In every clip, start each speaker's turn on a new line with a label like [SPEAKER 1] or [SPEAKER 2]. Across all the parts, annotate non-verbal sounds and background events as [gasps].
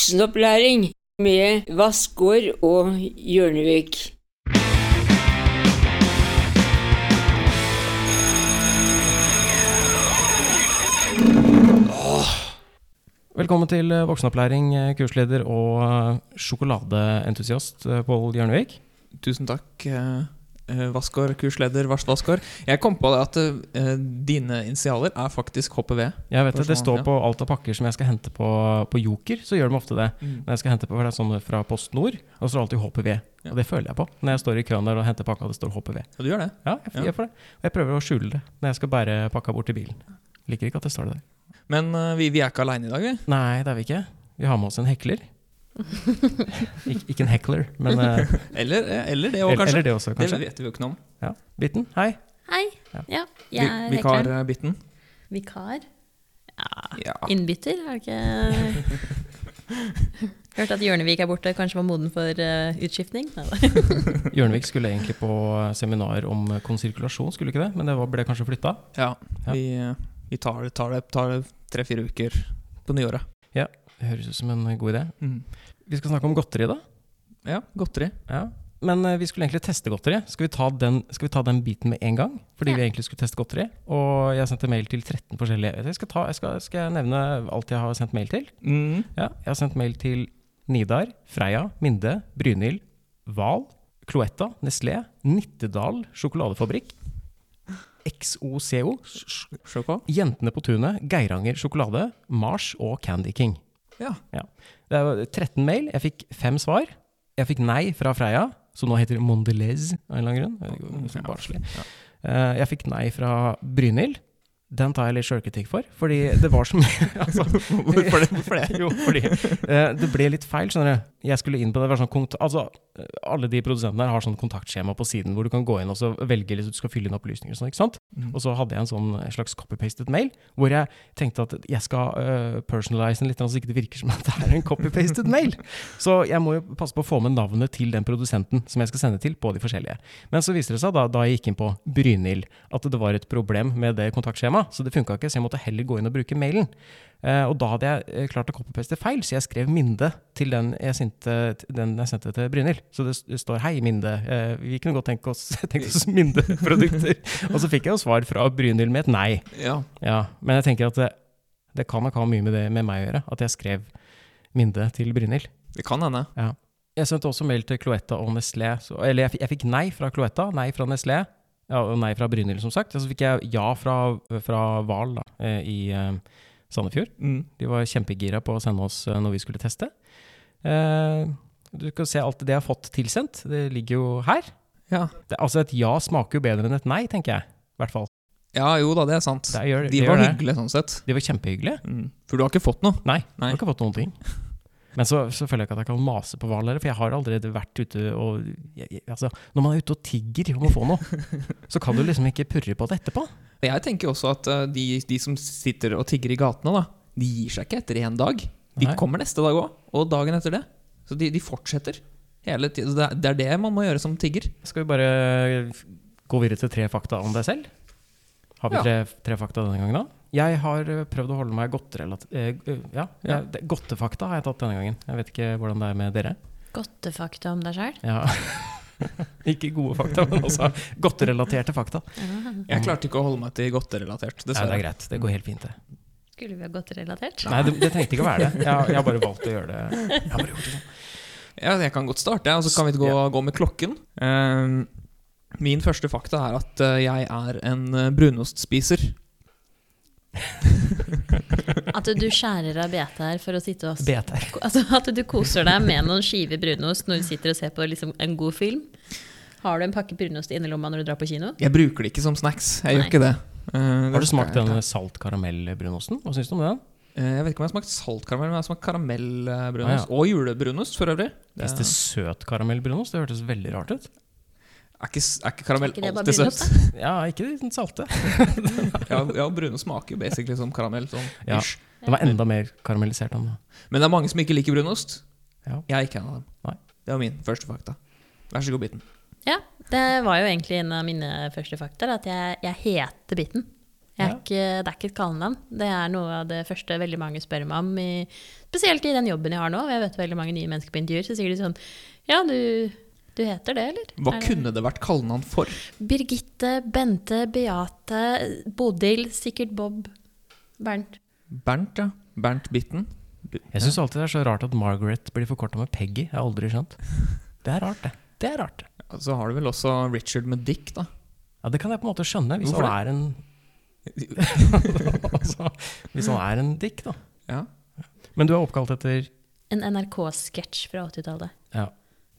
[SPEAKER 1] Voksenopplæring med Vassgård og Hjørnevik.
[SPEAKER 2] Velkommen til eh, voksenopplæring, eh, kursleder og eh, sjokoladeentusiast eh, Pål Hjørnevik.
[SPEAKER 3] Tusen takk, eh, eh, Vassgård, kursleder Vars Vassgård. Jeg kom på det at eh, dine initialer er faktisk HPV.
[SPEAKER 2] Jeg vet at
[SPEAKER 3] Bare
[SPEAKER 2] Det
[SPEAKER 3] sånn,
[SPEAKER 2] står
[SPEAKER 3] ja.
[SPEAKER 2] på alt av pakker som jeg skal hente på, på Joker, så gjør de ofte det. Når jeg skal hente på for det er sånn fra Post Nord, og så er det alltid HPV.
[SPEAKER 3] Ja.
[SPEAKER 2] Og det føler jeg på når jeg står i køen der og henter pakka, og det står HPV.
[SPEAKER 3] Og du gjør det.
[SPEAKER 2] Ja, jeg,
[SPEAKER 3] Ja.
[SPEAKER 2] jeg får det. Og jeg prøver å skjule det når jeg skal bære pakka bort til bilen. Liker ikke at det står det der.
[SPEAKER 3] Men eh, vi, vi er ikke aleine i dag, vi.
[SPEAKER 2] Nei, det er vi ikke. Vi har med oss en
[SPEAKER 3] [laughs]
[SPEAKER 2] hekler. Ik ikke en hekler, men eh,
[SPEAKER 3] Eller, eh, eller det òg,
[SPEAKER 2] eller,
[SPEAKER 3] kanskje.
[SPEAKER 2] eller det også,
[SPEAKER 3] Det
[SPEAKER 2] kanskje.
[SPEAKER 3] vet vi jo ikke noe om.
[SPEAKER 2] Ja. Bitten, hei.
[SPEAKER 4] Hei.
[SPEAKER 2] Ja.
[SPEAKER 4] Ja,
[SPEAKER 3] Vi-
[SPEAKER 4] jeg er hekleren.
[SPEAKER 3] Vikarbiten.
[SPEAKER 4] Vikar? Ja,
[SPEAKER 3] Ja.
[SPEAKER 4] innbytter? Er det [laughs] ikke Hørte at Hjørnevik er borte, kanskje var moden for eh, utskiftning? Nei da.
[SPEAKER 2] Hjørnevik skulle egentlig på eh, seminar om konsirkulasjon, skulle ikke det? Men det var, ble kanskje flytta?
[SPEAKER 3] ja.
[SPEAKER 2] Ja.
[SPEAKER 3] Vi, eh, vi tar det tar det, tar det tre-fire uker på nyåret.
[SPEAKER 2] Det Høres ut som en eh, god idé.
[SPEAKER 3] Mm.
[SPEAKER 2] Vi skal snakke om godteri, da.
[SPEAKER 3] Ja, godteri.
[SPEAKER 2] Ja. Men eh, vi skulle egentlig teste godteri. Skal vi ta den, skal vi ta den biten med en gang? Fordi
[SPEAKER 4] Ja.
[SPEAKER 2] vi egentlig skulle teste godteri. Og jeg sendte mail til 13 forskjellige jeg skal, ta, jeg skal, skal jeg nevne alt jeg har sendt mail til?
[SPEAKER 3] Mm.
[SPEAKER 2] Ja, jeg har sendt mail til Nidar, Freia, Minde, Brynhild, Val, Cloetta, Nestlé, Nittedal sjokoladefabrikk, XOCO,
[SPEAKER 3] Sjokk òg.
[SPEAKER 2] Jentene på tunet, Geiranger sjokolade, Mars og Candy King.
[SPEAKER 3] Ja.
[SPEAKER 2] Det var 13 mail, jeg fikk fem svar. Jeg fikk nei fra Freia, som nå heter Mondelez av en eller annen grunn. Jeg vet ikke, det er så
[SPEAKER 3] Ja.
[SPEAKER 2] barnslig. Eh, Jeg fikk nei fra Brynhild. Den tar jeg litt sjølkritikk for, fordi det var så mye [laughs] altså,
[SPEAKER 3] Hvorfor det? Hvorfor det? [laughs]
[SPEAKER 2] jo, fordi eh, det ble litt feil, skjønner du. Jeg skulle inn på det. det var sånn kont altså, eh, alle de produsentene her har sånn kontaktskjema på siden hvor du kan gå inn og så velge liksom, du skal fylle inn opplysninger og sånn, ikke sant?
[SPEAKER 3] Mm.
[SPEAKER 2] Og så hadde jeg en sånn en slags copy-pasted mail, hvor jeg tenkte at jeg skal eh, personalise den litt, så ikke det virker som at det er en copy-pasted mail. Så jeg må jo passe på å få med navnet til den produsenten som jeg skal sende til, på de forskjellige. Men så viser det seg da, da jeg gikk inn på Brynhild, at det var et problem med det kontaktskjemaet, så det funka ikke, så jeg måtte heller gå inn og bruke mailen. Eh, og da hadde jeg eh, klart å copy-paste feil, så jeg skrev Minde til den jeg sendte, den jeg sendte til Brynhild. Så det s- det står 'Hei, Minde, eh, vi kunne godt tenke oss, [laughs] tenkt oss Minde-produkter'. Og så fikk jeg jo svar fra Brynhild med et nei.
[SPEAKER 3] Ja.
[SPEAKER 2] Ja, men jeg tenker at det, det kan nok ha mye med det med meg å gjøre, at jeg skrev Minde til Brynhild.
[SPEAKER 3] Det kan hende.
[SPEAKER 2] Jeg sendte også mail til Cloetta og Nestlé. Så, eller jeg, fikk- jeg fikk nei fra Cloetta, nei fra Nestlé, ja, og nei fra Brynhild, som sagt. Og så fikk jeg ja fra, fra Hval da, eh, i eh, Sandefjord.
[SPEAKER 3] Mm.
[SPEAKER 2] De var kjempegira på å sende oss eh, når vi skulle teste. Eh, du kan se alt det jeg har fått tilsendt. Det ligger jo her.
[SPEAKER 3] Ja.
[SPEAKER 2] Det, altså, et ja smaker jo bedre enn et nei, tenker jeg. I hvert fall.
[SPEAKER 3] ja, jo da, det er sant.
[SPEAKER 2] Det gjør,
[SPEAKER 3] De
[SPEAKER 2] det
[SPEAKER 3] var
[SPEAKER 2] gjør det.
[SPEAKER 3] hyggelige sånn sett.
[SPEAKER 2] De var kjempehyggelige.
[SPEAKER 3] Mm. For du har ikke fått noe?
[SPEAKER 2] Nei,
[SPEAKER 3] Nei.
[SPEAKER 2] jeg har ikke fått noen ting. Men så, så føler jeg ikke at jeg kan mase på hvalere, for jeg har allerede vært ute og jeg, jeg, altså, Når man er ute og tigger om å få noe, [laughs] så kan du liksom ikke purre på det etterpå.
[SPEAKER 3] Jeg tenker jo også at eh, de, de som sitter og tigger i gatene, da, de gir seg ikke etter én dag. De
[SPEAKER 2] Nei.
[SPEAKER 3] kommer neste dag òg, og dagen etter det. Så de, de fortsetter hele tiden. Så Det, er- det er det man må gjøre som tigger.
[SPEAKER 2] Skal vi bare gå videre til tre fakta om deg selv? Har vi
[SPEAKER 3] Ja.
[SPEAKER 2] tre, tre fakta denne gangen, da? Jeg har eh, prøvd å holde meg godterelat... eh, eh, ja,
[SPEAKER 3] Ja.
[SPEAKER 2] jeg- det- godtefakta har jeg tatt denne gangen. Jeg vet ikke hvordan det er med dere.
[SPEAKER 4] Godtefakta om deg sjøl?
[SPEAKER 2] Ja. [laughs] ikke gode fakta, men også godterelaterte fakta.
[SPEAKER 3] Jeg klarte ikke å holde meg til godterelatert,
[SPEAKER 2] Nei, det er
[SPEAKER 3] dessverre.
[SPEAKER 2] greit. Det går helt fint, det.
[SPEAKER 4] Skulle vi ha godterelatert?
[SPEAKER 2] Nei, det, det trengte ikke å være det. Jeg, har- jeg har bare valgt å gjøre det. Jeg har bare gjort det sånn.
[SPEAKER 3] Ja, jeg kan godt starte, og så kan vi gå, gå med klokken. Ehm, min første fakta er at eh, jeg er en eh, brunostspiser.
[SPEAKER 4] At du skjærer av BT-er for å sitte og
[SPEAKER 2] BT.
[SPEAKER 4] altså, At du koser deg med noen skiver brunost når du sitter og ser på liksom, en god film? Har du en pakke brunost i innerlomma når du drar på kino?
[SPEAKER 3] Jeg bruker det ikke som snacks. Jeg
[SPEAKER 4] Nei.
[SPEAKER 3] gjør ikke det. Eh,
[SPEAKER 2] Har du
[SPEAKER 3] det-
[SPEAKER 2] smakt den salt karamellbrunosten? Hva syns du om den?
[SPEAKER 3] Eh, Jeg vet ikke om jeg har smakt saltkaramell, men jeg har smakt karamellbrunost.
[SPEAKER 2] Ah,
[SPEAKER 3] Og julebrunost, for øvrig. Det
[SPEAKER 2] Fins det søt karamellbrunost? Det hørtes veldig rart ut.
[SPEAKER 3] er ikke, er ikke karamell
[SPEAKER 4] Er ikke det bare
[SPEAKER 3] alltid søtt? [laughs]
[SPEAKER 4] brunost,
[SPEAKER 2] Ja, ikke den salte.
[SPEAKER 3] ja, ja, brunost smaker jo basically som karamell. Sånn.
[SPEAKER 2] Ja.
[SPEAKER 3] ish.
[SPEAKER 2] Den var enda mer karamellisert enn det.
[SPEAKER 3] Men det er mange som ikke liker brunost.
[SPEAKER 2] Ja.
[SPEAKER 3] Jeg er ikke en av dem.
[SPEAKER 2] Nei.
[SPEAKER 3] Det var min første fakta. Vær så god, Bitten.
[SPEAKER 4] Ja, det var jo egentlig en av mine første fakta, at jeg, jeg heter Bitten. Jeg Jeg er
[SPEAKER 2] Ja.
[SPEAKER 4] ikke, det er ikke et kallenavn. Det er noe av det første veldig mange spør meg om, i, spesielt i den jobben jeg har nå. Jeg vet veldig mange nye mennesker på intervjuer, så sier de sånn Ja, du, du heter det, eller?
[SPEAKER 3] Hva
[SPEAKER 4] Er det-
[SPEAKER 3] kunne det vært kallenavn for?
[SPEAKER 4] Birgitte, Bente, Beate, Bodil, sikkert Bob, Bernt.
[SPEAKER 3] Bernt, ja. Bernt Bitten.
[SPEAKER 2] Jeg syns alltid det er så rart at Margaret blir forkorta med Peggy. Jeg har aldri skjønt. Det er rart, det. Det er rart.
[SPEAKER 3] Ja, Så har du vel også Richard med Dick, da.
[SPEAKER 2] Ja, det kan jeg på en måte skjønne, hvis
[SPEAKER 3] Hvorfor
[SPEAKER 2] han er [laughs] en altså, Hvis han er en dick, da.
[SPEAKER 3] Ja.
[SPEAKER 2] Men du er oppkalt etter
[SPEAKER 4] En NRK-sketsj fra 80-tallet.
[SPEAKER 2] Ja.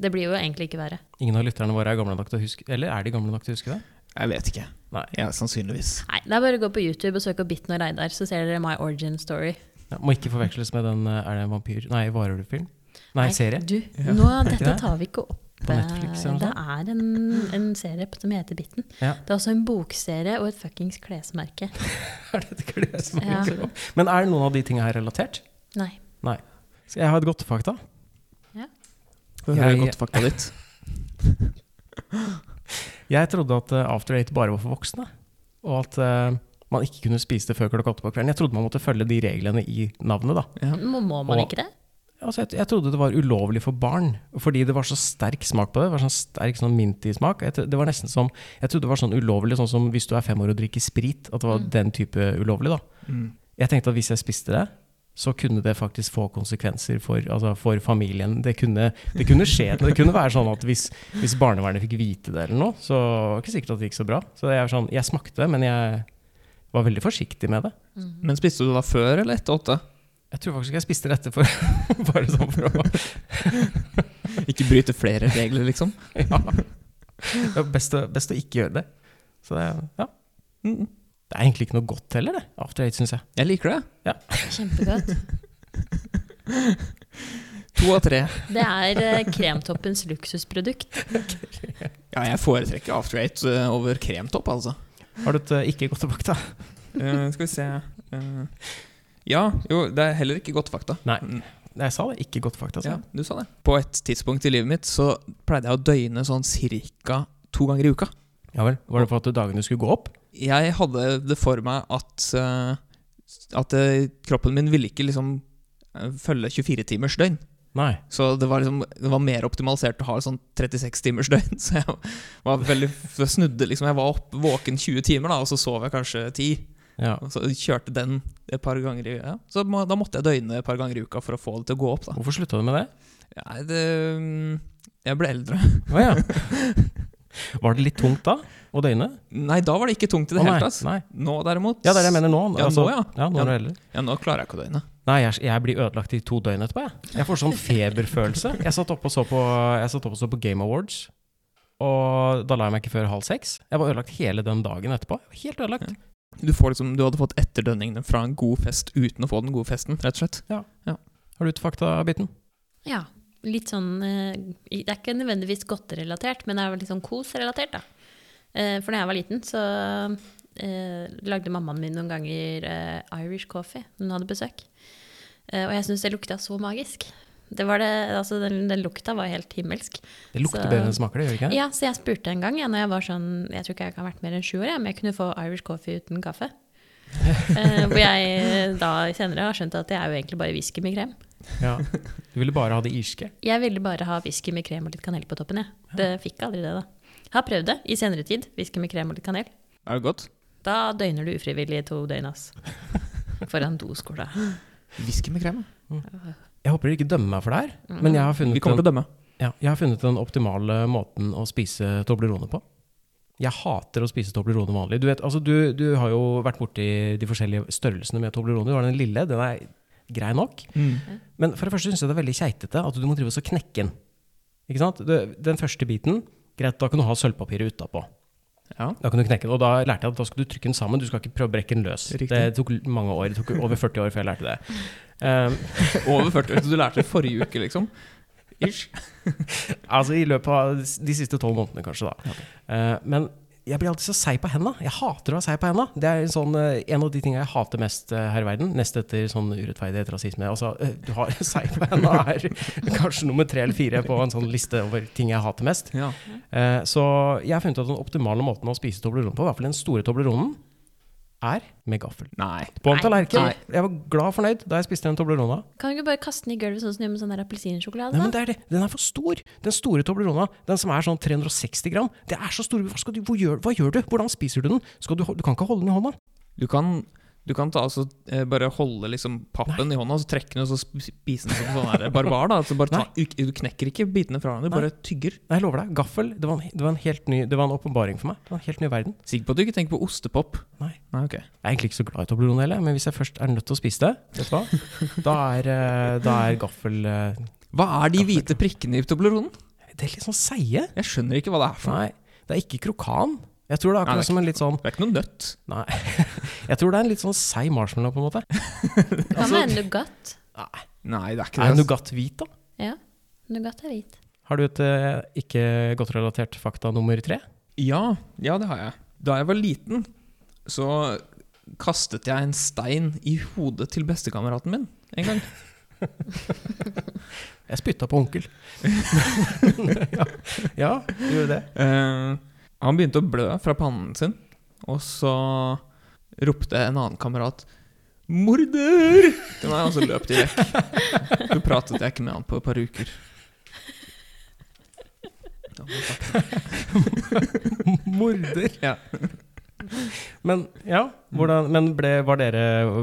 [SPEAKER 4] Det blir jo egentlig ikke verre.
[SPEAKER 2] Ingen av lytterne våre er gamle nok til å huske Eller er de gamle nok til å huske det?
[SPEAKER 3] Jeg vet ikke.
[SPEAKER 2] Nei.
[SPEAKER 3] Ja, sannsynligvis.
[SPEAKER 4] Nei, det er bare å gå på YouTube og søke opp Bitten og Reidar, så ser dere My Origin Story.
[SPEAKER 2] Ja, må ikke forveksles med den eh, Er det en vampyr Nei, varulvfilm? Nei, serie.
[SPEAKER 4] Du,
[SPEAKER 3] Ja.
[SPEAKER 4] nå,
[SPEAKER 2] det
[SPEAKER 4] dette
[SPEAKER 2] det?
[SPEAKER 4] tar vi ikke opp.
[SPEAKER 2] På Netflix eller noe
[SPEAKER 4] det er en, en serie på- som heter Bitten.
[SPEAKER 2] Ja.
[SPEAKER 4] Det er også en bokserie og et fuckings klesmerke.
[SPEAKER 2] [laughs] Er det et kles som
[SPEAKER 4] Ja.
[SPEAKER 2] dukker opp? Men er noen av de tinga her relatert?
[SPEAKER 4] Nei.
[SPEAKER 2] Nei. Skal jeg ha et godt fakta?
[SPEAKER 3] Få
[SPEAKER 2] Jeg-
[SPEAKER 3] høre godt fakta ditt. [laughs]
[SPEAKER 2] Jeg trodde at eh, After Eight bare var for voksne, og at eh, man ikke kunne spise det før klokka åtte på kvelden. Jeg trodde man måtte følge de reglene i navnet, da.
[SPEAKER 3] Ja.
[SPEAKER 4] Må, må man
[SPEAKER 2] Og-
[SPEAKER 4] ikke det?
[SPEAKER 2] Altså, jeg, jeg trodde det var ulovlig for barn, fordi det var så sterk smak på det. Det var sånn sterk sånn mintig smak. Jeg, tro- det var nesten som, jeg trodde det var sånn ulovlig, sånn som hvis du er fem år og drikker sprit, at det var den type ulovlig, da.
[SPEAKER 3] Mm.
[SPEAKER 2] Jeg tenkte at hvis jeg spiste det, så kunne det faktisk få konsekvenser for, altså for familien. Det kunne, det kunne skje. Det kunne være sånn at hvis, hvis barnevernet fikk vite det eller noe, så var det ikke sikkert at det gikk så bra. Så jeg, er sånn, jeg smakte, men jeg var veldig forsiktig med det.
[SPEAKER 4] Mm,
[SPEAKER 3] Men spiste du da før eller etter åtte?
[SPEAKER 2] Jeg tror faktisk ikke jeg spiste det etterpå. [laughs] Bare sånn for å
[SPEAKER 3] [laughs] Ikke bryte flere regler, liksom?
[SPEAKER 2] ja. Det var best å, best å ikke gjøre det. Så det, ja.
[SPEAKER 3] Mm.
[SPEAKER 2] det er egentlig ikke noe godt heller, det. After eight, syns jeg.
[SPEAKER 3] Jeg liker det.
[SPEAKER 4] Kjempegodt.
[SPEAKER 3] To av tre.
[SPEAKER 4] Det er eh, kremtoppens luksusprodukt.
[SPEAKER 3] Ja, jeg foretrekker After Eight eh, over kremtopp, [laughs] altså.
[SPEAKER 2] Har du et eh, ikke godt tilbake, da?
[SPEAKER 3] Eh, skal vi se eh, Ja, jo, det er heller ikke godt fakta.
[SPEAKER 2] Nei.
[SPEAKER 3] Mm,
[SPEAKER 2] Jeg sa det. Ikke godt, faktisk.
[SPEAKER 3] ja, du sa det. På et tidspunkt i livet mitt så pleide jeg å døgne sånn cirka to ganger i uka.
[SPEAKER 2] Ja vel. Var det for at dagene skulle gå opp?
[SPEAKER 3] Jeg hadde det for meg at, eh, at eh, kroppen min ville ikke liksom eh, følge 24 timers døgn.
[SPEAKER 2] Nei.
[SPEAKER 3] Så det var, liksom, det var mer optimalisert å ha sånn 36 timers døgn. [laughs] Så jeg var veldig jeg snudde liksom. Jeg var opp, våken 20 timer, da, og så sov jeg kanskje 10.
[SPEAKER 2] Ja.
[SPEAKER 3] Og så kjørte den et par ganger i ja. Så må, da måtte jeg døgne et par ganger i uka for å få det til å gå opp. da.
[SPEAKER 2] Hvorfor slutta du med det?
[SPEAKER 3] Nei, det, mm, jeg ble eldre.
[SPEAKER 2] Å ja. [laughs] Var det litt tungt da? Å døgne?
[SPEAKER 3] Nei, da var det ikke tungt i det
[SPEAKER 2] Å,
[SPEAKER 3] hele
[SPEAKER 2] nei,
[SPEAKER 3] tatt.
[SPEAKER 2] Nei.
[SPEAKER 3] Nå derimot
[SPEAKER 2] Ja, det er det jeg mener nå.
[SPEAKER 3] Ja,
[SPEAKER 2] altså,
[SPEAKER 3] nå, ja.
[SPEAKER 2] nå er du eldre.
[SPEAKER 3] Ja, nå klarer jeg ikke å døgne.
[SPEAKER 2] Nei, jeg, jeg blir ødelagt i to døgn etterpå, jeg. Jeg får sånn feberfølelse. Jeg satt oppe og så på, jeg satt oppe og så på Game Awards, og da la jeg meg ikke før halv seks. Jeg var ødelagt hele den dagen etterpå. Jeg var Helt ødelagt.
[SPEAKER 3] Du, får liksom, du hadde fått etterdønningene fra en god fest uten å få den gode festen, rett og slett.
[SPEAKER 2] Har du et faktabiten?
[SPEAKER 4] Ja. Litt sånn eh, Det er ikke nødvendigvis godterelatert, men det er vel litt sånn kosrelatert, da. Eh, For da jeg var liten, så eh, lagde mammaen min noen ganger eh, Irish coffee når hun hadde besøk. Eh, og jeg syns det lukta så magisk. Det var det, altså den, den lukta var helt himmelsk.
[SPEAKER 2] Det lukter
[SPEAKER 4] Så-
[SPEAKER 2] bedre enn det smaker, det gjør det ikke?
[SPEAKER 4] Ja, så jeg spurte en gang, ja, når jeg var sånn, jeg tror ikke jeg kan ha vært mer enn sju år, jeg, men jeg kunne få Irish coffee uten kaffe. Eh, hvor jeg eh, da senere har skjønt at det er jo egentlig bare whisky med krem.
[SPEAKER 2] Ja. Du ville bare ha det irske.
[SPEAKER 4] Jeg ville bare ha whisky med krem og litt kanel på toppen, jeg. Det fikk aldri det, da. Har prøvd det i senere tid. Whisky med krem og litt kanel.
[SPEAKER 3] Er det godt?
[SPEAKER 4] Da døgner du ufrivillig i to
[SPEAKER 2] [laughs]
[SPEAKER 4] døgn, ass. Foran doskåla.
[SPEAKER 3] Whisky med krem.
[SPEAKER 2] Jeg håper dere ikke dømmer meg for det her,
[SPEAKER 4] Mm.
[SPEAKER 2] men jeg har funnet
[SPEAKER 3] Vi kommer til å dømme.
[SPEAKER 2] Ja, jeg har funnet den optimale måten å spise Toblerone på. Jeg hater å spise Toblerone vanlig. Du, vet, altså, du, du har jo vært borti de forskjellige størrelsene med Toblerone. Du har den lille, den er grei nok. Men for det første syns jeg det er veldig keitete at du må drive og så knekke den. Ikke sant? Det- Den første biten, greit, da kan du ha sølvpapiret utapå.
[SPEAKER 3] Ja.
[SPEAKER 2] Da kan du knekke den, og da lærte jeg at da skal du trykke den sammen, du skal ikke prøve å brekke den løs.
[SPEAKER 3] Riktig.
[SPEAKER 2] Det tok mange år, det tok over 40 år før jeg lærte det. Um,
[SPEAKER 3] Over 40 år, så du lærte det forrige uke, liksom. Ish.
[SPEAKER 2] Altså i løpet av de siste tolv månedene, kanskje. da. Eh, men jeg blir alltid så seig på henda. Jeg hater å være seig på henda. Det er en sånn, eh, en av de tingene jeg hater mest eh, her i verden, nest etter sånn urettferdighet, rasisme. Altså, eh, du har [laughs] seig på henda er [laughs] kanskje nummer tre eller fire på en sånn liste over ting jeg hater mest.
[SPEAKER 3] Ja.
[SPEAKER 2] Eh, så jeg har funnet ut at den optimale måten å spise Toblerone på, i hvert fall den store Tobleronen, er med gaffel.
[SPEAKER 3] Nei.
[SPEAKER 2] På en
[SPEAKER 4] Nei.
[SPEAKER 2] tallerken.
[SPEAKER 4] Nei.
[SPEAKER 2] Jeg var glad og fornøyd da jeg spiste den Toblerona.
[SPEAKER 4] Kan du ikke bare kaste den i gulvet sånn som du gjør med sånn der appelsinsjokolade?
[SPEAKER 2] Nei,
[SPEAKER 4] da?
[SPEAKER 2] men det er det. Den er for stor. Den store Toblerona, den som er sånn 360 gram, det er så stor. Hva, skal du, hvor gjør, hva gjør du? Hvordan spiser du den? Skal du, hol- du kan ikke holde den i hånda.
[SPEAKER 3] Du kan, du kan ta, altså, eh, bare holde liksom pappen i hånda, og så trekke den, og så sp- spise den som sånn der barbar. Da. Altså, bare ta, du, du knekker ikke bitene fra hverandre, du bare tygger.
[SPEAKER 2] Nei, jeg lover deg. Gaffel, det var, en, det var en helt ny Det var en åpenbaring for meg. Det var en helt ny verden.
[SPEAKER 3] Sikker på at du ikke tenker på ostepop?
[SPEAKER 2] Nei.
[SPEAKER 3] Nei, ok.
[SPEAKER 2] Jeg er egentlig ikke så glad i Toblerone heller, men hvis jeg først er nødt til å spise det, vet du hva? Da er, eh, da er gaffel eh,
[SPEAKER 3] Hva er de hvite prikkene i Tobleronen?
[SPEAKER 2] Det er litt sånn seige.
[SPEAKER 3] Jeg skjønner ikke hva det er for noe.
[SPEAKER 2] Nei, det er ikke krokan. Jeg tror det er
[SPEAKER 3] Nei,
[SPEAKER 2] akkurat
[SPEAKER 3] det er
[SPEAKER 2] som en litt sånn
[SPEAKER 3] Det er ikke noe nøtt.
[SPEAKER 2] Nei. Jeg tror det er en litt sånn seig marshmallow, på en måte.
[SPEAKER 4] Det
[SPEAKER 2] altså-
[SPEAKER 4] kan være nougat.
[SPEAKER 3] Nei, det er ikke
[SPEAKER 2] Er
[SPEAKER 3] det. altså.
[SPEAKER 2] nougat hvit, da?
[SPEAKER 4] Ja. Nougat er hvit.
[SPEAKER 2] Har du et eh, ikke godt relatert fakta nummer tre?
[SPEAKER 3] Ja, ja, det har jeg. Da jeg var liten, så kastet jeg en stein i hodet til bestekameraten min en gang.
[SPEAKER 2] Jeg spytta på onkel. [laughs] ja, ja, du gjorde det.
[SPEAKER 3] Eh, han begynte å blø fra pannen sin, og så ropte en annen kamerat 'Morder!' til meg, og så løp de vekk. Så pratet jeg ikke med han på et par uker. Ja, men takk.
[SPEAKER 2] [laughs] Morder.
[SPEAKER 3] Ja.
[SPEAKER 2] Men ja, hvordan, men ble, var dere,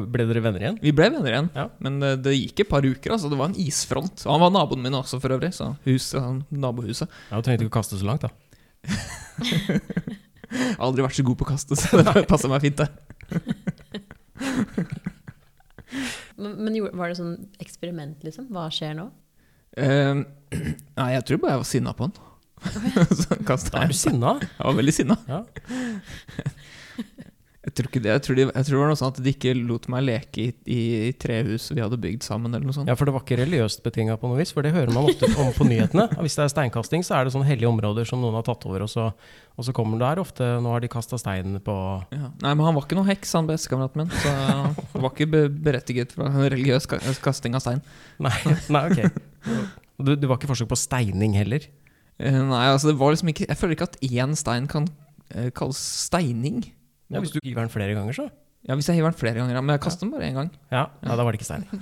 [SPEAKER 2] ble dere venner igjen?
[SPEAKER 3] Vi ble venner igjen,
[SPEAKER 2] Ja.
[SPEAKER 3] men det, det gikk et par uker. altså Det var en isfront. Og han var naboen min også, for øvrig. Så huset, han- nabohuset.
[SPEAKER 2] Ja, Du trengte ikke å kaste så langt, da.
[SPEAKER 3] Jeg har aldri vært så god på å kaste, så det passa meg fint, det.
[SPEAKER 4] Men, men gjorde- var det sånn eksperiment, liksom? Hva skjer nå?
[SPEAKER 3] Eh, [clears throat] nei, jeg tror bare jeg var sinna på han. [laughs] så kastet
[SPEAKER 2] Da er
[SPEAKER 3] jeg.
[SPEAKER 2] du sinna.
[SPEAKER 3] Jeg var veldig sinna.
[SPEAKER 2] Ja.
[SPEAKER 3] [laughs] Jeg tror ikke det. Jeg tror, de, jeg tror det var noe sånn at de ikke lot meg leke i, i, i trehuset vi hadde bygd sammen, eller noe sånt.
[SPEAKER 2] ja, for det var ikke religiøst betinga på noe vis, for det hører man ofte om på nyhetene. Og Hvis det er steinkasting, så er det sånne hellige områder som noen har tatt over, og så, og så kommer det her ofte Nå har de kasta stein på
[SPEAKER 3] Ja. Nei, men han var ikke noe heks, han bestekameraten min. Så han var ikke be- berettiget for religiøs ka- kasting av stein.
[SPEAKER 2] Nei, [laughs] nei ok. Du, du var ikke forsøk på steining heller?
[SPEAKER 3] Eh, Nei, altså det var liksom ikke Jeg føler ikke at én stein kan eh, kalles steining.
[SPEAKER 2] Ja, Hvis du hiver den flere ganger, så.
[SPEAKER 3] Ja, Hvis jeg hiver den flere ganger, ja, men jeg kaster den bare én gang.
[SPEAKER 2] Ja, ja da var det ikke steining.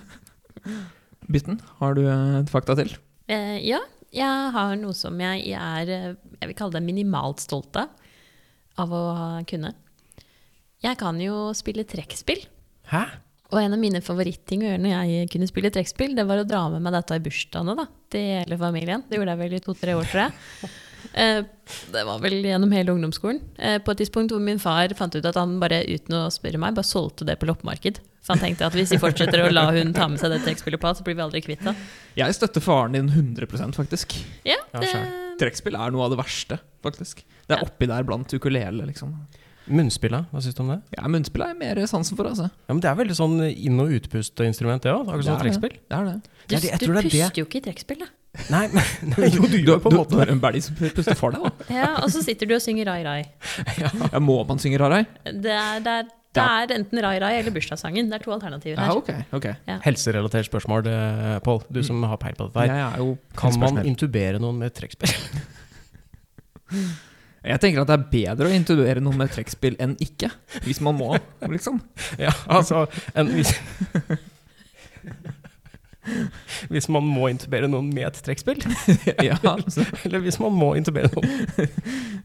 [SPEAKER 3] Bytten, har du eh, et fakta til?
[SPEAKER 4] Eh, ja, jeg har noe som jeg er eh, Jeg vil kalle det minimalt stolt av. Av å ha- kunne. Jeg kan jo spille trekkspill.
[SPEAKER 2] Hæ?
[SPEAKER 4] Og en av mine favoritting å gjøre når jeg kunne spille trekkspill, det var å dra med meg dette i bursdagene da, til hele familien. Det gjorde jeg vel i to-tre år, tror jeg.
[SPEAKER 2] [laughs]
[SPEAKER 4] Eh, Det var vel gjennom hele ungdomsskolen. Eh, På et tidspunkt hvor min far fant ut at han bare uten å spørre meg, bare solgte det på loppemarked. For han tenkte at hvis vi fortsetter å la hun ta med seg det trekkspillet på, så blir vi aldri kvitt det.
[SPEAKER 3] Jeg støtter faren din 100 faktisk.
[SPEAKER 4] Ja,
[SPEAKER 2] Ja,
[SPEAKER 4] det,
[SPEAKER 2] skjønner.
[SPEAKER 3] Trekkspill er noe av det verste, faktisk. Det
[SPEAKER 4] Ja.
[SPEAKER 3] er oppi der blant ukulele, liksom.
[SPEAKER 2] Munnspilla, hva syns du om det?
[SPEAKER 3] Ja, Munnspill er jeg mer sansen for, altså.
[SPEAKER 2] Ja, men Det er veldig sånn inn- og utpust-instrument, det òg. Akkurat som
[SPEAKER 3] Det er det.
[SPEAKER 2] trekkspill.
[SPEAKER 3] Det er det.
[SPEAKER 4] du,
[SPEAKER 2] Ja, det- jeg
[SPEAKER 4] du
[SPEAKER 2] tror det er det.
[SPEAKER 4] puster jo ikke i trekkspill, da.
[SPEAKER 2] [laughs] Nei, men, [laughs] nei, jo, du
[SPEAKER 3] Du,
[SPEAKER 2] gjør på
[SPEAKER 3] du,
[SPEAKER 2] en
[SPEAKER 3] du
[SPEAKER 2] måte
[SPEAKER 3] har en bælg som puster for
[SPEAKER 2] [laughs]
[SPEAKER 3] deg, da.
[SPEAKER 4] Ja, og så sitter du og synger Rai Rai.
[SPEAKER 3] Ja, må man synge Rarai?
[SPEAKER 4] Det er, det er, det er enten Rai Rai eller bursdagssangen. Det er to alternativer
[SPEAKER 3] Ja,
[SPEAKER 4] her.
[SPEAKER 3] ok. ok.
[SPEAKER 2] Helserelatert spørsmål, eh, Pål, du som har peil på dette her.
[SPEAKER 3] Jeg er jo
[SPEAKER 2] Kan man
[SPEAKER 3] helsepersonell.
[SPEAKER 2] intubere noen med trekkspill? [laughs]
[SPEAKER 3] Jeg tenker at det er bedre å introdusere noe med trekkspill enn ikke. Hvis man må,
[SPEAKER 2] [laughs]
[SPEAKER 3] liksom.
[SPEAKER 2] Ja, altså en, hvis, [laughs] hvis man må intubere noen med et trekkspill, [laughs]
[SPEAKER 3] Ja. altså.
[SPEAKER 2] eller hvis man må intubere noen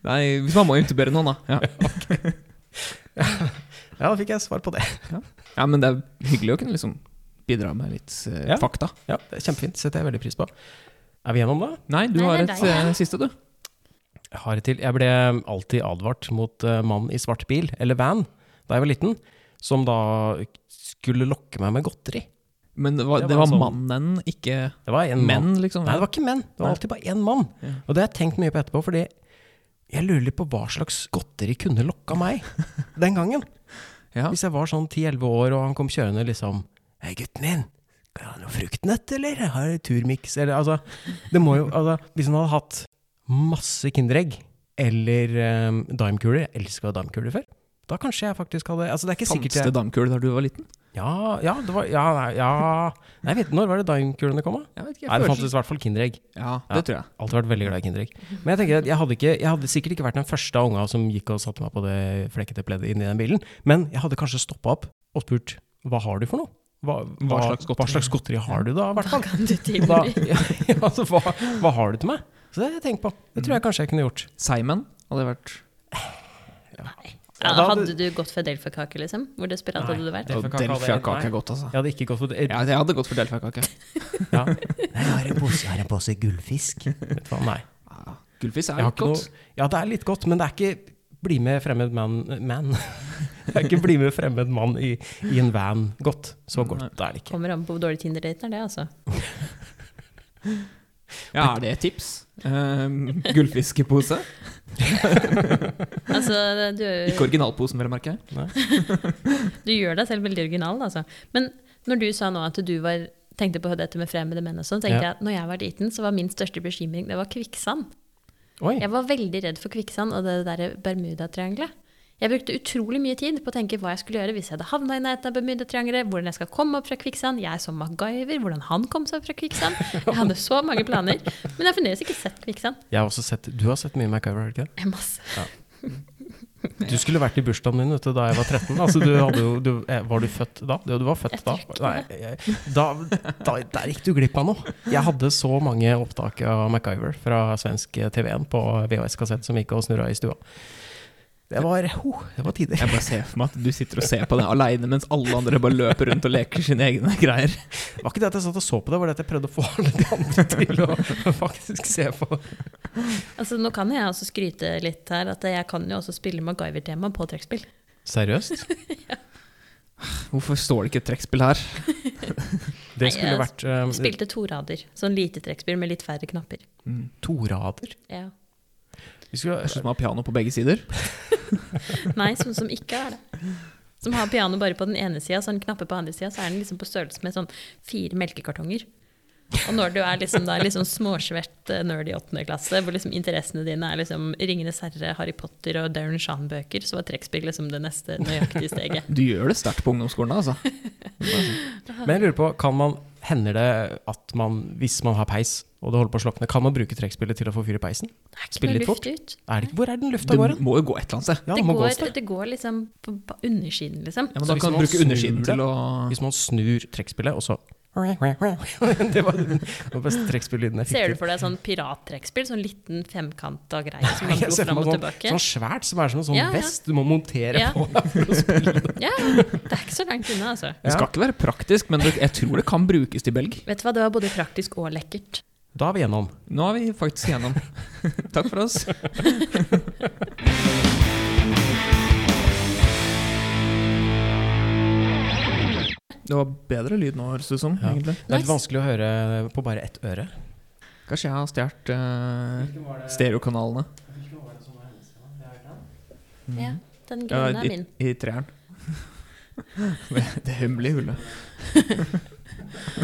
[SPEAKER 3] Nei, hvis man må introdusere noen, da. Ja.
[SPEAKER 2] Ja, da fikk jeg svar på det.
[SPEAKER 3] ja, men det er hyggelig å kunne liksom bidra med litt eh,
[SPEAKER 2] Ja.
[SPEAKER 3] fakta.
[SPEAKER 2] Ja, det er Kjempefint. Setter jeg veldig pris på. Er vi gjennom, da?
[SPEAKER 3] Nei, du
[SPEAKER 4] Nei,
[SPEAKER 3] har
[SPEAKER 4] det er
[SPEAKER 3] et
[SPEAKER 4] deg,
[SPEAKER 3] eh,
[SPEAKER 4] ja.
[SPEAKER 3] siste, du.
[SPEAKER 2] Jeg har et til. Jeg ble alltid advart mot eh, mann i svart bil, eller van, da jeg var liten, som da skulle lokke meg med godteri.
[SPEAKER 3] Men det var,
[SPEAKER 2] Det
[SPEAKER 3] det
[SPEAKER 2] var
[SPEAKER 3] var
[SPEAKER 2] sånn-
[SPEAKER 3] mannen, ikke
[SPEAKER 2] Det var en mann.
[SPEAKER 3] menn, liksom?
[SPEAKER 2] Nei, det var ikke menn. Det var alltid bare én mann.
[SPEAKER 3] Ja.
[SPEAKER 2] Og det har jeg tenkt mye på etterpå, fordi jeg lurer litt på hva slags godteri kunne lokka
[SPEAKER 3] [laughs]
[SPEAKER 2] meg den gangen.
[SPEAKER 3] Ja.
[SPEAKER 2] Hvis jeg var sånn 10-11 år, og han kom kjørende liksom Hei, gutten min. Skal jeg ha noe fruktnøtt, eller? Jeg har turmix, eller altså, det må jo, altså Hvis han hadde ehm, hatt masse Kinderegg eller um, dimekuler Jeg elska dimekuler før. Da kanskje jeg faktisk hadde Altså, det er ikke sikkert
[SPEAKER 3] Fantes det
[SPEAKER 2] jeg
[SPEAKER 3] damkule da du var liten?
[SPEAKER 2] Ja, ja, det var Ja, nei, ja. Nei, vet du når var det daimkulene kom, da?
[SPEAKER 3] Jeg vet ikke,
[SPEAKER 2] Nei, det fantes i hvert fall Kinderegg.
[SPEAKER 3] Ja,
[SPEAKER 2] Ja.
[SPEAKER 3] det tror jeg.
[SPEAKER 2] Alltid vært veldig glad i Kinderegg. Men jeg tenker at jeg hadde, ikke, jeg hadde sikkert ikke vært den første av unga som gikk og satte meg på det flekkete pleddet inni den bilen, men jeg hadde kanskje stoppa opp og spurt hva har du for noe? Hva, hva,
[SPEAKER 3] Hva slags godteri?
[SPEAKER 2] hva slags godteri har du da, i hvert
[SPEAKER 4] Hva
[SPEAKER 2] fall?
[SPEAKER 4] kan du
[SPEAKER 2] Og Da,
[SPEAKER 4] tilby?
[SPEAKER 2] [laughs] ja, altså, hva, hva har du til meg? Så det har jeg tenkt på. Det tror jeg kanskje jeg kunne gjort.
[SPEAKER 3] Simon hadde vært
[SPEAKER 4] Ja,
[SPEAKER 2] da hadde-
[SPEAKER 4] hadde du gått for Delfa-kake, liksom? Hvor desperat
[SPEAKER 2] Nei,
[SPEAKER 4] hadde du vært?
[SPEAKER 2] det- Delfiakake hadde jeg-
[SPEAKER 3] Delfiakake
[SPEAKER 2] nei.
[SPEAKER 3] er godt, altså.
[SPEAKER 2] Jeg hadde ikke gått for det.
[SPEAKER 3] Ja, jeg hadde gått for delfiakake.
[SPEAKER 2] Ja. [laughs] Jeg har en pose, gullfisk. Vet du hva, nei.
[SPEAKER 3] Ja, Gullfisk er
[SPEAKER 2] Jeg har
[SPEAKER 3] litt
[SPEAKER 2] ikke
[SPEAKER 3] godt.
[SPEAKER 2] noe, ja, det er litt godt, men det er ikke bli med fremmed man, man. [laughs] Det er ikke bli med fremmed mann i, i en van godt. Så godt det er det ikke.
[SPEAKER 4] Kommer an på hvor dårlig Tinder-daten er, det, altså.
[SPEAKER 3] Ja, er det et tips? Um, Gullfiskepose?
[SPEAKER 4] altså
[SPEAKER 2] [laughs]
[SPEAKER 4] du,
[SPEAKER 3] Ikke originalposen, vil jeg merke.
[SPEAKER 4] du gjør deg selv veldig original, altså. Men når du sa nå at du var, tenkte på dette med fremmede menn og sånn, tenkte
[SPEAKER 2] Ja.
[SPEAKER 4] jeg at når jeg var liten, så var min største bekymring det var kvikksand.
[SPEAKER 2] Oi,
[SPEAKER 4] Jeg var veldig redd for kvikksand og det derre Bermudatriangelet. Jeg brukte utrolig mye tid på å tenke hva jeg skulle gjøre hvis jeg hadde havna i nærheten av Bermudatriangelet, hvordan jeg skal komme opp fra kvikksand, jeg som MacGyver, hvordan han kom seg opp fra kvikksand. Jeg hadde så mange planer, men jeg har fremdeles ikke sett kvikksand.
[SPEAKER 2] jeg har også sett, Du har sett mye MacGyver, har du ikke det?
[SPEAKER 4] Det er Masse.
[SPEAKER 2] Du skulle vært i bursdagen min vet du, da jeg var 13. Altså, du hadde jo, du, eh, var du født da? Du, du var født da. Nei, jeg, da, da. Der gikk du glipp av noe. Jeg hadde så mange opptak av MacGyver fra svensk eh, TV1 på VHS-kassett som gikk og snurra i stua. Det var, ho, det var tider.
[SPEAKER 3] Jeg bare ser for meg at du sitter og ser på den aleine mens alle andre bare løper rundt og leker sine egne greier.
[SPEAKER 2] Det var ikke det at jeg satt og så på det, det var det at jeg prøvde å få [laughs] alle de andre til å faktisk se på.
[SPEAKER 4] Altså, nå kan jeg også skryte litt her, at jeg kan jo også spille MacGyver-tema på trekkspill.
[SPEAKER 2] Seriøst?
[SPEAKER 3] Hvorfor står det ikke et trekkspill her?
[SPEAKER 2] Det
[SPEAKER 4] Nei,
[SPEAKER 2] skulle
[SPEAKER 4] jeg
[SPEAKER 2] vært um,
[SPEAKER 4] Spilte to rader, sånn lite trekkspill med litt færre knapper.
[SPEAKER 3] Mm.
[SPEAKER 2] to rader.
[SPEAKER 4] Ja.
[SPEAKER 2] Vi skulle,
[SPEAKER 3] Jeg synes man har piano på begge sider.
[SPEAKER 4] Nei, sånn som ikke er det. Som har piano bare på den ene sida, sånn knapper på andre sida, så er den liksom på størrelse med sånn fire melkekartonger. Og når du er liksom da liksom småsvett eh, nerd i åttende klasse, hvor liksom interessene dine er liksom Ringenes herre, Harry Potter og Darren Shan-bøker, så var trekkspill liksom det neste nøyaktige steget.
[SPEAKER 3] Du gjør det sterkt på ungdomsskolen, altså.
[SPEAKER 2] men jeg lurer på, kan man, hender det at man, hvis man har peis, og det holder på å slokne, kan man bruke trekkspillet til å få fyr i peisen?
[SPEAKER 4] Det er ikke
[SPEAKER 2] Spill
[SPEAKER 4] noe
[SPEAKER 2] litt fort.
[SPEAKER 4] luft ut.
[SPEAKER 2] Er det ikke, hvor er den lufta
[SPEAKER 3] Det
[SPEAKER 2] går hen?
[SPEAKER 3] må jo gå et eller annet sted.
[SPEAKER 2] Ja,
[SPEAKER 4] det,
[SPEAKER 2] den må gå et
[SPEAKER 4] går,
[SPEAKER 2] sted.
[SPEAKER 4] det går liksom på, på undersiden, liksom.
[SPEAKER 3] Ja, men
[SPEAKER 2] Så
[SPEAKER 3] da
[SPEAKER 2] hvis
[SPEAKER 3] kan du
[SPEAKER 2] man
[SPEAKER 3] bruke
[SPEAKER 2] snur
[SPEAKER 3] undersiden
[SPEAKER 2] det-
[SPEAKER 3] til å
[SPEAKER 2] Hvis man snur trekkspillet, og så Det var den den beste trekkspillyden jeg fikk.
[SPEAKER 4] Ser du
[SPEAKER 2] til.
[SPEAKER 4] for deg sånn pirattrekkspill? Sånn liten femkanta greie som kan
[SPEAKER 2] Jeg
[SPEAKER 4] gå
[SPEAKER 2] ser for
[SPEAKER 4] fram
[SPEAKER 2] meg
[SPEAKER 4] og
[SPEAKER 2] sånn,
[SPEAKER 4] tilbake?
[SPEAKER 2] sånn svært som er som en sånn
[SPEAKER 4] Ja, ja.
[SPEAKER 2] vest du må montere
[SPEAKER 4] Ja.
[SPEAKER 2] på. [laughs] for å
[SPEAKER 4] Ja, det er ikke så langt unna, altså.
[SPEAKER 3] Det skal ikke være praktisk, men det- jeg tror det kan brukes til belg.
[SPEAKER 4] Vet du hva, det var både praktisk og lekkert.
[SPEAKER 2] Da er vi gjennom.
[SPEAKER 3] Nå er vi faktisk gjennom. [laughs] Takk for oss. Det var bedre lyd nå, høres det ut som.
[SPEAKER 2] Ja.
[SPEAKER 3] egentlig.
[SPEAKER 2] Det er litt
[SPEAKER 4] Nice.
[SPEAKER 2] vanskelig å høre på bare ett øre.
[SPEAKER 3] Kanskje jeg har stjålet eh, stereokanalene.
[SPEAKER 2] Mm.
[SPEAKER 4] Ja, den
[SPEAKER 3] Ja,
[SPEAKER 4] grønne er
[SPEAKER 3] i,
[SPEAKER 4] min.
[SPEAKER 3] I treeren. [laughs] det hemmelige hullet.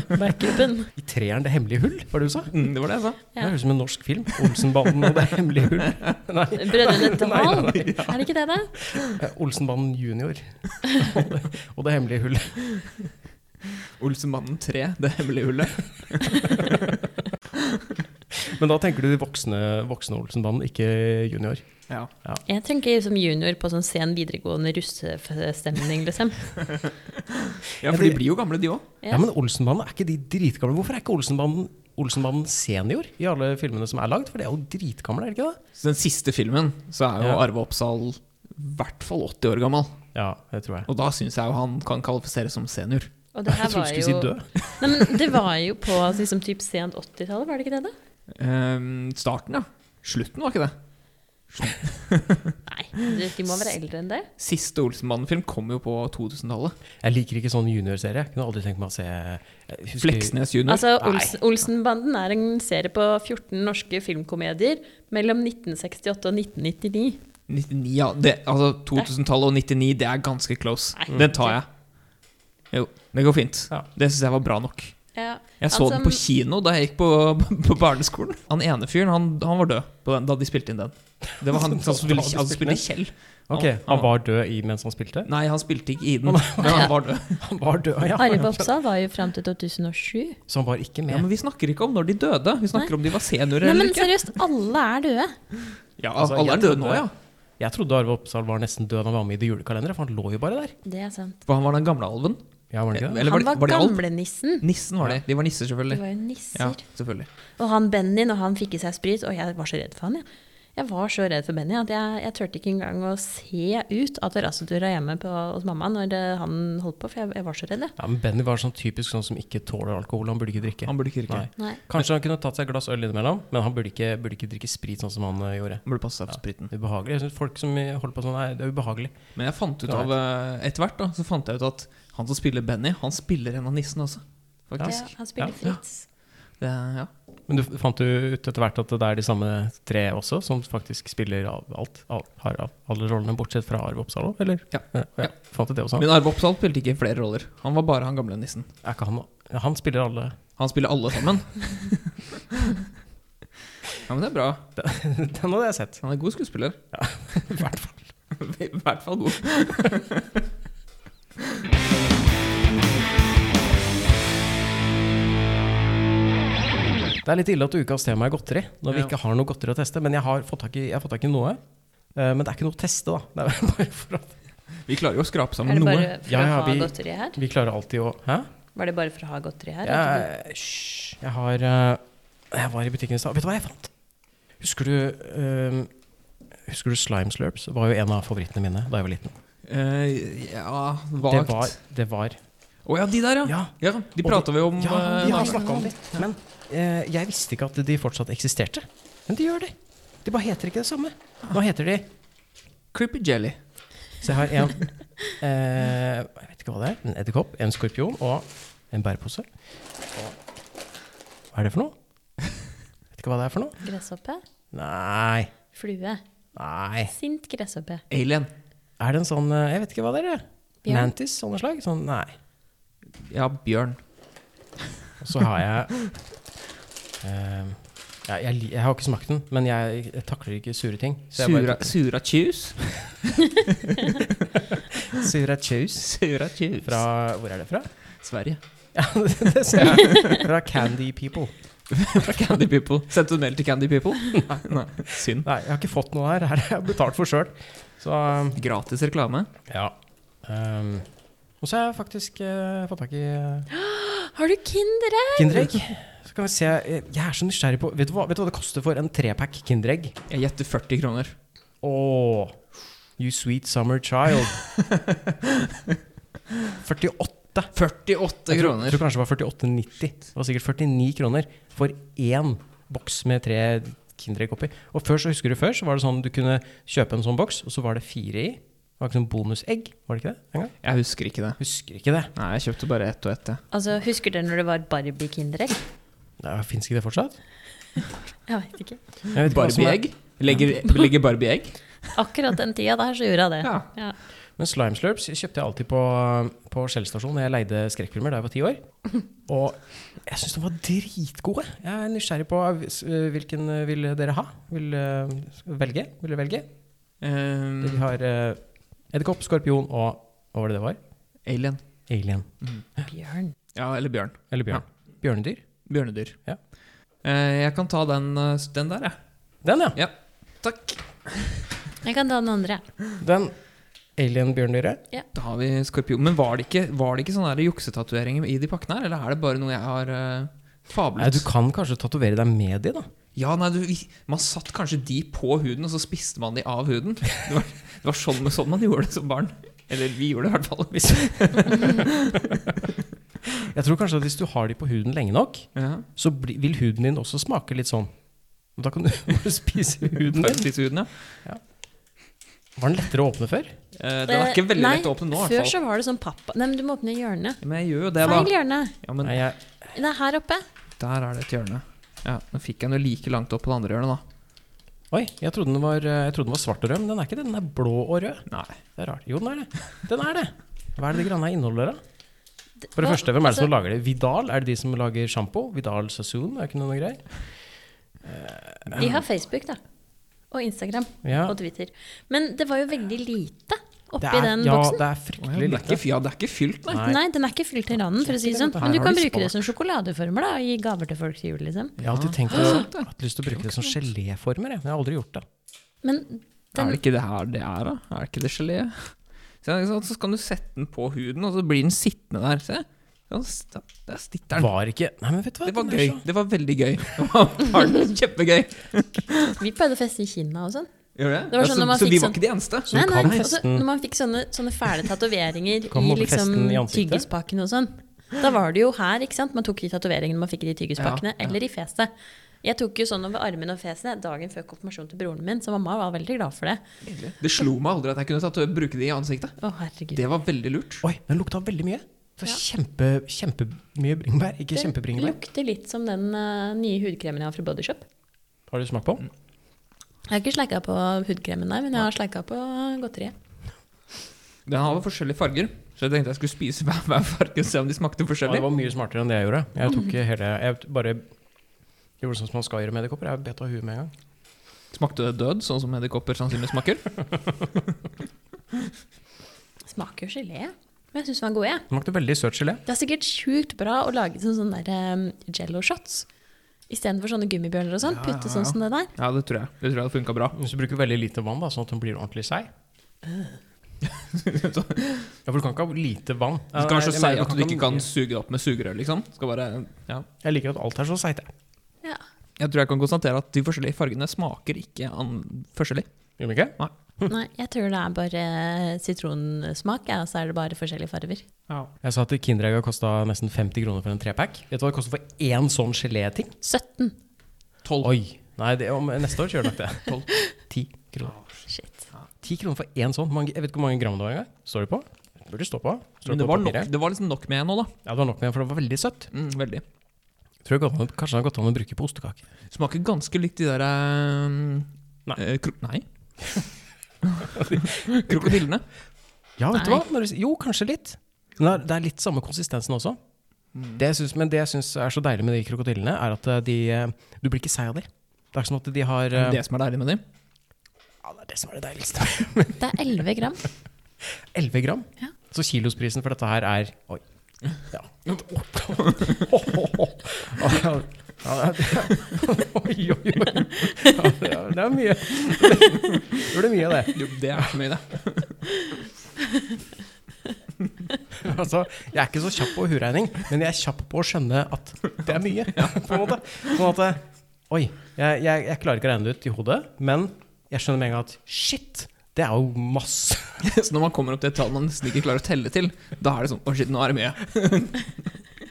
[SPEAKER 4] Backupen.
[SPEAKER 2] I treeren Det hemmelige hull, var det du sa?
[SPEAKER 3] Mm, det var det jeg sa.
[SPEAKER 4] Ja.
[SPEAKER 2] Det høres ut som en norsk film. Olsenbanden og Det hemmelige hull. [laughs] Nei,
[SPEAKER 4] Brødrene Dal.
[SPEAKER 2] Nei, nei,
[SPEAKER 4] Er det ikke det, da?
[SPEAKER 2] eh, Olsenbanden junior [laughs] og Det, og det hemmelige hull.
[SPEAKER 3] Olsemannen 3, det hemmelige hullet.
[SPEAKER 2] Men da tenker du de voksne, voksne Olsenbanden, ikke junior.
[SPEAKER 3] Ja.
[SPEAKER 4] Jeg tenker som junior på sånn sen videregående russestemning, liksom.
[SPEAKER 3] ja, for de blir jo gamle, de òg.
[SPEAKER 2] Ja, Men Olsenbanden, er ikke de dritgamle? Hvorfor er ikke Olsenbanden Olsenbanden senior i alle filmene som er lagd? For de er jo dritgamle, er de ikke det?
[SPEAKER 3] Så den siste filmen, så er jo
[SPEAKER 2] Ja.
[SPEAKER 3] Arve Oppsal i hvert fall 80 år gammel.
[SPEAKER 2] Ja, det tror jeg.
[SPEAKER 3] Og da syns jeg jo han kan kvalifisere som senior.
[SPEAKER 4] Og det
[SPEAKER 2] Jeg
[SPEAKER 4] her
[SPEAKER 2] trodde
[SPEAKER 4] var
[SPEAKER 2] du
[SPEAKER 4] jo
[SPEAKER 2] skulle si død.
[SPEAKER 4] Nei, men det var jo på liksom, typ sent 80-tallet, var det ikke det, da?
[SPEAKER 3] Ehm, starten, ja. Slutten var ikke det.
[SPEAKER 4] Nei, de- de må være eldre enn det.
[SPEAKER 3] Siste Olsenmannen-film kom jo på 2000-tallet.
[SPEAKER 2] Jeg liker ikke sånn juniorserie. Jeg Kunne aldri tenkt meg å se jeg husker-
[SPEAKER 3] Fleksnes junior.
[SPEAKER 4] Altså,
[SPEAKER 2] Nei.
[SPEAKER 4] Olsen, Olsenbanden er en serie på 14 norske filmkomedier mellom 1968 og 1999.
[SPEAKER 3] 99, ja. Det, altså 2000-tallet og 99, det er ganske close.
[SPEAKER 4] Nei.
[SPEAKER 3] Den tar jeg. Jo, det går fint.
[SPEAKER 2] Ja.
[SPEAKER 3] Det syns jeg var bra nok.
[SPEAKER 4] Ja.
[SPEAKER 3] Jeg så
[SPEAKER 4] Han
[SPEAKER 3] den
[SPEAKER 4] som-
[SPEAKER 3] på kino da jeg gikk på, på barneskolen. Han ene fyren han, han var død på den, da de spilte inn den. Det var han
[SPEAKER 2] [laughs] Da
[SPEAKER 3] som spilte,
[SPEAKER 2] de
[SPEAKER 3] han
[SPEAKER 2] spilte
[SPEAKER 3] spilte
[SPEAKER 2] den?
[SPEAKER 3] Kjell.
[SPEAKER 2] Ok, Han var død i mens han spilte?
[SPEAKER 3] [laughs] Nei, han spilte ikke i den, men han var død.
[SPEAKER 2] Han var død, ja.
[SPEAKER 4] Arild Bobstad var jo fram til 2007.
[SPEAKER 2] Så han var ikke
[SPEAKER 3] Ja,
[SPEAKER 2] med.
[SPEAKER 3] men vi snakker ikke om når de døde, vi snakker om de var seniorer
[SPEAKER 4] Nei,
[SPEAKER 3] eller
[SPEAKER 4] men
[SPEAKER 3] ikke.
[SPEAKER 4] seriøst, alle er døde.
[SPEAKER 3] Ja,
[SPEAKER 2] Altså,
[SPEAKER 3] alle
[SPEAKER 2] jeg
[SPEAKER 3] er døde
[SPEAKER 2] trodde-
[SPEAKER 3] nå, ja.
[SPEAKER 2] Jeg trodde Arve Oppsal var nesten død da han var med i The Julekalender, for han lå jo bare der.
[SPEAKER 4] Det er sant.
[SPEAKER 3] For han var den gamle alven.
[SPEAKER 2] Ja, var han ikke det?
[SPEAKER 3] Eller var
[SPEAKER 4] han
[SPEAKER 3] de,
[SPEAKER 4] var,
[SPEAKER 3] var de alv?
[SPEAKER 4] gamlenissen.
[SPEAKER 3] Nissen var de. De var nisser,
[SPEAKER 4] De
[SPEAKER 3] selvfølgelig.
[SPEAKER 4] var jo
[SPEAKER 3] Ja,
[SPEAKER 4] nisser.
[SPEAKER 3] selvfølgelig.
[SPEAKER 4] Og han Benny, når han fikk i seg sprit Og jeg var så redd for han, jeg. Jeg var så redd for Benny at jeg, jeg turte ikke engang å se ut av terrassetura hjemme på, hos mamma når det, han holdt på, for jeg, jeg var så redd, jeg.
[SPEAKER 2] Ja, men Benny var sånn typisk sånn som ikke tåler alkohol. Han burde ikke drikke.
[SPEAKER 3] Han burde ikke drikke.
[SPEAKER 2] Nei.
[SPEAKER 4] Nei.
[SPEAKER 2] Kanskje han kunne tatt seg et glass øl innimellom, men han burde ikke, burde ikke drikke sprit sånn som han eh, gjorde.
[SPEAKER 3] Han burde passe seg for spriten.
[SPEAKER 2] Ubehagelig. Jeg synes folk som eh, holder på sånn, nei, det er ubehagelig.
[SPEAKER 3] Men jeg fant ut
[SPEAKER 2] Nei.
[SPEAKER 3] av eh, etter hvert da, så fant jeg ut at han som spiller Benny, han spiller en av nissene også.
[SPEAKER 4] Ja,
[SPEAKER 3] Faktisk.
[SPEAKER 4] han spiller
[SPEAKER 2] Ja.
[SPEAKER 4] Fritz.
[SPEAKER 3] Det, er- ja.
[SPEAKER 2] Men du f- fant jo ut etter hvert at det er de samme tre også, som faktisk spiller av alt? Av, har av alle rollene, bortsett fra Arve Oppsal òg, eller?
[SPEAKER 3] Ja.
[SPEAKER 2] ja. Fant du det også?
[SPEAKER 3] Men Arve Oppsal spilte ikke i flere roller. Han var bare han gamle nissen.
[SPEAKER 2] Er ikke han ja, Han spiller alle [laughs]
[SPEAKER 3] Han spiller alle sammen. ja, men det er bra.
[SPEAKER 2] Den hadde jeg sett.
[SPEAKER 3] Han er god skuespiller.
[SPEAKER 2] I hvert fall.
[SPEAKER 3] [laughs] I hvert fall god.
[SPEAKER 2] Det er litt ille at ukas tema er godteri, når vi
[SPEAKER 3] Ja.
[SPEAKER 2] ikke har noe godteri å teste. Men jeg har fått tak i, jeg har fått tak i noe. Eh, Men det er ikke noe å teste, da. Det er [laughs] bare for at
[SPEAKER 3] Vi klarer jo å skrape sammen
[SPEAKER 4] Er det
[SPEAKER 3] noe.
[SPEAKER 4] bare for
[SPEAKER 2] Ja, ja,
[SPEAKER 4] å ha
[SPEAKER 2] vi-
[SPEAKER 4] godteri her?
[SPEAKER 2] vi klarer alltid å Hæ?
[SPEAKER 4] Var det bare for å ha godteri her? eller?
[SPEAKER 2] Jeg, hysj. jeg har eh, Jeg var i butikken i stad. Vet du hva jeg fant? Husker du eh, Husker du Slime Slurps? Det var jo en av favorittene mine da jeg var liten.
[SPEAKER 3] Eh, ja,
[SPEAKER 2] Det
[SPEAKER 3] vagt. Å
[SPEAKER 2] var, det var
[SPEAKER 3] ja, de der, ja. ja.
[SPEAKER 2] Ja,
[SPEAKER 3] de prata vi om.
[SPEAKER 2] ja
[SPEAKER 3] eh,
[SPEAKER 2] vi
[SPEAKER 3] en
[SPEAKER 2] har
[SPEAKER 3] annen gang.
[SPEAKER 2] snakka om det. Men eh, jeg visste ikke at de fortsatt eksisterte. Men de gjør det. De bare heter ikke det samme. Nå heter de
[SPEAKER 3] Creepy Jelly.
[SPEAKER 2] Så jeg har en eh, Jeg vet ikke hva det er. En edderkopp, en skorpion og en bærepose. Og Hva er det for noe? Vet ikke hva det er for noe.
[SPEAKER 4] Gresshoppe?
[SPEAKER 2] Nei.
[SPEAKER 4] Flue?
[SPEAKER 2] Nei.
[SPEAKER 4] Sint gresshoppe?
[SPEAKER 3] Alien.
[SPEAKER 2] Er det en sånn eh, Jeg vet ikke hva det er.
[SPEAKER 4] Bjørn?
[SPEAKER 2] Bjørn. Mantis, sånne slag? Sånn, nei.
[SPEAKER 3] Ja, bjørn.
[SPEAKER 2] Og så har jeg eh, jeg, jeg, li- jeg har ikke smakt den, men jeg, jeg takler ikke sure ting. Så jeg
[SPEAKER 3] Sura, sura chews. [laughs]
[SPEAKER 2] bare, sura chews.
[SPEAKER 3] Sura chews.
[SPEAKER 2] Fra Hvor er det fra?
[SPEAKER 3] Sverige.
[SPEAKER 2] Ja, [laughs] det, det ser jeg. Fra Candy People.
[SPEAKER 3] Fra Candy People. Sendte du mail til Candy
[SPEAKER 2] [laughs]
[SPEAKER 3] People? Nei. Synd.
[SPEAKER 2] Nei, jeg har ikke fått noe her. Her har jeg betalt for sjøl. Så um,
[SPEAKER 3] Gratis reklame.
[SPEAKER 2] ja. Um, og så har jeg faktisk eh, fått tak i uh,
[SPEAKER 4] Har du Kinder her?
[SPEAKER 2] Kinderegg. Så kan vi se eh, Jeg er så nysgjerrig på Vet du hva, vet du hva det koster for en trepack Kinderegg?
[SPEAKER 3] Jeg gjetter 40 kroner.
[SPEAKER 2] Åh, you sweet summer child. 48.
[SPEAKER 3] 48
[SPEAKER 2] Jeg tror,
[SPEAKER 3] kroner.
[SPEAKER 2] tror kanskje det var 48,90. Det var sikkert 49 kroner for én boks med tre Kinderegg oppi. Og før, så husker du før, så var det sånn du kunne kjøpe en sånn boks, og så var det fire i. Det var ikke sånn bonusegg, var det ikke det? En gang?
[SPEAKER 3] Jeg husker ikke det.
[SPEAKER 2] Husker ikke det.
[SPEAKER 3] Nei, jeg kjøpte bare ett og ett. jeg.
[SPEAKER 4] Altså, husker dere når det var Barbie-kinderegg?
[SPEAKER 2] Nei, Fins ikke det fortsatt?
[SPEAKER 4] Jeg veit ikke.
[SPEAKER 2] Jeg vet ikke hva som er-
[SPEAKER 3] Barbie-egg? Legger, legger Barbie-egg?
[SPEAKER 4] Akkurat den tida der så gjorde jeg det.
[SPEAKER 3] Ja.
[SPEAKER 4] Ja.
[SPEAKER 2] Men slime slurps kjøpte jeg alltid på, på Skjell stasjon da jeg leide skrekkfilmer da jeg var ti år. Og jeg syns de var dritgode. Jeg er nysgjerrig på eh, hvilken eh, vil dere ha? Vil eh, velge? Vil dere velge?
[SPEAKER 3] Ehm,
[SPEAKER 2] Vi har eh, edderkopp, skorpion og hva var det det var?
[SPEAKER 3] Eh, alien.
[SPEAKER 2] Alien.
[SPEAKER 4] Bjørn.
[SPEAKER 3] Ja, eller bjørn.
[SPEAKER 2] Eller bjørn. Bjørnedyr.
[SPEAKER 3] Bjørnedyr.
[SPEAKER 2] Ja.
[SPEAKER 3] Eh, jeg kan ta den, eh, s- den der, jeg.
[SPEAKER 2] Den, ja.
[SPEAKER 3] Takk.
[SPEAKER 4] Jeg kan ta den andre.
[SPEAKER 2] Den alien-bjørndyret.
[SPEAKER 3] Da har vi skorpion. Men var det ikke, var det ikke sånne her juksetatoveringer i de pakkene her, eller er det bare noe jeg har eh,
[SPEAKER 2] Nei,
[SPEAKER 3] fablet?
[SPEAKER 2] du kan kanskje tatovere deg med de, da.
[SPEAKER 3] Ja, nei, du, man satt kanskje de på huden, og så spiste man de av huden. Det var, det var sånn, sånn man gjorde det som barn. Eller vi gjorde det i hvert fall. Hvis.
[SPEAKER 2] Jeg tror kanskje at hvis du har de på huden lenge nok,
[SPEAKER 3] Ja,
[SPEAKER 2] så bli, vil huden din også smake litt sånn. Og da kan du [laughs] bare spise huden din.
[SPEAKER 3] faktisk huden, ja.
[SPEAKER 2] Var den lettere å åpne før?
[SPEAKER 3] Eh, den er ikke veldig
[SPEAKER 4] Nei,
[SPEAKER 3] lett å åpne nå, i
[SPEAKER 4] Før
[SPEAKER 3] hvert fall.
[SPEAKER 4] så var det sånn pappa Nei, men du må åpne hjørnet.
[SPEAKER 3] Men jeg gjør jo det, da.
[SPEAKER 4] Feil hjørne.
[SPEAKER 3] Ja, men
[SPEAKER 2] Nei, jeg,
[SPEAKER 4] Det er her oppe.
[SPEAKER 3] der er det et hjørne. Ja, Nå fikk jeg den jo like langt opp på det andre hjørnet, da.
[SPEAKER 2] oi, jeg trodde, den var, eh, jeg trodde den var svart og rød, men den er ikke det. Den er blå og rød.
[SPEAKER 3] Nei.
[SPEAKER 2] Det er rart. Jo, den er det. Den er det. Hva er det de granna inneholder, da? For det
[SPEAKER 4] Hva-
[SPEAKER 2] første, hvem er det som
[SPEAKER 4] altså-
[SPEAKER 2] lager det? Vidal? Er det de som lager sjampo? Vidal Sassoon? Er ikke noe greier?
[SPEAKER 4] De har Facebook, da. Og Instagram
[SPEAKER 2] Ja.
[SPEAKER 4] og Twitter. Men det var jo veldig lite
[SPEAKER 2] Det
[SPEAKER 4] oppi
[SPEAKER 2] er,
[SPEAKER 4] den
[SPEAKER 2] ja,
[SPEAKER 4] boksen.
[SPEAKER 2] det er
[SPEAKER 3] Å ja,
[SPEAKER 2] fryktelig
[SPEAKER 3] det, er ikke,
[SPEAKER 2] lite.
[SPEAKER 3] fy- ja, det er ikke fylt, nei.
[SPEAKER 2] Nei.
[SPEAKER 4] Nei. den er ikke fylt til randen, for å si det sånn.
[SPEAKER 3] Her
[SPEAKER 4] Men du
[SPEAKER 3] har
[SPEAKER 4] kan
[SPEAKER 3] de
[SPEAKER 4] bruke det
[SPEAKER 3] spart.
[SPEAKER 4] som sjokoladeformer da, og gi gaver til folk til jul, liksom.
[SPEAKER 2] Jeg har
[SPEAKER 3] Ah,
[SPEAKER 2] alltid tenkt at jeg har hatt lyst til å bruke det som geléformer, jeg, men jeg har aldri gjort det.
[SPEAKER 4] Men
[SPEAKER 3] Er
[SPEAKER 4] den,
[SPEAKER 3] det ikke det her det er, da? Er det ikke det gelé? Så, ikke sant, så kan du sette den på huden, og så blir den sittende der. Se. Ja, s- da- Der sitter den.
[SPEAKER 2] Var ikke Nei, men vet du hva?
[SPEAKER 3] Det var
[SPEAKER 2] den er
[SPEAKER 3] gøy.
[SPEAKER 2] så-
[SPEAKER 3] Det var veldig gøy. Det var- var den [laughs] Kjempegøy.
[SPEAKER 4] vi pleide å feste i Kina og sånn.
[SPEAKER 3] Gjør det?
[SPEAKER 4] Det var
[SPEAKER 3] Ja,
[SPEAKER 4] sånn
[SPEAKER 3] så,
[SPEAKER 4] når man
[SPEAKER 3] så
[SPEAKER 4] fikk
[SPEAKER 3] vi var
[SPEAKER 4] sånn-
[SPEAKER 3] ikke de eneste.
[SPEAKER 2] du
[SPEAKER 4] Nei, nei,
[SPEAKER 2] kan
[SPEAKER 4] altså,
[SPEAKER 2] festen-
[SPEAKER 4] når man fikk sånne, sånne fæle tatoveringer
[SPEAKER 2] kan
[SPEAKER 4] i
[SPEAKER 2] mobbe
[SPEAKER 4] liksom
[SPEAKER 2] festen i ansiktet.
[SPEAKER 4] tyggispakken og sånn, da var det jo her, ikke sant? Man tok de tatoveringene man fikk i de tyggispakkene, eller i fjeset. Jeg tok jo sånn over armen og fjeset dagen før konfirmasjonen til broren min, så mamma var veldig glad for det.
[SPEAKER 3] Det slo meg aldri at jeg kunne tatt, bruke det i ansiktet.
[SPEAKER 4] Å, herregud.
[SPEAKER 3] Det var veldig lurt.
[SPEAKER 2] Oi, den lukta veldig mye. Det var kjempe, kjempemye bringebær. Ikke kjempebringebær.
[SPEAKER 4] lukter litt som den eh, nye hudkremen jeg har fra Bodyshop.
[SPEAKER 2] Har du smakt på den?
[SPEAKER 4] Jeg har ikke sleika på hudkremen, nei, men jeg har sleika på godteriet.
[SPEAKER 3] Den har forskjellige farger, så jeg tenkte jeg skulle spise hver, hver farge og se om de smakte
[SPEAKER 2] Ja, det
[SPEAKER 3] forskjellig.
[SPEAKER 2] var mye smartere enn det jeg gjorde. Jeg tok
[SPEAKER 3] Mhm.
[SPEAKER 2] hele Jeg bare gjorde sånn som man skal gjøre med edderkopper. Jeg bet av huet med en gang.
[SPEAKER 3] Smakte det død, sånn som edderkopper sannsynligvis smaker?
[SPEAKER 4] Smaker jo gelé. Men jeg syns den var god, jeg.
[SPEAKER 2] Den Smakte veldig søt gelé.
[SPEAKER 4] Det er sikkert sjukt bra å lage sånne, sånne der, um, jello shots istedenfor sånne gummibjørner og sånn.
[SPEAKER 3] Ja,
[SPEAKER 4] Putte
[SPEAKER 3] ja,
[SPEAKER 4] sånn
[SPEAKER 3] ja.
[SPEAKER 4] som det
[SPEAKER 3] [laughs]
[SPEAKER 4] der.
[SPEAKER 3] Ja, det tror jeg. Det tror jeg hadde funka bra.
[SPEAKER 2] Hvis du bruker veldig lite vann, da, sånn at den blir ordentlig seig.
[SPEAKER 3] Ah.
[SPEAKER 2] [laughs] Ja, for du kan ikke ha lite vann.
[SPEAKER 3] Du skal være så
[SPEAKER 2] Jeg
[SPEAKER 3] seig
[SPEAKER 2] mener,
[SPEAKER 3] at du ikke kan
[SPEAKER 2] ha mye.
[SPEAKER 3] suge det opp med sugerør, liksom. Skal bare, ja.
[SPEAKER 2] Jeg liker at alt er så seigt, jeg.
[SPEAKER 4] Ja.
[SPEAKER 3] Jeg tror jeg kan konstatere at de forskjellige fargene smaker ikke an forskjellig.
[SPEAKER 2] Gjør vi ikke?
[SPEAKER 4] Nei, jeg tror det er bare eh, sitronsmak, ja, og så er det bare forskjellige farger.
[SPEAKER 2] Jeg sa at Kinderegga kosta nesten 50 kroner for en trepack. Vet du hva det koster for én sånn geléting?
[SPEAKER 4] 17.
[SPEAKER 3] Tolv.
[SPEAKER 2] Oi! Nei, det, om, neste år kjører nok det. [laughs] 12. 10 kroner.
[SPEAKER 4] Shit.
[SPEAKER 2] 10 kroner for én sånn. Hvor mange- Jeg vet ikke hvor mange gram det var engang. Står det på? Burde stå på. Står
[SPEAKER 3] Men
[SPEAKER 2] det,
[SPEAKER 3] det
[SPEAKER 2] på
[SPEAKER 3] var, nok,
[SPEAKER 2] papiret?
[SPEAKER 3] det var liksom nok med nå, da.
[SPEAKER 2] Ja, det var nok med, for det var veldig søtt.
[SPEAKER 3] Mm, veldig.
[SPEAKER 2] Tror jeg godt an, kanskje det har gått an å bruke på ostekake.
[SPEAKER 3] Smaker ganske likt de der eh,
[SPEAKER 2] Nei.
[SPEAKER 3] eh, kro [laughs] nei. Krokodillene.
[SPEAKER 2] Ja, vet du
[SPEAKER 4] Nei.
[SPEAKER 2] hva? Når du, s- jo, kanskje litt. Men det er- det er litt samme konsistensen også.
[SPEAKER 4] Mm.
[SPEAKER 2] Det jeg synes, men det jeg syns er så deilig med de krokodillene, er at eh, de eh, Du blir ikke seig av dem. Det er ikke sånn at de har
[SPEAKER 3] Det er
[SPEAKER 2] eh,
[SPEAKER 3] det som er deilig med dem.
[SPEAKER 2] Ja, det er det som er det deiligste. [laughs]
[SPEAKER 4] Det er 11 gram.
[SPEAKER 2] 11 gram.
[SPEAKER 4] Ja.
[SPEAKER 2] Så kilosprisen for dette her er Oi.
[SPEAKER 4] [laughs]
[SPEAKER 2] Ja. [laughs] Ja, det er- Oi, oi, oi. Ja, det er- Det er mye. [laughs] Det ble mye av det.
[SPEAKER 3] Jo, det er ikke mye, det.
[SPEAKER 2] [laughs] Altså, jeg er ikke så kjapp på huregning, men jeg er kjapp på å skjønne at det er mye. [laughs] på en måte. Sånn at eh, Oi, jeg, jeg, jeg klarer ikke å regne det ut i hodet, men jeg skjønner med en gang at shit, det er jo masse.
[SPEAKER 3] [laughs] Så når man kommer opp til et tall man nesten ikke klarer å telle til, da er det sånn Å, shit, nå er det mye.
[SPEAKER 4] [laughs]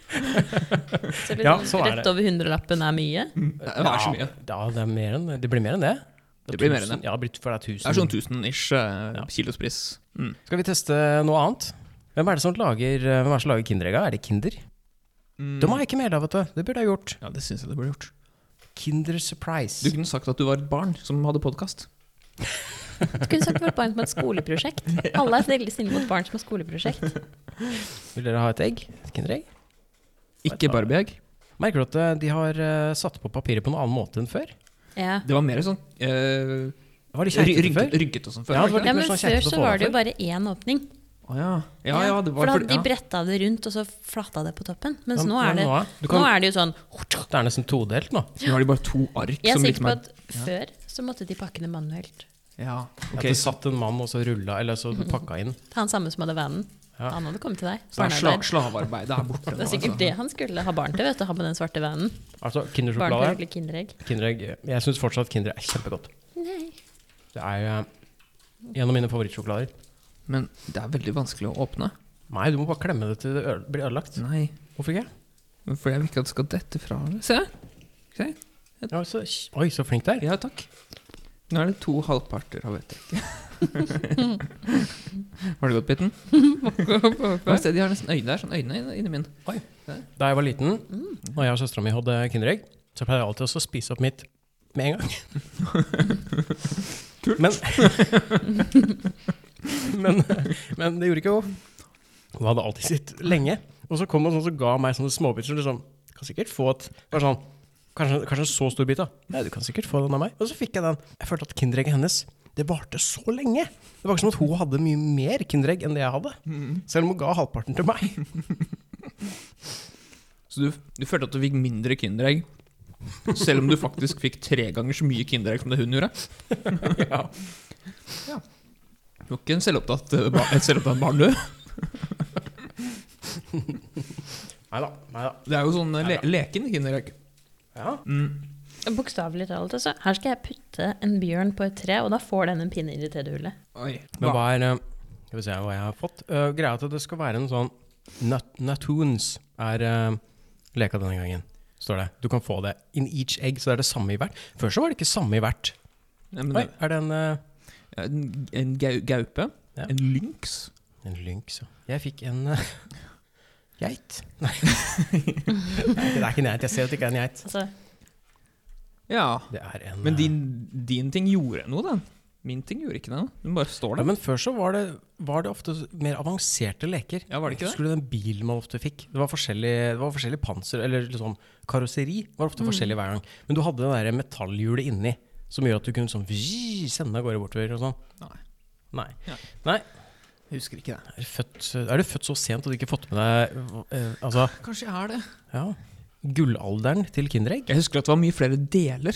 [SPEAKER 4] Så liksom,
[SPEAKER 2] Ja, så er det.
[SPEAKER 4] rett over hundrelappen er mye.
[SPEAKER 3] Det er så mye.
[SPEAKER 2] Ja, det, er mer enn, det blir mer enn det.
[SPEAKER 3] Det blir mer enn det.
[SPEAKER 2] Tusen- Ja, det blir, for det er
[SPEAKER 3] Det er sånn
[SPEAKER 2] tusen.
[SPEAKER 3] 1000-ish eh, kilospris. Mm.
[SPEAKER 2] Skal vi teste noe annet? Hvem er det som lager, eh, hvem er det som lager Kinderegga? Er det Kinder?
[SPEAKER 3] Mm.
[SPEAKER 2] De har jeg ikke med deg, vet du. Det burde jeg gjort.
[SPEAKER 3] Ja, det syns jeg det burde gjort.
[SPEAKER 2] Kinder
[SPEAKER 3] Du
[SPEAKER 2] Surprise.
[SPEAKER 3] kunne sagt at du var et barn som hadde podkast.
[SPEAKER 4] Du kunne sagt vårt barn som et skoleprosjekt. Alle er veldig snille mot barn som har skoleprosjekt.
[SPEAKER 2] Vil dere ha et egg? Et Kinderegg?
[SPEAKER 3] Ikke Barbie-egg.
[SPEAKER 2] Merker du at eh, de har eh, satt på papiret på en annen måte enn før?
[SPEAKER 4] Ja.
[SPEAKER 3] Det var mer sånn eh,
[SPEAKER 2] Var de
[SPEAKER 3] ry-
[SPEAKER 2] kjeitete
[SPEAKER 3] rynket,
[SPEAKER 2] før?
[SPEAKER 3] rynket og sånn før.
[SPEAKER 2] Ja, det
[SPEAKER 3] var det
[SPEAKER 2] var
[SPEAKER 3] ikke
[SPEAKER 4] ja, men
[SPEAKER 2] Det sånn
[SPEAKER 4] før
[SPEAKER 2] kjempeflott
[SPEAKER 4] så var
[SPEAKER 2] overfor.
[SPEAKER 4] det jo bare én åpning.
[SPEAKER 3] det? Å ja. Ja, ja, det var
[SPEAKER 4] for da,
[SPEAKER 3] fordi-
[SPEAKER 4] de
[SPEAKER 3] ja.
[SPEAKER 4] bretta det rundt, og så flata det på toppen. Mens
[SPEAKER 2] Men-
[SPEAKER 4] nå, er
[SPEAKER 2] men
[SPEAKER 4] det,
[SPEAKER 2] nå er- du
[SPEAKER 4] nå,
[SPEAKER 2] kan-
[SPEAKER 4] er det jo sånn
[SPEAKER 2] Det er nesten todelt nå.
[SPEAKER 3] Nå har de bare to ark
[SPEAKER 4] Jeg er
[SPEAKER 3] som
[SPEAKER 4] sikker
[SPEAKER 3] liksom
[SPEAKER 4] på
[SPEAKER 3] er
[SPEAKER 4] at før så måtte de pakke det manuelt.
[SPEAKER 3] Ja,
[SPEAKER 2] At
[SPEAKER 3] ok.
[SPEAKER 2] det satt en mann og så rulla, eller så
[SPEAKER 4] Mhm.
[SPEAKER 2] pakka inn.
[SPEAKER 4] Han samme som hadde vanen.
[SPEAKER 2] Ja.
[SPEAKER 4] Han hadde kommet til deg.
[SPEAKER 3] Så er
[SPEAKER 4] Barnearbeid.
[SPEAKER 3] sla- slavearbeidet er borte. altså.
[SPEAKER 4] Det er sikkert det han skulle ha barn til, vet du. Ha med den svarte vanen.
[SPEAKER 2] Altså
[SPEAKER 4] Barn for å
[SPEAKER 2] Kindersjokolade.
[SPEAKER 4] lage kinderegg.
[SPEAKER 2] Kinderegg. Jeg syns fortsatt Kinderegg er kjempegodt.
[SPEAKER 4] Nei.
[SPEAKER 2] Det er eh, en av mine favorittsjokolader.
[SPEAKER 3] Men det er veldig vanskelig å åpne.
[SPEAKER 2] Nei, du må bare klemme det til det øde- blir ødelagt.
[SPEAKER 3] Nei,
[SPEAKER 2] Hvorfor ikke?
[SPEAKER 3] men fordi jeg vil ikke at det skal dette fra hverandre. Se! Se.
[SPEAKER 2] Ja, så, oi, så flink du er.
[SPEAKER 3] Ja, takk. Nå er det to halvparter av et egg.
[SPEAKER 4] [laughs]
[SPEAKER 3] Var det godt, Bitten? Ja, se, de har nesten øyne der. Sånn øyne inni- inni min.
[SPEAKER 2] Da jeg var liten, og jeg og søstera mi hadde Kinderegg, så pleide jeg alltid også å spise opp mitt med en gang. Kult. Men, men, men det gjorde ikke hun. Hun hadde alltid sitt lenge. Og så kom han sånn som ga meg sånne småbiter som liksom Kan sikkert få et Bare sånn Kanskje, kanskje en så stor bit, da. Nei, du kan sikkert få den av meg. Og så fikk jeg den. Jeg følte at kinderegget hennes det varte så lenge. Det var ikke som at hun hadde mye mer kinderegg enn det jeg hadde. Selv om hun ga halvparten til meg.
[SPEAKER 3] Så du, du følte at du fikk mindre Kinderegg, selv om du faktisk fikk tre ganger så mye Kinderegg som det hun gjorde?
[SPEAKER 2] ja.
[SPEAKER 3] Du var ikke en selvopptatt, eh, ba- et selvopptatt barn, du.
[SPEAKER 2] Nei da. Nei da.
[SPEAKER 3] Det er jo sånn eh, le leken Kinderegg.
[SPEAKER 2] Ja.
[SPEAKER 3] Mm.
[SPEAKER 4] Bokstavelig talt, altså. Her skal jeg putte en bjørn på et tre, og da får den en pinne inn i tedehullet.
[SPEAKER 3] Oi.
[SPEAKER 2] Men hva er eh, Skal vi se hva jeg har fått. Eh, greia er at det skal være en sånn nat Natoons er eh, leka denne gangen, står det. Du kan få det in each egg, så det er det samme i hvert. Før så var det ikke samme i hvert.
[SPEAKER 3] Nei, men
[SPEAKER 2] Oi,
[SPEAKER 3] det-
[SPEAKER 2] er det en eh,
[SPEAKER 3] En, en gau- gaupe.
[SPEAKER 2] Ja.
[SPEAKER 3] En lynx.
[SPEAKER 2] En lynx, ja. Jeg fikk en eh, [laughs] geit. Nei. [laughs] det er ikke en geit. Jeg ser at det ikke er en geit.
[SPEAKER 4] Altså,
[SPEAKER 3] Ja.
[SPEAKER 2] Det er en
[SPEAKER 3] Men
[SPEAKER 2] eh,
[SPEAKER 3] din, din ting gjorde noe, da. Min ting gjorde ikke det. da. Den bare står
[SPEAKER 2] ja,
[SPEAKER 3] der.
[SPEAKER 2] men Før så var det, var det ofte mer avanserte leker.
[SPEAKER 3] Ja, var det ikke det?
[SPEAKER 2] Jeg Husker du den bilen man ofte fikk? Det var forskjellig, det var forskjellig panser, eller litt sånn karosseri var ofte forskjellig hver gang. Men du hadde det der metallhjulet inni, som gjør at du kunne sånn vzz, sende av gårde bortover og sånn.
[SPEAKER 3] Nei.
[SPEAKER 2] Nei.
[SPEAKER 3] Ja.
[SPEAKER 2] Nei.
[SPEAKER 3] Jeg husker ikke det.
[SPEAKER 2] Er, du født, er du født så sent at du ikke har fått med deg eh, Altså,
[SPEAKER 3] Kanskje jeg er det.
[SPEAKER 2] ja. Gullalderen til Kinderegg?
[SPEAKER 3] Jeg husker at det var mye flere deler i,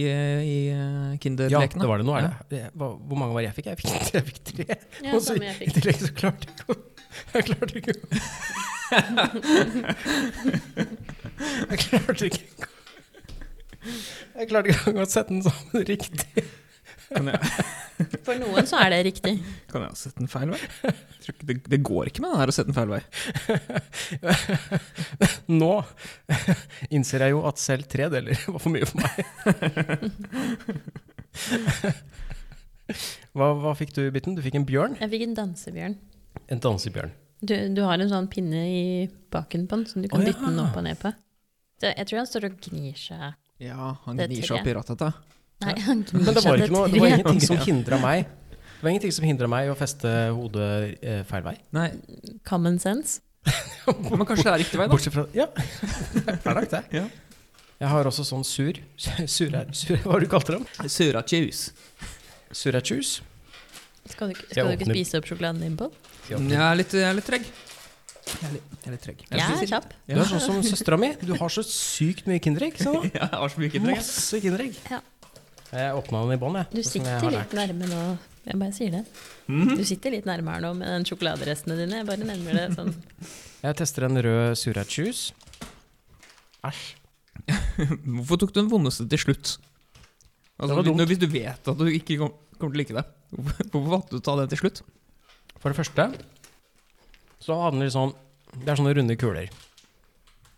[SPEAKER 3] i eh,
[SPEAKER 2] Ja,
[SPEAKER 3] Kinderlekene.
[SPEAKER 2] det var det. Nå er det. det var, hvor mange var det jeg fikk? Jeg fikk, jeg fikk tre.
[SPEAKER 4] ja,
[SPEAKER 2] Og så
[SPEAKER 4] samme jeg
[SPEAKER 2] I
[SPEAKER 4] fikk.
[SPEAKER 2] tillegg så klarte jeg ikke å Jeg klarte ikke å Jeg klarte ikke å Jeg klarte ikke engang å sette den sammen riktig.
[SPEAKER 3] Kan jeg,
[SPEAKER 4] For noen så er det riktig.
[SPEAKER 3] kan jeg ha sett den feil vei? Jeg tror ikke, det, det går ikke med den her å sette den feil vei.
[SPEAKER 2] Nå innser jeg jo at selv tre deler var for mye for meg. Hva, hva fikk du, Bitten? Du fikk en bjørn?
[SPEAKER 4] Jeg fikk en dansebjørn.
[SPEAKER 2] En dansebjørn.
[SPEAKER 4] Du, du har en sånn pinne i baken på den, som du kan
[SPEAKER 2] Å, ja.
[SPEAKER 4] dytte den opp og ned på. Så jeg tror han står og gnir seg.
[SPEAKER 3] Ja, han
[SPEAKER 4] Det
[SPEAKER 3] gnir
[SPEAKER 4] tror
[SPEAKER 3] seg opp i rattet. da.
[SPEAKER 4] Nei, han gnir
[SPEAKER 2] Men det var,
[SPEAKER 4] seg
[SPEAKER 2] ikke noe, det
[SPEAKER 4] til
[SPEAKER 2] var
[SPEAKER 4] tre.
[SPEAKER 2] ingenting som hindra meg Det var ingenting som hindra meg i å feste hodet eh, feil vei.
[SPEAKER 3] Nei,
[SPEAKER 4] Common sense.
[SPEAKER 3] men kanskje det er riktig vei, da.
[SPEAKER 2] Bortsett fra Ja. Hverdag, det.
[SPEAKER 3] Ja.
[SPEAKER 2] Jeg har også sånn sur [laughs] Surær? Sur, hva har du kalte dem?
[SPEAKER 3] Surachaus.
[SPEAKER 2] Surachus?
[SPEAKER 4] Skal du, ikke-
[SPEAKER 2] Jeg
[SPEAKER 4] skal du ikke
[SPEAKER 2] åpner-
[SPEAKER 4] spise opp sjokoladen din, Pål?
[SPEAKER 3] Jeg er litt, jeg er litt treg. Jeg er litt, jeg er litt treg. Jeg
[SPEAKER 4] Jeg er
[SPEAKER 3] spiser-
[SPEAKER 4] kjapp.
[SPEAKER 2] Du er sånn som søstera mi. Du har så sykt mye Kinderegg. Se nå.
[SPEAKER 3] Jeg har så mye Kinderegg. jeg.
[SPEAKER 2] Masse [laughs] Kinderegg.
[SPEAKER 4] Ja.
[SPEAKER 2] Jeg åpna den i bånn, jeg.
[SPEAKER 4] Du
[SPEAKER 2] sånn som jeg
[SPEAKER 4] sitter
[SPEAKER 2] har
[SPEAKER 4] litt
[SPEAKER 2] lært. Mhm.
[SPEAKER 4] nærme nå. Jeg bare sier det. Du sitter litt nærme her nå med den sjokoladerestene dine. Jeg bare nevner det sånn.
[SPEAKER 2] Jeg tester en rød surachus. Æsj.
[SPEAKER 3] Hvorfor tok du den vondeste til slutt? Altså,
[SPEAKER 2] Det var dumt.
[SPEAKER 3] når- Hvis du vet at du ikke kom, kommer til å like det, hvorfor hvorfor valgte du å ta den til slutt?
[SPEAKER 2] For det første så handler det sånn Det er sånne runde kuler.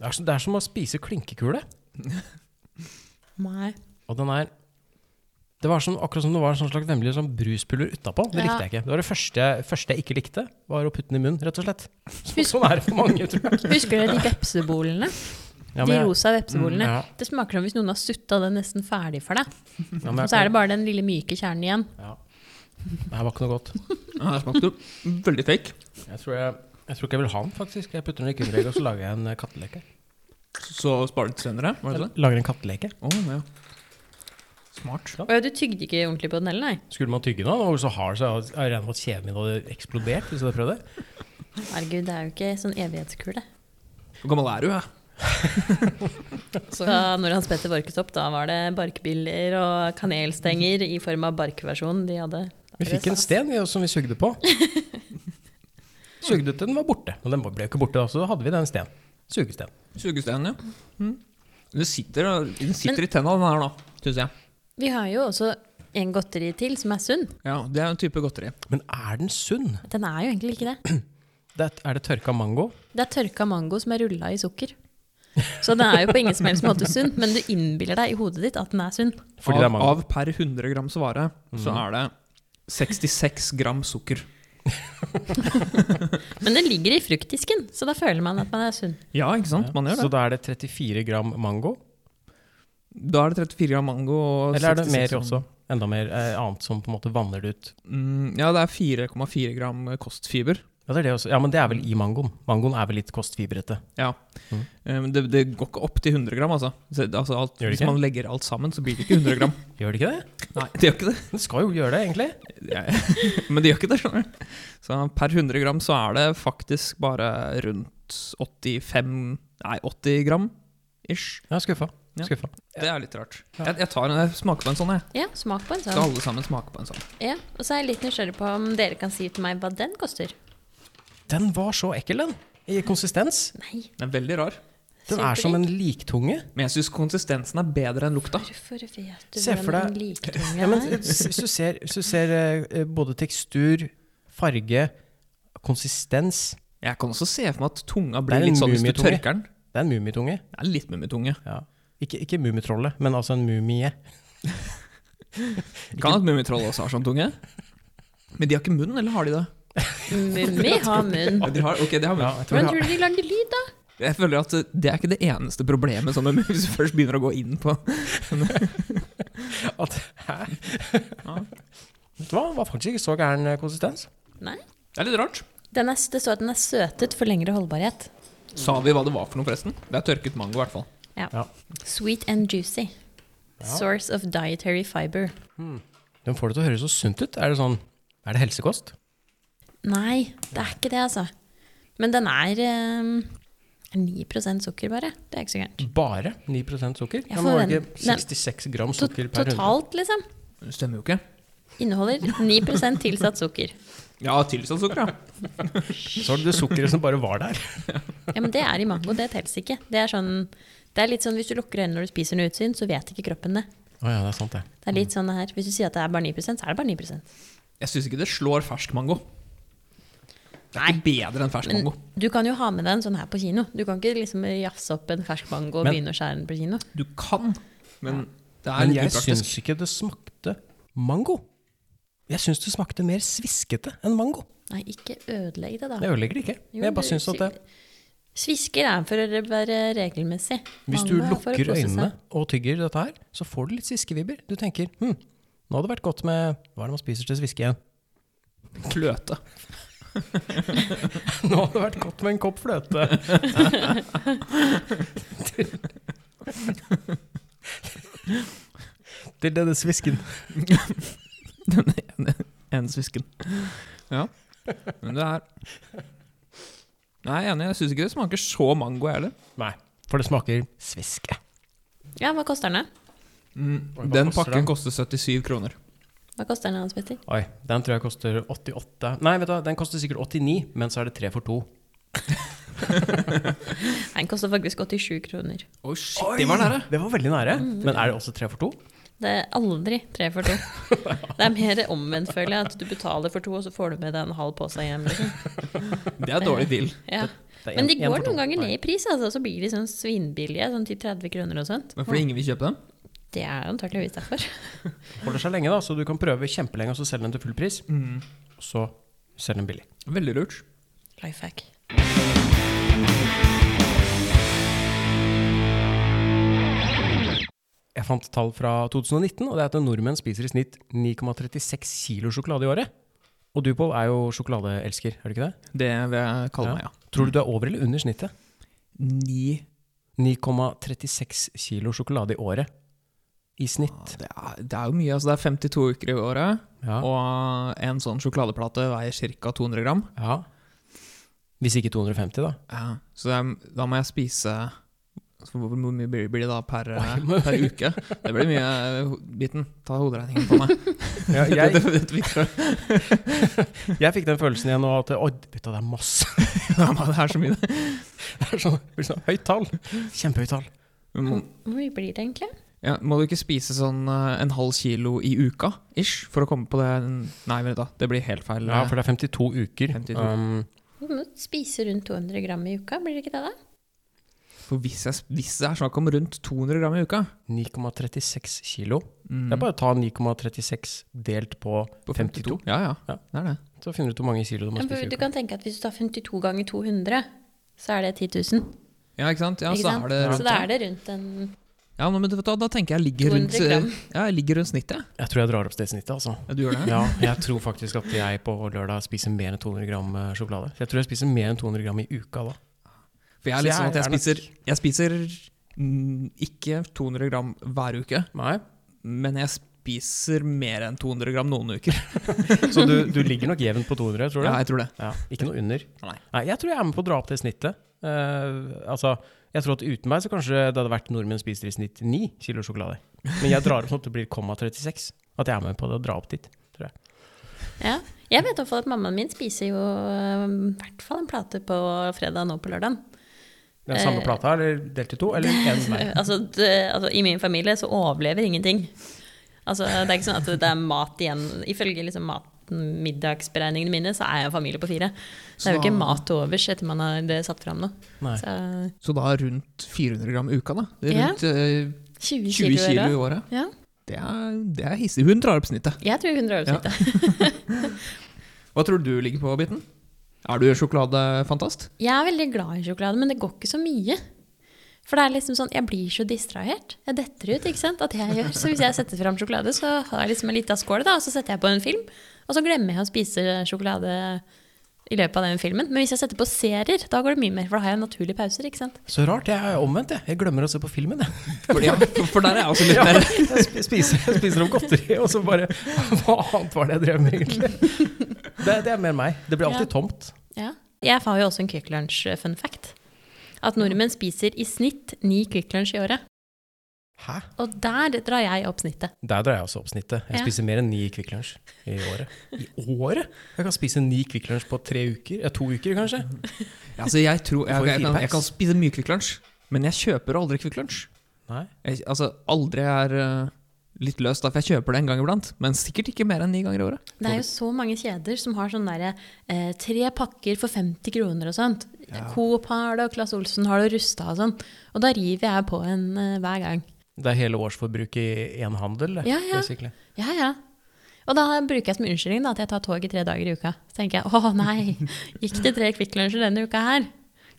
[SPEAKER 2] Det er, så, det er som å spise klinkekule.
[SPEAKER 4] [laughs] Nei.
[SPEAKER 2] Og den er Det var som, akkurat som det var en sånn slags vemmelig sånn bruspulver utapå. Det
[SPEAKER 4] Ja.
[SPEAKER 2] likte jeg ikke. Det var det første, jeg- første jeg ikke likte, var å putte den i munnen, rett og slett. Så, sånn er det for mange, tror jeg.
[SPEAKER 4] Husker dere de vepsebolene?
[SPEAKER 2] Ja, men
[SPEAKER 4] de
[SPEAKER 2] jeg, Mm,
[SPEAKER 4] rosa vepsebolene.
[SPEAKER 2] ja,
[SPEAKER 4] Det smaker som hvis noen har sutta den nesten ferdig for deg.
[SPEAKER 2] ja, men jeg,
[SPEAKER 4] Og så er det bare den lille myke kjernen igjen.
[SPEAKER 2] ja. Det her var ikke noe godt.
[SPEAKER 3] Ja, det smakte veldig fake.
[SPEAKER 2] Jeg tror, jeg, jeg tror ikke jeg vil ha den, faktisk. Jeg putter den i kumregg, og så lager jeg en eh, katteleke.
[SPEAKER 3] Så sparer du til senere? Var det
[SPEAKER 2] Jeg
[SPEAKER 3] det?
[SPEAKER 2] lager en katteleke.
[SPEAKER 3] Å, ja. Smart.
[SPEAKER 4] Og du tygde ikke ordentlig på den heller, nei.
[SPEAKER 2] Skulle man tygge den, og så hard, så jeg jeg regner med at kjeven min hadde eksplodert hvis jeg hadde prøvd det.
[SPEAKER 4] Herregud, det er jo ikke sånn evighetskule.
[SPEAKER 3] Hvor gammel er du? Jeg?
[SPEAKER 4] Så når Hans Petter varket opp, da var det barkbiller og kanelstenger i form av barkversjonen de hadde.
[SPEAKER 2] Vi fikk en sten vi, som vi sugde
[SPEAKER 4] [laughs]
[SPEAKER 2] på. Sugde til den var borte. Men den ble jo ikke borte, da, så da hadde vi den sten. Sugesten.
[SPEAKER 3] Sugesten, ja. Mm. Den sitter, den sitter i tenna, den her nå, syns jeg.
[SPEAKER 4] Vi har jo også en godteri til som er sunn.
[SPEAKER 3] Ja, Det er en type godteri.
[SPEAKER 2] Men er den sunn?
[SPEAKER 4] Den er jo egentlig ikke det.
[SPEAKER 2] Det er, er det tørka mango?
[SPEAKER 4] Det er tørka mango som er rulla i sukker. Så den er jo på ingen som helst måte sunn, men du innbiller deg i hodet ditt at den er sunn.
[SPEAKER 2] Fordi
[SPEAKER 3] av,
[SPEAKER 2] det er mango. Mhm.
[SPEAKER 3] av per 100 grams vare så er det 66 gram sukker.
[SPEAKER 4] Men den ligger i fruktdisken, så da føler man at man er sunn.
[SPEAKER 3] Ja, ikke sant? Man gjør
[SPEAKER 2] Så
[SPEAKER 3] det.
[SPEAKER 2] da er det 34 gram mango?
[SPEAKER 3] Da er det 34 gram mango og
[SPEAKER 2] Eller er det
[SPEAKER 3] 66
[SPEAKER 2] mer også? Enda mer eh, annet som på en måte vanner det ut?
[SPEAKER 3] Mm, ja, det er 4,4 gram kostfiber
[SPEAKER 2] Ja, det er det også. ja, men det er vel i mangoen. Mangoen er vel litt kostfibrete.
[SPEAKER 3] Ja.
[SPEAKER 2] Mm.
[SPEAKER 3] Eh, Men det, det går ikke opp til 100 gram, altså. Så, det- altså alt,
[SPEAKER 2] Gjør det
[SPEAKER 3] hvis
[SPEAKER 2] ikke?
[SPEAKER 3] man legger alt sammen, så blir det
[SPEAKER 2] [laughs]
[SPEAKER 3] ikke 100 gram.
[SPEAKER 2] Gjør det ikke det?
[SPEAKER 3] Nei, det gjør ikke det.
[SPEAKER 2] Den skal jo gjøre det, egentlig.
[SPEAKER 3] Jeg- [laughs] Men det gjør ikke det, skjønner du. Så per 100 gram så er det faktisk bare rundt 85 Nei, 80 gram ish.
[SPEAKER 2] Jeg er skuffa.
[SPEAKER 3] Ja.
[SPEAKER 2] skuffa.
[SPEAKER 3] Det er litt rart.
[SPEAKER 2] Ja.
[SPEAKER 3] Jeg, jeg tar en, jeg smaker på en sånn, jeg.
[SPEAKER 4] Ja, smak på en
[SPEAKER 3] Skal
[SPEAKER 4] sånn.
[SPEAKER 3] alle sammen smake på en sånn.
[SPEAKER 4] Ja, og så er jeg litt nysgjerrig på om dere kan si til meg hva den koster.
[SPEAKER 2] Den var så ekkel, den. I konsistens.
[SPEAKER 4] Nei,
[SPEAKER 3] Den er veldig rar.
[SPEAKER 2] Den er som en liktunge.
[SPEAKER 3] Men jeg syns konsistensen er bedre enn lukta.
[SPEAKER 4] Hvorfor vet du
[SPEAKER 2] Se for
[SPEAKER 4] hvordan en
[SPEAKER 2] deg-
[SPEAKER 4] liktunge
[SPEAKER 2] Ja, men
[SPEAKER 4] er?
[SPEAKER 2] s- hvis du ser, hvis du ser eh, eh, både tekstur, farge, konsistens
[SPEAKER 3] Jeg kan også se for meg at tunga
[SPEAKER 2] Det er
[SPEAKER 3] blir
[SPEAKER 2] en
[SPEAKER 3] litt sånn hvis du
[SPEAKER 2] mumietunge.
[SPEAKER 3] tørker den.
[SPEAKER 2] Det er en mummitunge.
[SPEAKER 3] Det er litt mumietunge.
[SPEAKER 2] Ja. Ikke, ikke mummitrollet, men altså en mumie.
[SPEAKER 3] Kan at mummitroll også har sånn tunge. Men de har ikke munn, eller har de det?
[SPEAKER 4] Mummi har munn.
[SPEAKER 2] [laughs]
[SPEAKER 3] Ja, de har, ok, de har munn.
[SPEAKER 2] jeg
[SPEAKER 4] Hvordan tror du de lager lyd, da?
[SPEAKER 3] Jeg føler at eh, det er ikke det eneste problemet sånn, [laughs] med- hvis du først begynner å gå inn på
[SPEAKER 2] At, [laughs] hæ? Vet du hva? Det var faktisk ikke så gæren eh, konsistens.
[SPEAKER 4] Nei.
[SPEAKER 3] Det er litt rart.
[SPEAKER 4] Den er, det står at den er søtet for lengre holdbarhet.
[SPEAKER 3] Sa vi hva det var for noe, forresten? Det er tørket mango, i hvert fall.
[SPEAKER 4] Sweet and juicy. Source of dietary fiber.
[SPEAKER 2] Den får det til å høres så sunt ut. Er det sånn Er det helsekost?
[SPEAKER 4] Nei, det er ikke det, altså. Men den er ehm, 9 sukker, bare. Det er ikke så gærent.
[SPEAKER 2] Bare 9 sukker?
[SPEAKER 4] Jeg
[SPEAKER 2] Ja, men var det
[SPEAKER 4] forvent-
[SPEAKER 2] ikke 66 gram
[SPEAKER 4] To-
[SPEAKER 2] sukker per hundre?
[SPEAKER 4] Totalt, liksom.
[SPEAKER 3] Men Det stemmer jo ikke.
[SPEAKER 4] Inneholder 9 tilsatt sukker.
[SPEAKER 3] Ja, tilsatt sukker, ja.
[SPEAKER 2] Så var det det sukkeret som bare [laughs] var der.
[SPEAKER 4] Ja, Men det er i mango, det teller ikke. Det er, sånn, det er litt sånn hvis du lukker øynene når du spiser noe utsyn, så vet ikke kroppen det.
[SPEAKER 2] Å ja, det er sant, det.
[SPEAKER 4] Det er litt sånn det her. Hvis du sier at det er bare 9 så er det bare 9
[SPEAKER 3] Jeg syns ikke det slår fersk mango. Det er ikke bedre enn fersk
[SPEAKER 4] Men
[SPEAKER 3] mango.
[SPEAKER 4] du kan jo ha med deg en sånn her på kino. Du kan ikke liksom jafse opp en fersk mango og
[SPEAKER 2] Men-
[SPEAKER 4] begynne å skjære den på kino.
[SPEAKER 3] Du kan, men det er
[SPEAKER 2] Men
[SPEAKER 3] litt
[SPEAKER 2] jeg
[SPEAKER 3] upraktisk.
[SPEAKER 2] syns ikke det smakte mango. Jeg syns det smakte mer sviskete enn mango.
[SPEAKER 4] Nei, ikke ødelegg det, da.
[SPEAKER 2] Jeg ødelegger det ikke.
[SPEAKER 4] Jo,
[SPEAKER 2] Men jeg bare
[SPEAKER 4] du
[SPEAKER 2] syns at det,
[SPEAKER 4] Svisker er for å være regelmessig.
[SPEAKER 2] hvis du
[SPEAKER 4] Mango er for å
[SPEAKER 2] lukker
[SPEAKER 4] kose seg.
[SPEAKER 2] øynene og tygger dette her, så får du litt sviskevibber. Du tenker hm, nå hadde det vært godt med Hva er det man spiser til sviske igjen?
[SPEAKER 3] Kløte.
[SPEAKER 2] [laughs] Nå hadde det vært godt med en kopp fløte. [laughs] Til denne svisken.
[SPEAKER 3] Den ene, ene svisken. Ja. Men det er Nei, jeg er enig. Jeg syns ikke det smaker så mango, jeg heller.
[SPEAKER 2] Nei, for det smaker sviske.
[SPEAKER 4] Ja, hva koster den? da?
[SPEAKER 2] Hva
[SPEAKER 3] Den
[SPEAKER 2] koster
[SPEAKER 3] pakken
[SPEAKER 2] den?
[SPEAKER 3] koster 77 kroner.
[SPEAKER 4] Hva koster den, Hans Petter?
[SPEAKER 2] Oi, den tror jeg koster 88 Nei, vet du, hva, den koster sikkert 89, men så er det tre for to.
[SPEAKER 4] Nei, Den koster faktisk 87 kroner.
[SPEAKER 3] Oi, shit, de var nære!
[SPEAKER 2] Det var veldig nære.
[SPEAKER 4] Mm.
[SPEAKER 2] Men er det også tre for to?
[SPEAKER 4] Det er aldri tre for
[SPEAKER 2] [laughs]
[SPEAKER 4] to. Det er mer omvendt, føler jeg. At du betaler for to, og så får du med deg en halv pose hjem. Liksom.
[SPEAKER 3] Det er dårlig deal.
[SPEAKER 4] Ja.
[SPEAKER 2] Det er en-
[SPEAKER 4] Men de
[SPEAKER 2] en
[SPEAKER 4] går
[SPEAKER 2] for to.
[SPEAKER 4] noen ganger
[SPEAKER 2] Nei.
[SPEAKER 4] ned i pris, altså, og så blir de sånn svinbillige. Sånn til 30 kroner og sånt.
[SPEAKER 3] Men fordi ingen vil kjøpe dem?
[SPEAKER 4] Det er antakeligvis derfor.
[SPEAKER 2] Holder seg lenge, da, så du kan prøve kjempelenge og så selge den til full pris. Og så selge den billig.
[SPEAKER 3] Veldig lurt.
[SPEAKER 4] Life hack.
[SPEAKER 2] Jeg fant tall fra 2019, og det er at nordmenn spiser i snitt 9,36 kilo sjokolade i året. Og du, Pål, er jo sjokoladeelsker, er du ikke det?
[SPEAKER 3] Det vil jeg kalle meg, ja.
[SPEAKER 2] Tror du du er over eller under snittet?
[SPEAKER 3] Ni
[SPEAKER 2] 9,36 kilo sjokolade i året. I snitt.
[SPEAKER 3] det er, det er jo mye. altså Det er 52 uker i året,
[SPEAKER 2] Ja.
[SPEAKER 3] og en sånn sjokoladeplate veier ca. 200 gram.
[SPEAKER 2] ja. Hvis ikke 250, [laughs] da.
[SPEAKER 3] Ja, så det er, da må jeg spise altså, Hvor hvor mye blir blir det da per, eh,
[SPEAKER 2] Oi, men-
[SPEAKER 3] per uke? Det blir mye eh, ho- biten. Ta hoderegningen
[SPEAKER 2] [laughs]
[SPEAKER 3] på meg.
[SPEAKER 2] jeg,
[SPEAKER 3] [laughs] det, det, det,
[SPEAKER 2] jeg fikk den følelsen igjen nå at Oi, vet du, det er masse. [laughs]
[SPEAKER 3] ja, men det er så mye.
[SPEAKER 2] Det er sånn, blir sånn høyt tall. Kjempehøyt tall.
[SPEAKER 3] Men må-
[SPEAKER 4] Hvor mye blir det egentlig?
[SPEAKER 3] Ja, må du ikke spise sånn eh, en halv kilo i uka ish for å komme på det Nei, vent da, det blir helt feil.
[SPEAKER 2] Ja, for det er 52 uker.
[SPEAKER 3] 52.
[SPEAKER 2] Um,
[SPEAKER 4] Du må spise rundt 200 gram i uka, blir det ikke det, da?
[SPEAKER 3] For hvis, jeg, hvis det er snakk om rundt 200 gram i uka
[SPEAKER 2] 9,36 kilo.
[SPEAKER 3] mm,
[SPEAKER 2] Det er bare å ta 9,36 delt på, 52.
[SPEAKER 3] Ja, ja,
[SPEAKER 2] Ja.
[SPEAKER 3] Det er det.
[SPEAKER 2] Så finner du ut hvor mange kilo du må
[SPEAKER 4] Ja,
[SPEAKER 2] spise i
[SPEAKER 4] for Du
[SPEAKER 2] uka.
[SPEAKER 4] kan tenke at hvis du tar 52 ganger 200, så er det 10 000.
[SPEAKER 3] Ja, ikke sant? Ja,
[SPEAKER 4] Ikke
[SPEAKER 3] så er
[SPEAKER 4] sant?
[SPEAKER 3] det
[SPEAKER 4] så
[SPEAKER 3] rundt
[SPEAKER 4] da er det rundt en
[SPEAKER 3] Ja, men vet du hva, da tenker jeg ligger rundt, eh,
[SPEAKER 4] 200 gram.
[SPEAKER 3] ja, jeg ligger rundt snittet. jeg.
[SPEAKER 2] Jeg tror jeg drar opp det snittet, altså.
[SPEAKER 3] Ja, du gjør det?
[SPEAKER 2] [laughs] Ja, jeg tror faktisk at jeg på lørdag spiser mer enn 200 gram eh, sjokolade. Så jeg tror jeg spiser mer enn 200 gram i uka da.
[SPEAKER 3] For jeg er
[SPEAKER 2] Så
[SPEAKER 3] litt sånn at jeg
[SPEAKER 2] er nok-
[SPEAKER 3] spiser, jeg spiser mm, ikke 200 gram hver uke,
[SPEAKER 2] Nei.
[SPEAKER 3] men jeg spiser mer enn 200 gram noen uker.
[SPEAKER 2] Så du, du ligger nok jevnt på 200, tror du?
[SPEAKER 3] Ja, jeg tror det.
[SPEAKER 2] Ja, ikke noe under.
[SPEAKER 3] Nei.
[SPEAKER 2] jeg tror jeg er med på å dra opp det snittet. Eh, altså, jeg tror at uten meg så kanskje det hadde vært nordmenn spiser i snitt 9 kilo sjokolade. Men jeg drar opp sånn at det blir 0,36. At jeg er med på det å dra opp dit.
[SPEAKER 4] Ja. Jeg vet i hvert fall at mammaen min spiser jo øh, i hvert fall en plate på fredag nå på lørdagen.
[SPEAKER 2] Den samme
[SPEAKER 4] Eh.
[SPEAKER 2] plata, eller delt i to, eller
[SPEAKER 4] [laughs]
[SPEAKER 2] én hver.
[SPEAKER 4] altså, det, altså, I min familie så overlever ingenting. Altså, det er ikke sånn at det er mat igjen. Ifølge liksom matmiddagsberegningene mine, så er jeg en familie på fire. Det er jo
[SPEAKER 3] Så
[SPEAKER 4] ikke
[SPEAKER 3] da-
[SPEAKER 4] mat til overs etter man har det satt fram nå.
[SPEAKER 2] Nei.
[SPEAKER 4] Så
[SPEAKER 3] Så da rundt 400 gram i uka, da. Det er
[SPEAKER 4] Ja.
[SPEAKER 3] Rundt eh,
[SPEAKER 4] 20 kilo,
[SPEAKER 3] 20 kilo i
[SPEAKER 4] eller?
[SPEAKER 3] året.
[SPEAKER 4] Ja.
[SPEAKER 3] Det er, det er hissig. Hun drar opp snittet.
[SPEAKER 4] Jeg tror hun drar ut
[SPEAKER 3] Ja.
[SPEAKER 4] snittet.
[SPEAKER 3] Hva tror du ligger på biten? Er du sjokoladefantast?
[SPEAKER 4] Jeg er veldig glad i sjokolade, men det går ikke så mye. For det er liksom sånn, jeg blir så distrahert. Jeg detter ut, ikke sant? At jeg gjør. Så hvis jeg setter fram sjokolade, så har jeg liksom en liten skål, da, og så setter jeg på en film. Og så glemmer jeg å spise sjokolade i løpet av den filmen. Men hvis jeg setter på serier, da går det mye mer, for da har jeg naturlige pauser, ikke sant?
[SPEAKER 2] Så rart. Jeg er omvendt, jeg. Jeg glemmer å se på filmen, jeg.
[SPEAKER 3] [laughs] For, ja, for- for der er jeg også litt mer
[SPEAKER 2] Jeg sp- spiser, jeg spiser opp godteri, og så bare Hva annet var det jeg drev med, egentlig? Det, det er mer meg. Det blir alltid tomt.
[SPEAKER 4] Ja. Jeg har jo også en Quick Lunch-fun fact. At nordmenn spiser i snitt ni Quick Lunch i året.
[SPEAKER 2] Hæ?
[SPEAKER 4] Og der drar jeg opp snittet.
[SPEAKER 2] Der drar jeg også opp snittet. Jeg
[SPEAKER 4] Ja.
[SPEAKER 2] spiser mer enn ni Kvikk Lunsj i året. I året? Jeg kan spise ni Kvikk Lunsj på tre uker. Ja, to uker, kanskje.
[SPEAKER 3] altså, jeg, tror, jeg,
[SPEAKER 2] Du får
[SPEAKER 3] jeg, kan,
[SPEAKER 2] firepacks.
[SPEAKER 3] jeg kan spise mye Kvikk Lunsj, men jeg kjøper aldri Kvikk Lunsj.
[SPEAKER 2] Nei.
[SPEAKER 3] Jeg, altså, aldri er eh, litt løs, da, for jeg kjøper det en gang iblant. Men sikkert ikke mer enn ni ganger i året.
[SPEAKER 4] Det er jo så mange kjeder som har sånn derre eh, tre pakker for 50 kroner og sånt. Coop har det, og Claes Olsen har det, og Rusta og sånn. Og da river jeg på en eh, hver gang.
[SPEAKER 2] Det er hele årsforbruket i én handel, det,
[SPEAKER 4] Ja, ja.
[SPEAKER 2] basically.
[SPEAKER 4] Ja, ja. Og da bruker jeg som unnskyldning da, at jeg tar tog i tre dager i uka. Så tenker jeg å nei, gikk det tre Kvikk Lunsjer denne uka her?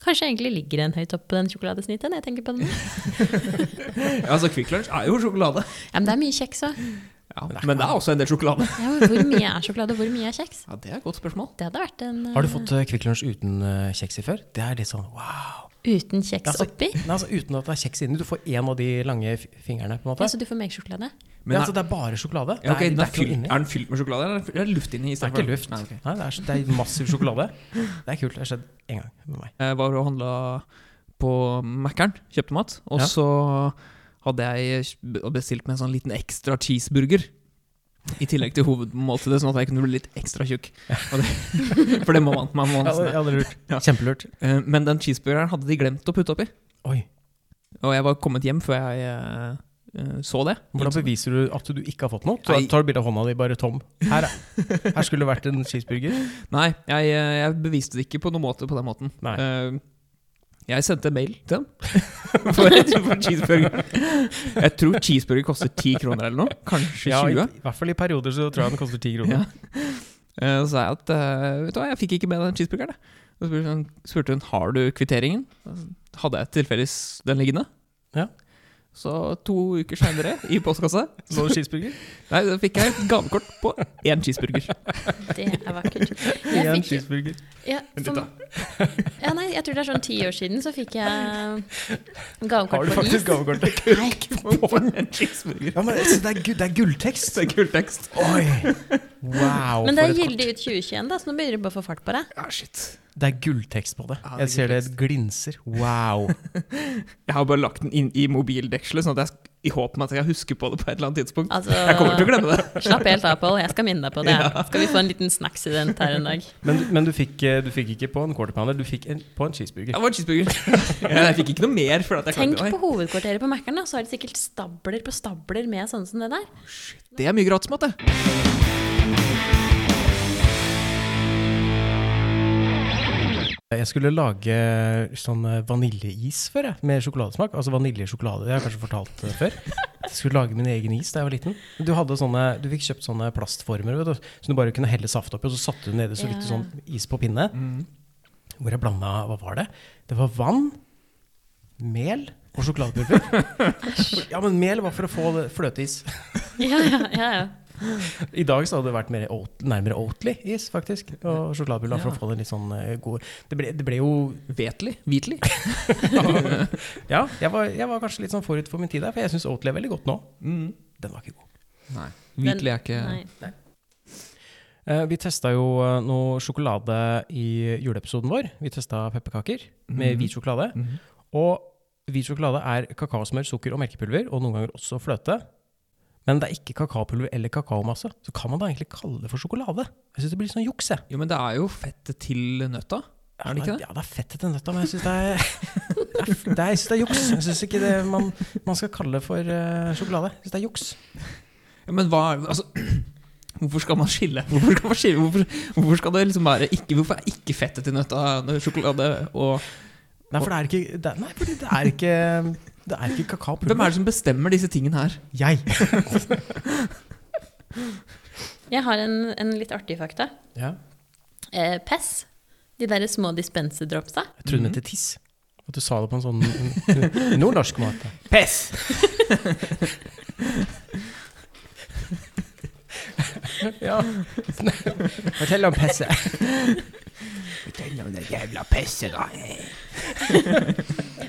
[SPEAKER 4] Kanskje jeg egentlig ligger en høyt opp på den sjokoladesnittet når jeg tenker på det nå.
[SPEAKER 3] [laughs] Ja, altså, Kvikk Lunsj er jo sjokolade.
[SPEAKER 4] Ja, men det er mye kjeks òg.
[SPEAKER 3] Ja, men det er også en del sjokolade.
[SPEAKER 4] Ja, men hvor mye er sjokolade, og hvor mye er kjeks?
[SPEAKER 3] Ja, Det er et godt spørsmål.
[SPEAKER 4] Det hadde vært en eh,
[SPEAKER 2] Har du fått eh, Kvikk Lunsj uten eh, kjeks i før? Det er litt sånn wow.
[SPEAKER 4] eh, uten kjeks
[SPEAKER 2] Altså,
[SPEAKER 4] oppi?
[SPEAKER 2] Nei, altså Uten at det er kjeks inni. Du får én av de lange fi- fingrene. på en
[SPEAKER 4] Ja,
[SPEAKER 2] måte.
[SPEAKER 4] så du får mer sjokolade?
[SPEAKER 2] Men
[SPEAKER 3] Men
[SPEAKER 2] altså,
[SPEAKER 3] er,
[SPEAKER 2] Det er bare sjokolade.
[SPEAKER 3] ja, ok,
[SPEAKER 2] det er,
[SPEAKER 3] den
[SPEAKER 2] det
[SPEAKER 3] er,
[SPEAKER 2] er ikke
[SPEAKER 3] fylt-
[SPEAKER 2] noe inni.
[SPEAKER 3] er den fylt med sjokolade, eller er det- er det luft inni? i
[SPEAKER 2] Det er
[SPEAKER 3] stedet
[SPEAKER 2] ikke
[SPEAKER 3] for-
[SPEAKER 2] luft.
[SPEAKER 3] Nei,
[SPEAKER 2] Nei,
[SPEAKER 3] ok.
[SPEAKER 2] det, er, det er massiv sjokolade. Det er kult. Det har skjedd én gang med meg.
[SPEAKER 3] Jeg Eh, var og handla på Mækkern, kjøpte mat. Og
[SPEAKER 2] Ja.
[SPEAKER 3] så hadde jeg b- bestilt meg en sånn liten ekstra cheeseburger. I tillegg til hovedmåltidet, sånn at jeg kunne bli litt ekstra tjukk. Og det- [laughs] For det må man. man må
[SPEAKER 2] Ja, det,
[SPEAKER 3] nesten. det.
[SPEAKER 2] ja, det er lurt.
[SPEAKER 3] Ja.
[SPEAKER 2] Kjempelurt.
[SPEAKER 3] Eh, Men den cheeseburgeren hadde de glemt å putte oppi.
[SPEAKER 2] Oi.
[SPEAKER 3] Og jeg var kommet hjem før jeg eh, eh, så det.
[SPEAKER 2] Hvordan beviser du at du ikke har fått noe?
[SPEAKER 3] Nei.
[SPEAKER 2] Tar, tar du bilde av hånda di bare tom? Her, er- her skulle det vært en
[SPEAKER 3] [laughs]
[SPEAKER 2] cheeseburger.
[SPEAKER 3] Nei, jeg, eh, jeg beviste det ikke på noen måte på den måten.
[SPEAKER 2] Nei.
[SPEAKER 3] Eh, Jeg sendte mail til dem
[SPEAKER 2] [laughs]
[SPEAKER 3] for, for cheeseburger. Jeg tror cheeseburger koster 10 kroner eller noe. Kanskje 20.
[SPEAKER 2] i, I hvert fall i perioder så tror jeg den koster ti kroner.
[SPEAKER 3] Ja. Eh, Så sa jeg at eh, vet du hva, jeg fikk ikke med den cheeseburgeren. jeg. Og så spurte hun, spurte hun har du kvitteringen. Og så Hadde jeg tilfeldigvis den liggende.
[SPEAKER 2] Ja.
[SPEAKER 3] Så to uker seinere, i postkassa,
[SPEAKER 2] Så cheeseburger?
[SPEAKER 3] Nei, da fikk jeg et gavekort på én cheeseburger.
[SPEAKER 2] [laughs]
[SPEAKER 4] Det er vakkert.
[SPEAKER 2] Én
[SPEAKER 4] [laughs] Jeg fikk
[SPEAKER 2] cheeseburger.
[SPEAKER 4] Ja, for, ja, nei, jeg tror det er sånn ti år siden så
[SPEAKER 2] [laughs]
[SPEAKER 4] fikk jeg
[SPEAKER 2] Har
[SPEAKER 4] gavekort
[SPEAKER 2] du
[SPEAKER 4] på is.
[SPEAKER 2] faktisk gavekort?
[SPEAKER 4] Nei,
[SPEAKER 3] en cheeseburger.
[SPEAKER 2] Ja, men altså, det er, gu- det er gulltekst!
[SPEAKER 3] Det er kul tekst.
[SPEAKER 2] Oi! Wow,
[SPEAKER 4] men det
[SPEAKER 2] for
[SPEAKER 4] er
[SPEAKER 2] et
[SPEAKER 4] gyldig ut 2021, da, så nå begynner du bare å få fart på det.
[SPEAKER 3] Ja, shit.
[SPEAKER 2] kort. Det er gulltekst på det.
[SPEAKER 3] Ja, det er
[SPEAKER 2] Jeg ser det glinser. Wow.
[SPEAKER 3] Jeg har bare lagt den inn i mobildekselet, sånn at jeg, i håp om at jeg husker på det på et eller annet tidspunkt.
[SPEAKER 4] Altså,
[SPEAKER 3] Jeg kommer til å glemme
[SPEAKER 4] [laughs]
[SPEAKER 3] det.
[SPEAKER 4] Slapp helt av, Pål. Jeg skal minne deg på
[SPEAKER 2] [laughs]
[SPEAKER 4] det. Skal vi få en liten snacksident her en dag?
[SPEAKER 2] Men, men du, fikk, eh, du fikk ikke på en quarter pounder, du fikk en, på en cheeseburger.
[SPEAKER 3] Det var en [laughs] cheeseburger. Ja, Jeg fikk ikke noe mer. For at jeg klarte
[SPEAKER 4] Tenk
[SPEAKER 3] det.
[SPEAKER 4] på hovedkvarteret på Mækkern, da, så har de sikkert stabler på stabler med sånne som det
[SPEAKER 2] [laughs]
[SPEAKER 4] der.
[SPEAKER 3] Det er mye gratismat, det.
[SPEAKER 2] Jeg skulle lage sånn eh, vaniljeis før, jeg, med sjokoladesmak. Altså vaniljesjokolade, det har jeg kanskje fortalt eh, før. Jeg skulle lage min egen is da jeg var liten. Du, hadde sånne, du fikk kjøpt sånne plastformer vet du, som du bare kunne helle saft oppi, og så satte du nedi så
[SPEAKER 4] Ja.
[SPEAKER 2] fikk du sånn is på pinne. Hvor jeg blanda Hva var det? Det var vann, mel Og sjokoladepulver. ja, men mel var for å få det- fløteis.
[SPEAKER 4] Ja, ja, ja, ja.
[SPEAKER 2] I dag så hadde det vært mer oat, nærmere Oatly-is, faktisk. Og sjokoladepulver for å
[SPEAKER 3] Ja.
[SPEAKER 2] få det litt sånn eh, god Det ble, det ble jo
[SPEAKER 3] Vetlig? Hvitlig?
[SPEAKER 4] [laughs]
[SPEAKER 2] Ja, jeg var, jeg var kanskje litt sånn forut for min tid der, for jeg syns Oatly er veldig godt nå.
[SPEAKER 3] Mm.
[SPEAKER 2] Den var ikke god.
[SPEAKER 3] Nei. Hvitlig er ikke
[SPEAKER 4] Nei.
[SPEAKER 2] Eh, Vi testa jo eh, noe sjokolade i juleepisoden vår. Vi testa pepperkaker med
[SPEAKER 3] Mhm.
[SPEAKER 2] hvit sjokolade.
[SPEAKER 3] Mhm.
[SPEAKER 2] Og hvit sjokolade er kakaosmør, sukker og melkepulver, og noen ganger også fløte. Men det er ikke kakaopulver eller kakaomasse. Så kan man da egentlig kalle det for sjokolade? Jeg syns det blir litt sånn juks, jeg.
[SPEAKER 3] Jo, men det er jo fettet til nøtta. Er det ikke det?
[SPEAKER 2] Ja, det er fett etter nøtta, men jeg syns det er [laughs] det er- det er- Jeg synes det er juks. Jeg syns ikke det man, man skal kalle det for eh, sjokolade. Jeg syns det er juks.
[SPEAKER 3] Ja, men hva er altså, [clears throat] Hvorfor skal man skille? Hvorfor skal, man skille? Hvorfor, hvorfor skal det liksom være ikke, Hvorfor er ikke fettet til nøtta når sjokolade og
[SPEAKER 2] Nei, for det er ikke det, er- Nei, fordi det er ikke Det er ikke
[SPEAKER 3] Hvem er
[SPEAKER 2] kakaopulver.
[SPEAKER 3] det som bestemmer disse tingene her?
[SPEAKER 2] Jeg.
[SPEAKER 4] Jeg har en, en litt artig fakta.
[SPEAKER 2] Ja.
[SPEAKER 4] Eh, Pess, de derre små dispensedropsa.
[SPEAKER 2] Jeg trodde det het tiss. At du sa det på en sånn nordnorsk måte.
[SPEAKER 3] Pess!
[SPEAKER 2] Ja. Fortell om pesset.
[SPEAKER 3] Fortell om det jævla pesset, da.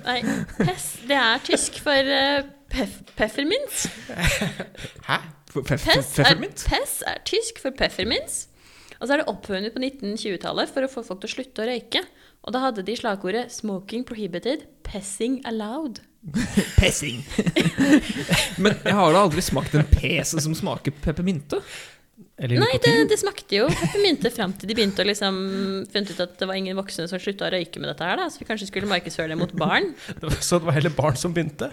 [SPEAKER 4] Nei, Pess, det er tysk for eh, pef, peffermints.
[SPEAKER 3] Hæ?
[SPEAKER 4] Pess er,
[SPEAKER 3] Peffermint?
[SPEAKER 4] pess er tysk for peffermints. Og så er det oppfunnet på 1920-tallet for å få folk til å slutte å røyke. Og da hadde de slagordet 'smoking prohibited, pessing allowed'.
[SPEAKER 3] Pessing. [laughs] Men jeg har da aldri smakt en pes som smaker peppermynte.
[SPEAKER 2] Eller
[SPEAKER 4] Nei, det,
[SPEAKER 2] nikotin.
[SPEAKER 4] det smakte jo peppermynte fram til de begynte å liksom funnet ut at det var ingen voksne som slutta å røyke med dette her, da. Så vi kanskje skulle markedsføre det mot barn.
[SPEAKER 2] Så det var heller barn som begynte?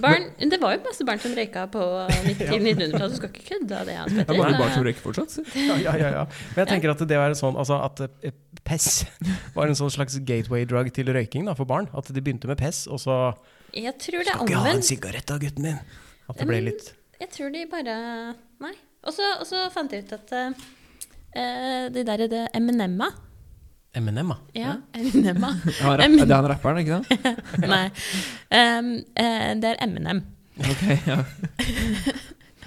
[SPEAKER 4] barn det var jo masse barn som røyka på 1900-tallet, du skal ikke kødde av det, Hans
[SPEAKER 3] Det er mange barn som
[SPEAKER 4] Petter.
[SPEAKER 3] røyker fortsatt. så.
[SPEAKER 2] Ja, ja, ja, ja. Men jeg tenker at det var en sånn altså at eh, pess var en sånn slags gateway drug til røyking da, for barn. At de begynte med pess, og så
[SPEAKER 4] Jeg tror det er
[SPEAKER 2] Ikke ha en
[SPEAKER 4] omvendt.
[SPEAKER 2] sigarett da, gutten min! At det ble litt
[SPEAKER 4] Jeg tror de bare Nei. Og så og så fant jeg ut at eh, de der det M&M-a
[SPEAKER 2] M&M, da.
[SPEAKER 4] Ja, M&M-a.
[SPEAKER 3] Ja, rapp- Det er han rapperen, ikke sant?
[SPEAKER 4] Nei. Em, eh, det er M&M.
[SPEAKER 3] Ok, ja.
[SPEAKER 4] [laughs]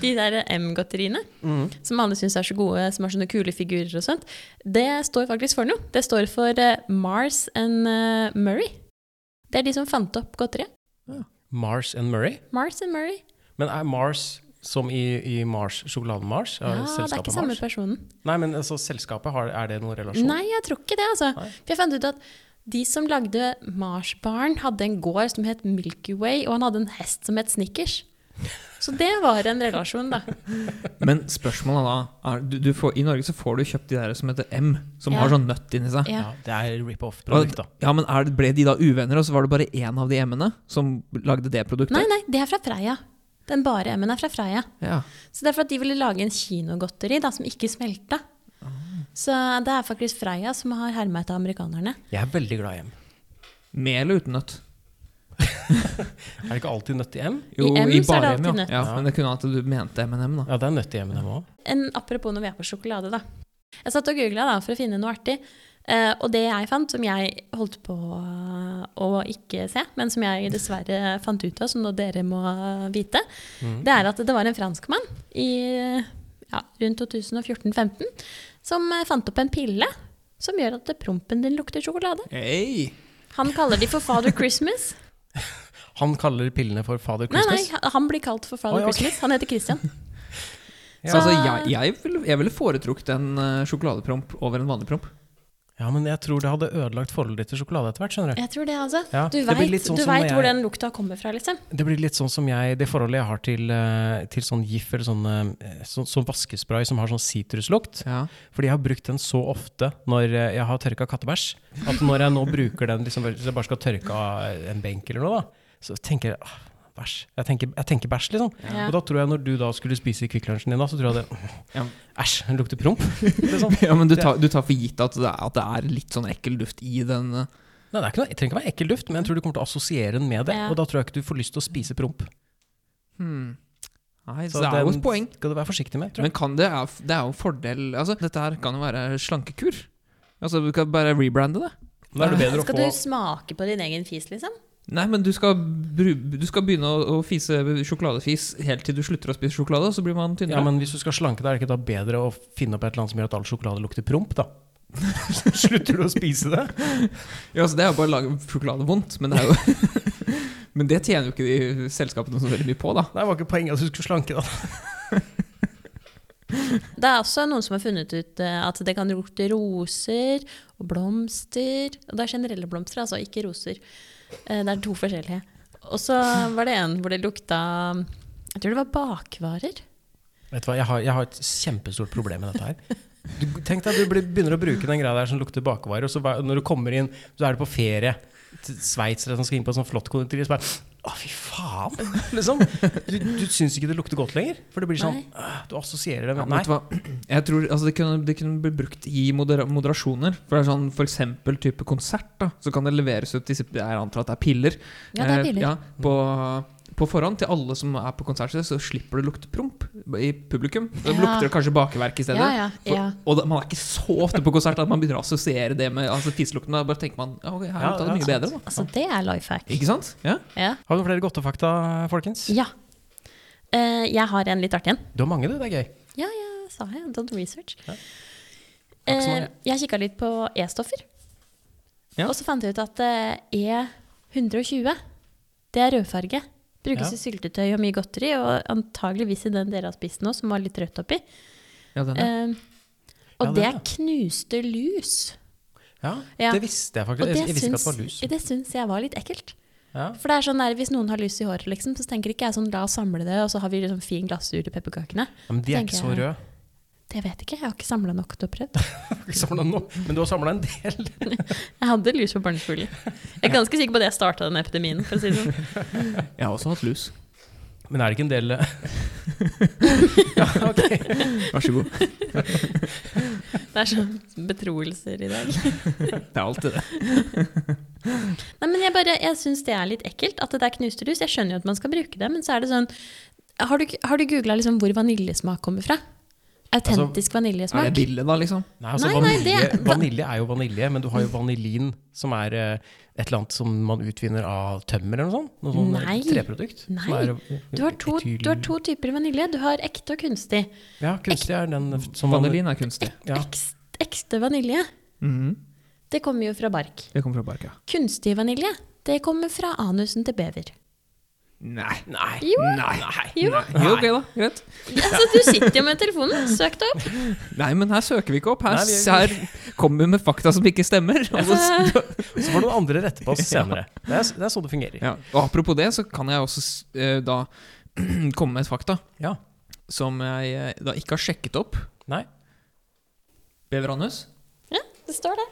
[SPEAKER 4] De der M-godteriene som alle syns er så gode, som har sånne kule figurer og sånt, det står faktisk for noe. Det står for eh, Mars and eh, Murray. Det er de som fant opp godteriet.
[SPEAKER 2] Mars and Murray.
[SPEAKER 4] Mars and Murray.
[SPEAKER 2] Men er Mars som i, i Mars, sjokoladen Mars?
[SPEAKER 4] Ja, det er
[SPEAKER 2] selskapet
[SPEAKER 4] ikke samme
[SPEAKER 2] Mars?
[SPEAKER 4] personen.
[SPEAKER 2] Nei, men altså, selskapet, har, er det noen relasjon?
[SPEAKER 4] Nei, jeg tror ikke det, altså.
[SPEAKER 2] Nei.
[SPEAKER 4] For jeg fant ut at de som lagde Mars-baren, hadde en gård som het Milky Way, og han hadde en hest som het Snickers. Så det var en relasjon, da.
[SPEAKER 3] Men spørsmålet da er, du, du får, I Norge så får du kjøpt de der som heter M, som
[SPEAKER 4] Ja.
[SPEAKER 3] har sånn nøtt inni seg.
[SPEAKER 4] [laughs] Ja.
[SPEAKER 2] Ja, det er rip-off-produkt, da.
[SPEAKER 3] Ja, men er, det- Ble de da uvenner, og så var det bare én av de M-ene som lagde det produktet?
[SPEAKER 4] Nei, nei, det er fra Freia. Den bare M-en er fra Freia.
[SPEAKER 3] Ja.
[SPEAKER 4] Så det er for at de ville lage en kinogodteri da, som ikke smelta. Så det er faktisk Freia som har herma etter amerikanerne.
[SPEAKER 2] Jeg er veldig glad i M.
[SPEAKER 3] Med eller uten nøtt?
[SPEAKER 2] Er det ikke alltid nøtt i M?
[SPEAKER 4] I M så er det
[SPEAKER 3] bare
[SPEAKER 4] alltid nøtt.
[SPEAKER 3] Ja. ja, Men det kunne at du mente M&M, da.
[SPEAKER 2] Ja, det er nøtt i M&M òg.
[SPEAKER 4] En, apropos når vi er på sjokolade, da. Jeg satt og googla da, for å finne noe artig. Eh, og det jeg fant, som jeg holdt på å ikke se, men som jeg dessverre fant ut av, som nå dere må vite,
[SPEAKER 2] Mm.
[SPEAKER 4] det er at det var en franskmann i ja, rundt 2014-15 som eh, fant opp en pille som gjør at prompen din lukter sjokolade.
[SPEAKER 3] Hey.
[SPEAKER 4] Han kaller de for Father
[SPEAKER 2] [laughs]
[SPEAKER 4] Christmas.
[SPEAKER 2] Han kaller pillene for Father
[SPEAKER 4] Nei, nei,
[SPEAKER 2] Christmas.
[SPEAKER 4] han- han blir kalt for Father
[SPEAKER 2] Oi, ok.
[SPEAKER 4] Christmas. Han heter
[SPEAKER 2] [laughs]
[SPEAKER 4] Christian.
[SPEAKER 2] Ja.
[SPEAKER 3] Så, altså, jeg, jeg, ville, jeg ville foretrukket en eh, sjokoladepromp over en vanlig promp.
[SPEAKER 2] Ja, men jeg tror det hadde ødelagt forholdet ditt til sjokolade etter hvert, skjønner du.
[SPEAKER 4] Jeg tror det, altså.
[SPEAKER 2] Ja,
[SPEAKER 4] du
[SPEAKER 2] det blir
[SPEAKER 4] veit
[SPEAKER 2] litt sånn som når
[SPEAKER 4] hvor
[SPEAKER 2] jeg-
[SPEAKER 4] den lukta kommer fra, liksom.
[SPEAKER 2] Det blir litt sånn som jeg, det forholdet jeg har til, eh, til sånn GIF eller sånn, eh, sånn, sånn vaskespray som har sånn sitruslukt.
[SPEAKER 3] Ja.
[SPEAKER 2] Fordi jeg har brukt den så ofte når eh, jeg har tørka kattebæsj, at når jeg nå bruker den liksom, hvis jeg bare skal tørke av en benk eller noe, da, så tenker jeg ah, bæsj. Jeg tenker, jeg tenker bæsj, liksom.
[SPEAKER 4] Ja.
[SPEAKER 2] Og da tror jeg når du da skulle spise Kvikk Lunsjen din, da, så tror jeg det
[SPEAKER 3] Ja.
[SPEAKER 2] Æsj, den lukter
[SPEAKER 3] [laughs]
[SPEAKER 2] promp. Liksom.
[SPEAKER 3] [laughs] ja, men du tar, du tar for gitt at det, er, at det er litt sånn ekkel duft i den. eh.
[SPEAKER 2] Nei, det, er ikke noe, det trenger ikke være ekkel duft, men jeg tror du kommer til å assosiere den med det.
[SPEAKER 4] Ja.
[SPEAKER 2] Og da tror jeg ikke du får lyst til å spise promp.
[SPEAKER 3] Hmm. Nei, så,
[SPEAKER 2] Så
[SPEAKER 3] det er jo
[SPEAKER 2] den
[SPEAKER 3] et poeng.
[SPEAKER 2] Skal du være forsiktig med, tror jeg.
[SPEAKER 3] Men kan det, er- det er jo en fordel altså, Dette her kan jo være slankekur. Altså, Du kan bare rebrande det.
[SPEAKER 2] Men da er det bedre å
[SPEAKER 4] Skal
[SPEAKER 2] få
[SPEAKER 4] du smake på din egen fis, liksom?
[SPEAKER 3] Nei, men du skal, bru- du skal begynne å, å fise sjokoladefis helt til du slutter å spise sjokolade, og så blir man tynnere.
[SPEAKER 2] Ja, men hvis du skal slanke deg, er det ikke da bedre å finne opp et eller annet som gjør at all sjokolade lukter promp, da? [laughs] Så Slutter du å spise det?
[SPEAKER 3] Ja, altså, det er jo bare å lage sjokolade vondt, men det er jo [laughs] Men det tjener jo ikke de selskapene så veldig mye på, da.
[SPEAKER 2] Nei, det var ikke poenget at du skulle slanke deg.
[SPEAKER 4] Det er også noen som har funnet ut eh, at det kan lukte roser og blomster. Og det er generelle blomster, altså, ikke roser. Eh, Det er to forskjellige. Og så var det en hvor det lukta Jeg tror det var bakvarer.
[SPEAKER 2] Vet du hva, jeg har, jeg har et kjempestort problem med dette her. Du, tenk deg at du blir- begynner å bruke den greia der som lukter bakvarer, og så hva- når du kommer inn, så er du på ferie til Sveits eller noe sånt, skal inn på en sånn flott konditori, så bare Å, fy faen! [laughs] Liksom. Du, du syns ikke det lukter godt lenger? For det blir sånn «Åh», Du assosierer det
[SPEAKER 3] Ja,
[SPEAKER 2] med
[SPEAKER 3] men
[SPEAKER 2] Nei.
[SPEAKER 3] vet du hva? Jeg tror altså, det, kunne, det kunne bli brukt i modera moderasjoner. For, det er sånn, for eksempel type konsert, da, så kan det leveres ut disse, Jeg antar at det er piller.
[SPEAKER 4] Ja, det er
[SPEAKER 3] Eh,
[SPEAKER 4] piller.
[SPEAKER 3] ja, på, på forhånd til alle som er på konsert, så slipper det å lukte promp i publikum. Da
[SPEAKER 4] Ja.
[SPEAKER 3] lukter det kanskje bakeverk i stedet.
[SPEAKER 4] Ja, ja,
[SPEAKER 3] For,
[SPEAKER 4] ja.
[SPEAKER 3] Og da, man er ikke så ofte på konsert at man begynner å assosiere det med altså, fiselukten. Da bare tenker man ja, ok, her
[SPEAKER 2] Ja,
[SPEAKER 3] lukta det
[SPEAKER 2] ja,
[SPEAKER 3] mye
[SPEAKER 2] sant.
[SPEAKER 3] bedre. Da.
[SPEAKER 4] Altså, det er life hack.
[SPEAKER 3] Ikke sant? Ja.
[SPEAKER 4] Ja.
[SPEAKER 2] Har du flere godtefakta, folkens?
[SPEAKER 4] ja. Eh, Jeg har en litt artig en.
[SPEAKER 2] Du har mange, du. Det er gøy.
[SPEAKER 4] Ja, ja, sa jeg. Don't research.
[SPEAKER 2] Ja. Takk så
[SPEAKER 4] Eh,
[SPEAKER 2] mye.
[SPEAKER 4] jeg kikka litt på E-stoffer.
[SPEAKER 3] Ja.
[SPEAKER 4] Og så fant jeg ut at eh, E120, det er rødfarge. Brukes
[SPEAKER 2] Ja.
[SPEAKER 4] i syltetøy og mye godteri, og antageligvis i den dere har spist nå, som var litt rødt oppi.
[SPEAKER 3] Ja, den, ja.
[SPEAKER 4] Eh,
[SPEAKER 2] Ja,
[SPEAKER 4] og
[SPEAKER 2] den,
[SPEAKER 4] det
[SPEAKER 2] ja.
[SPEAKER 4] er knuste lus.
[SPEAKER 2] Ja,
[SPEAKER 4] Ja.
[SPEAKER 2] det visste jeg faktisk.
[SPEAKER 4] Og
[SPEAKER 2] Jeg,
[SPEAKER 4] det
[SPEAKER 2] jeg visste ikke at det var lus.
[SPEAKER 4] syns, det syns jeg var litt ekkelt.
[SPEAKER 2] Ja.
[SPEAKER 4] For det er sånn der, Hvis noen har lus i håret, liksom, så tenker ikke jeg sånn la oss samle det, og så har vi liksom fin glassur til pepperkakene.
[SPEAKER 2] Ja, Men de er ikke
[SPEAKER 4] tenker
[SPEAKER 2] så
[SPEAKER 4] jeg-
[SPEAKER 2] røde. [laughs]
[SPEAKER 4] Det vet jeg ikke, jeg har ikke samla nok til å prøve.
[SPEAKER 2] Ikke samlet nå, Men du har samla en del.
[SPEAKER 4] Jeg hadde lus på barneskolen. Jeg er ganske sikker på at jeg starta den epidemien. For å si det sånn.
[SPEAKER 3] Jeg har også hatt lus.
[SPEAKER 2] Men er det ikke en del Ja, ok.
[SPEAKER 3] Vær så god.
[SPEAKER 4] Det er sånn betroelser i dag.
[SPEAKER 3] Det er alltid det.
[SPEAKER 4] Nei, men Jeg, bare- jeg syns det er litt ekkelt at det er knuste lus. Jeg skjønner jo at man skal bruke det, men så er det sånn Har du, har du googla liksom hvor vaniljesmak kommer fra? Autentisk
[SPEAKER 3] Altså, Er det
[SPEAKER 4] vaniljesmak?
[SPEAKER 3] billig, da, liksom?
[SPEAKER 2] Nei, altså,
[SPEAKER 4] Nei, nei,
[SPEAKER 2] vanilje,
[SPEAKER 4] det-
[SPEAKER 2] vanilje er jo vanilje, men du har jo vanilin, som er eh, et eller annet som man utvinner av tømmer eller noe sånt. Noe sånt
[SPEAKER 4] Nei.
[SPEAKER 2] treprodukt. som
[SPEAKER 4] Nei.
[SPEAKER 2] er, eh,
[SPEAKER 4] Du har, to,
[SPEAKER 2] etyl-
[SPEAKER 4] du har to typer vanilje. Du har ekte og kunstig.
[SPEAKER 2] Ja, kunstig er den som man-
[SPEAKER 3] Vanilin er kunstig.
[SPEAKER 2] Ja.
[SPEAKER 4] Ekst- Ekte vanilje,
[SPEAKER 3] Mhm.
[SPEAKER 4] det kommer jo fra bark.
[SPEAKER 3] Det kommer fra barka.
[SPEAKER 4] Kunstig vanilje, det kommer fra anusen til bever.
[SPEAKER 3] Nei.
[SPEAKER 2] Nei.
[SPEAKER 4] Jo.
[SPEAKER 2] Nei. Nei.
[SPEAKER 4] Jo.
[SPEAKER 3] Jo, ok da, greit.
[SPEAKER 4] Altså, du sitter jo med telefonen. Søk det opp.
[SPEAKER 3] Nei, men her søker vi ikke opp. Her,
[SPEAKER 2] Nei, vi-
[SPEAKER 3] her kommer vi med fakta som ikke stemmer. Og, så,
[SPEAKER 2] Så får noen andre rette på
[SPEAKER 4] [laughs]
[SPEAKER 2] oss senere. Det er, det er sånn det fungerer.
[SPEAKER 3] ja. og apropos det, så kan jeg også s- eh, da [clears throat] komme med et fakta
[SPEAKER 2] Ja.
[SPEAKER 3] som jeg eh, da ikke har sjekket opp.
[SPEAKER 2] Nei.
[SPEAKER 3] Beveranus.
[SPEAKER 4] Ja, det står det.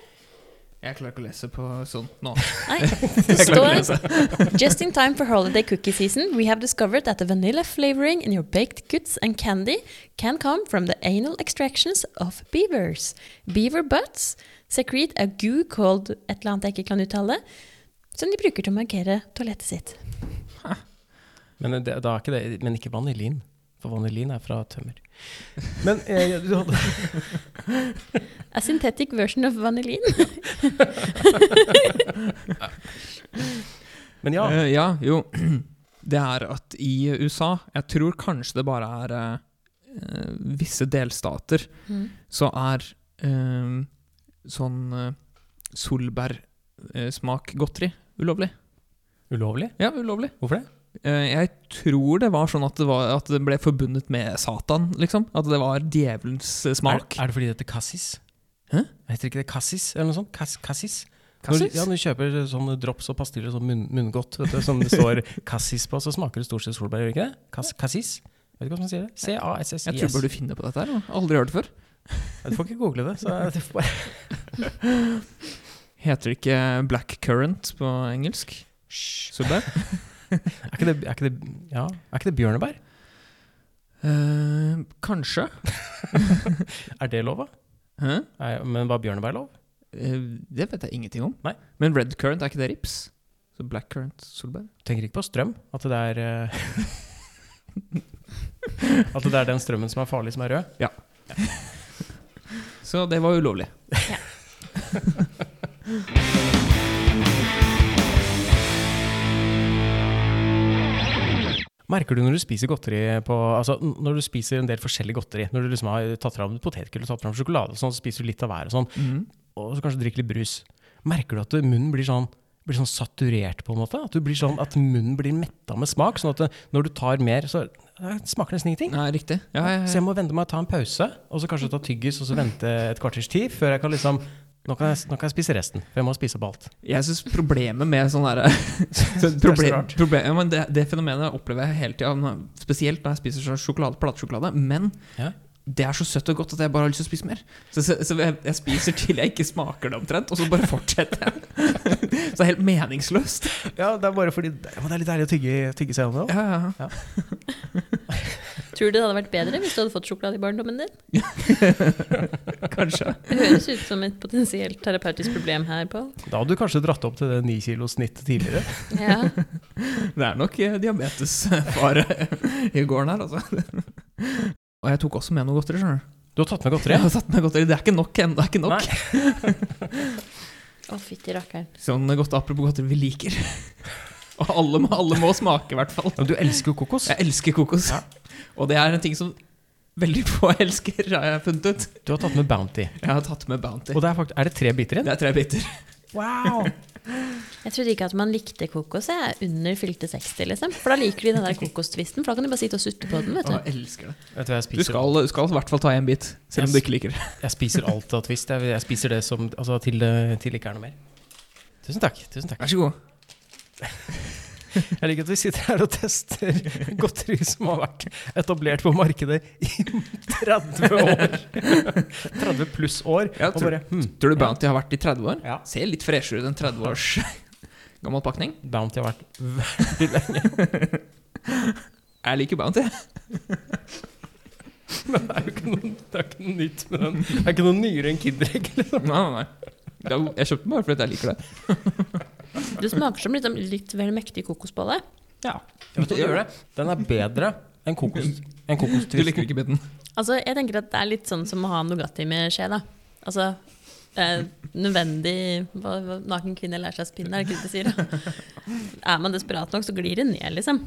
[SPEAKER 3] Jeg klarer ikke å lese på sånt nå.
[SPEAKER 4] Nei, [laughs] det står [laughs] Just in time for holiday cookie season, we have discovered that the vanilla flavoring in your baked goods and candy can come from the anal extractions of beavers. Beaver butts secrete a goo called et eller annet jeg ikke kan uttale, som de bruker til å markere toalettet sitt.
[SPEAKER 2] Men, eh, det, da er ikke det, men ikke vanilin. For vanilin er fra tømmer. Men eh, [laughs] du hadde
[SPEAKER 4] A synthetic version of vanillin.
[SPEAKER 2] Men ja.
[SPEAKER 3] Eh, ja, jo. [clears throat] Det er at i USA, jeg tror kanskje det bare er eh, eh, visse delstater,
[SPEAKER 4] Mm.
[SPEAKER 3] så er eh, sånn eh, solbærsmak godteri ulovlig.
[SPEAKER 2] Ulovlig?
[SPEAKER 3] Ja, ulovlig.
[SPEAKER 2] Hvorfor det?
[SPEAKER 3] Eh, jeg tror det var sånn at det, var, at det ble forbundet med Satan, liksom. At det var djevelens eh, smak.
[SPEAKER 2] Er, er det fordi det heter cassis?
[SPEAKER 3] Hæ?
[SPEAKER 2] Heter ikke det cassis eller noe sånt? Cass, cassis? Når,
[SPEAKER 3] Cassis?
[SPEAKER 2] ja, når du kjøper sånne drops og pastiller og sånn munn, munngodt vet du, som det står cassis på, så smaker det stort sett solbær, gjør det ikke det? Cass, cassis? Vet du hva man sier det?
[SPEAKER 3] jeg tror
[SPEAKER 2] C-a-s-s-i-s.
[SPEAKER 3] bare du finner på dette her. da. Aldri hørt det før.
[SPEAKER 2] Du får ikke google det. Så det får bare...
[SPEAKER 3] Heter det ikke black current på engelsk?
[SPEAKER 2] Hysj. [laughs]
[SPEAKER 3] Solbær?
[SPEAKER 2] Er ikke det, er ikke det, ja. er ikke det bjørnebær?
[SPEAKER 3] Eh, kanskje.
[SPEAKER 2] Er det lov, da?
[SPEAKER 3] Hæ?
[SPEAKER 2] Nei, Men var bjørnebær lov?
[SPEAKER 3] Eh, Det vet jeg ingenting om.
[SPEAKER 2] Nei.
[SPEAKER 3] Men red currant, er ikke det rips? Så black currant, solbær?
[SPEAKER 2] Tenker ikke på strøm. At det er eh, [laughs] At det er den strømmen som er farlig, som er rød.
[SPEAKER 3] Så det var ulovlig.
[SPEAKER 2] Merker du når du spiser godteri på Altså n- når du spiser en del forskjellig godteri, når du liksom har tatt fram potetgull og tatt fram sjokolade, og sånn, så spiser du litt av hver og sånn,
[SPEAKER 3] Mhm.
[SPEAKER 2] og så kanskje drikker litt brus, merker du at munnen blir sånn blir sånn saturert, på en måte? At, du blir sånn, at munnen blir metta med smak? Sånn at det, når du tar mer, så eh, smaker nesten ingenting.
[SPEAKER 3] Nei, riktig. Ja, ja,
[SPEAKER 2] Så
[SPEAKER 3] ja.
[SPEAKER 2] jeg må vente meg å ta en pause, og så kanskje ta tyggis, og så vente et kvarters tid før jeg kan liksom nå kan, jeg, nå kan jeg spise resten, for jeg må spise opp alt.
[SPEAKER 3] Jeg syns problemet med sånn [laughs] derre
[SPEAKER 2] så
[SPEAKER 3] problem,
[SPEAKER 2] rart.
[SPEAKER 3] problem, ja, men det, det fenomenet opplever jeg hele tida, når- spesielt når jeg spiser sånn sjokolade, platesjokolade. Men
[SPEAKER 2] Ja.
[SPEAKER 3] det er så søtt og godt at jeg bare har lyst til å spise mer. Så, så, så jeg, jeg spiser til jeg ikke smaker det omtrent, og så bare fortsetter jeg. [laughs] så det er helt meningsløst.
[SPEAKER 2] Ja, det er bare fordi det er litt deilig å tygge, tygge seg om det.
[SPEAKER 3] Ja, ja, ja.
[SPEAKER 4] Tror du det hadde vært bedre hvis du hadde fått sjokolade i barndommen din?
[SPEAKER 3] [laughs] Kanskje.
[SPEAKER 4] Det høres ut som et potensielt terapeutisk problem her, Pål.
[SPEAKER 2] Da hadde du kanskje dratt opp til det ni kilos snittet tidligere.
[SPEAKER 4] Ja.
[SPEAKER 3] [laughs] Det er nok eh, diabetesfare [laughs] i gården her, altså. Og jeg tok også med noe godteri, skjønner du.
[SPEAKER 2] Du har tatt med godteri?
[SPEAKER 3] Jeg har tatt med godteri. Det er ikke nok ennå. Det er ikke [laughs] nok.
[SPEAKER 4] Å, fytti rakkeren.
[SPEAKER 3] Sånn godt apropos godteri vi liker. [laughs] Og alle må, alle må smake, i hvert fall.
[SPEAKER 2] Men Du elsker jo kokos.
[SPEAKER 3] Jeg elsker kokos.
[SPEAKER 2] Ja.
[SPEAKER 3] Og det er en ting som veldig få [laughs] elsker, har jeg funnet ut.
[SPEAKER 2] Du har tatt med Bounty.
[SPEAKER 3] Jeg har tatt med Bounty.
[SPEAKER 2] Og det er, fakt er det tre biter igjen?
[SPEAKER 3] Det er tre biter. [laughs]
[SPEAKER 2] Wow!
[SPEAKER 4] Jeg trodde ikke at man likte kokos jeg, under fylte 60, liksom. For da liker de den der kokostvisten, for da kan du bare sitte og sutte på den, vet
[SPEAKER 3] Og
[SPEAKER 4] du.
[SPEAKER 3] jeg elsker det.
[SPEAKER 2] Vet du hva jeg
[SPEAKER 3] Du
[SPEAKER 2] spiser?
[SPEAKER 3] skal, du skal i hvert fall ta en bit, selv om du
[SPEAKER 2] Yes.
[SPEAKER 3] ikke liker det.
[SPEAKER 2] Jeg spiser alt av Twist. Jeg, jeg spiser det som, altså, til, det- til det ikke er noe mer. Tusen takk. tusen takk.
[SPEAKER 3] Vær så god.
[SPEAKER 2] Jeg liker at vi sitter her og tester [laughs] godteri som har vært etablert på markedet i 30
[SPEAKER 3] [laughs]
[SPEAKER 2] år. 30 pluss år.
[SPEAKER 3] Ja,
[SPEAKER 2] og
[SPEAKER 3] tror-
[SPEAKER 2] bare, hmm,
[SPEAKER 3] Tror du Bounty har vært i 30 år?
[SPEAKER 2] Ja.
[SPEAKER 3] Ser litt freshere ut enn [laughs] 30 års gammel [laughs] pakning.
[SPEAKER 2] Bounty har vært [laughs] veldig lenge.
[SPEAKER 3] Jeg liker Bounty. [laughs]
[SPEAKER 2] Men det er jo ikke noe, det er ikke noe nytt med den. Det er ikke noe nyere enn Kinder Egg. Liksom.
[SPEAKER 3] Nei, nei, nei. Det er- Jeg kjøpte den bare fordi jeg liker det.
[SPEAKER 4] Du smaker som liksom, litt vel mektig kokosbolle.
[SPEAKER 2] Ja. Den er bedre enn
[SPEAKER 3] [laughs]
[SPEAKER 2] kokos. Enn kokos
[SPEAKER 3] Du liker ikke biten.
[SPEAKER 4] Altså, jeg tenker at det er litt sånn som å ha Nugatti med skje, da. Altså, eh, nødvendig hva, hva, Naken kvinne lærer seg å spinne, er det ikke det de sier? da? er man desperat nok, så glir det ned, liksom.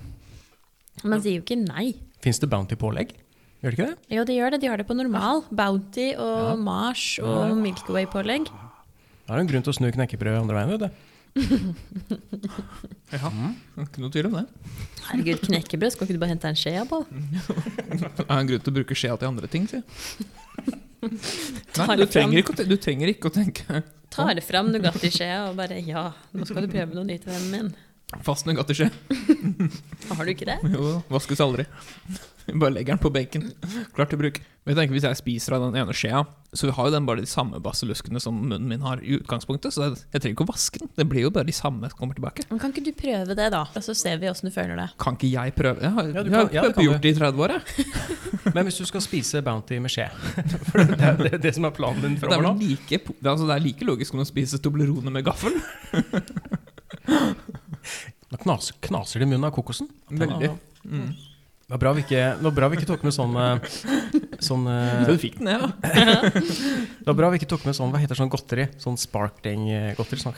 [SPEAKER 4] Man sier jo ikke nei.
[SPEAKER 2] Fins det Bounty-pålegg? Gjør det ikke det?
[SPEAKER 4] Jo, de gjør det. De har det på normal. Bounty og Mars
[SPEAKER 2] Ja.
[SPEAKER 4] og Milkway-pålegg.
[SPEAKER 2] Da er det en grunn til å snu knekkebrød andre veien. vet du.
[SPEAKER 3] Ja, ikke noe tvil om det.
[SPEAKER 4] Herregud, knekkebrød. Skal ikke du bare hente en skje av Pål?
[SPEAKER 3] Det er en grunn til å bruke skjea til andre ting, sier [laughs] jeg.
[SPEAKER 4] Ta
[SPEAKER 3] Nei, du
[SPEAKER 4] det fram.
[SPEAKER 3] trenger, ikke å, te- du trenger ikke å tenke
[SPEAKER 4] Tar fram Nugatti-skjea og bare ja, nå skal du prøve noe nytt, vennen min.
[SPEAKER 3] fast nøgatteskje.
[SPEAKER 4] Har du ikke det?
[SPEAKER 3] Jo, da, vaskes aldri. Bare legger den på benken. Klar til bruk. Men jeg tenker, hvis jeg spiser av den ene skjea, så har jo den bare de samme basilluskene som munnen min har i utgangspunktet, så jeg, jeg trenger ikke å vaske den. Det blir jo bare de samme som kommer tilbake.
[SPEAKER 4] Men Kan ikke du prøve det, da? Og så ser vi åssen du føler det.
[SPEAKER 3] Kan ikke jeg prøve? Jeg har,
[SPEAKER 2] Ja, du
[SPEAKER 3] jeg har
[SPEAKER 2] kan- ja, det
[SPEAKER 3] ikke
[SPEAKER 2] kan
[SPEAKER 3] gjort det i 30 år, jeg.
[SPEAKER 2] Men hvis du skal spise Bounty med skje [laughs] For det er jo det, det som er planen din
[SPEAKER 3] Det er,
[SPEAKER 2] framover nå.
[SPEAKER 3] vel like, po- altså, det er like logisk som å spise Toblerone med gaffel.
[SPEAKER 2] Da knas, knaser det i munnen av kokosen.
[SPEAKER 3] Veldig. Mm.
[SPEAKER 2] Ja, Det var bra vi ikke, det var bra vi ikke tok med sånn eh, Sånn eh,
[SPEAKER 3] [laughs] Så du fikk den, ja.
[SPEAKER 2] Det var bra vi ikke tok med sånn Hva heter sånn godteri? Sånn sparkling-godteri? Sånn,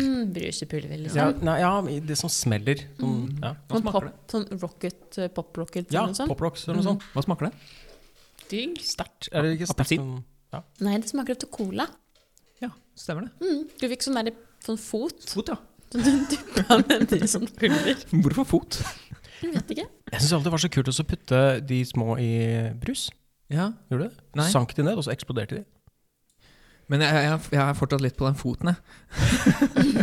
[SPEAKER 4] Mm, Brusepulver, liksom.
[SPEAKER 2] ja, nei, ja, det som smeller. Sånn, ja,
[SPEAKER 3] Hva
[SPEAKER 4] Sånn
[SPEAKER 3] smaker det?
[SPEAKER 4] pop, sånn rocket, eh, pop rocket
[SPEAKER 2] ja
[SPEAKER 4] eller noe sånt.
[SPEAKER 2] Pop Rocks eller noe sånt.
[SPEAKER 3] Hva smaker det?
[SPEAKER 4] Digg.
[SPEAKER 2] Sterkt. Er det ikke sterkt?
[SPEAKER 3] Mm. Appelsin?
[SPEAKER 2] men-
[SPEAKER 4] Nei, det smaker opp til cola.
[SPEAKER 3] Ja, stemmer det.
[SPEAKER 4] Mm, du fikk sånn derre sånn fot [laughs]
[SPEAKER 3] Fot, ja.
[SPEAKER 4] som du duppa ned i sånn pulver.
[SPEAKER 3] Hvorfor fot?
[SPEAKER 4] Jeg vet ikke.
[SPEAKER 2] Jeg syns alltid det var så kult å så putte de små i brus.
[SPEAKER 3] Ja,
[SPEAKER 2] Gjorde du det?
[SPEAKER 3] Nei.
[SPEAKER 2] Sank de ned, og så eksploderte de.
[SPEAKER 3] Men jeg, jeg, jeg er fortsatt litt på den foten, jeg.
[SPEAKER 2] [laughs]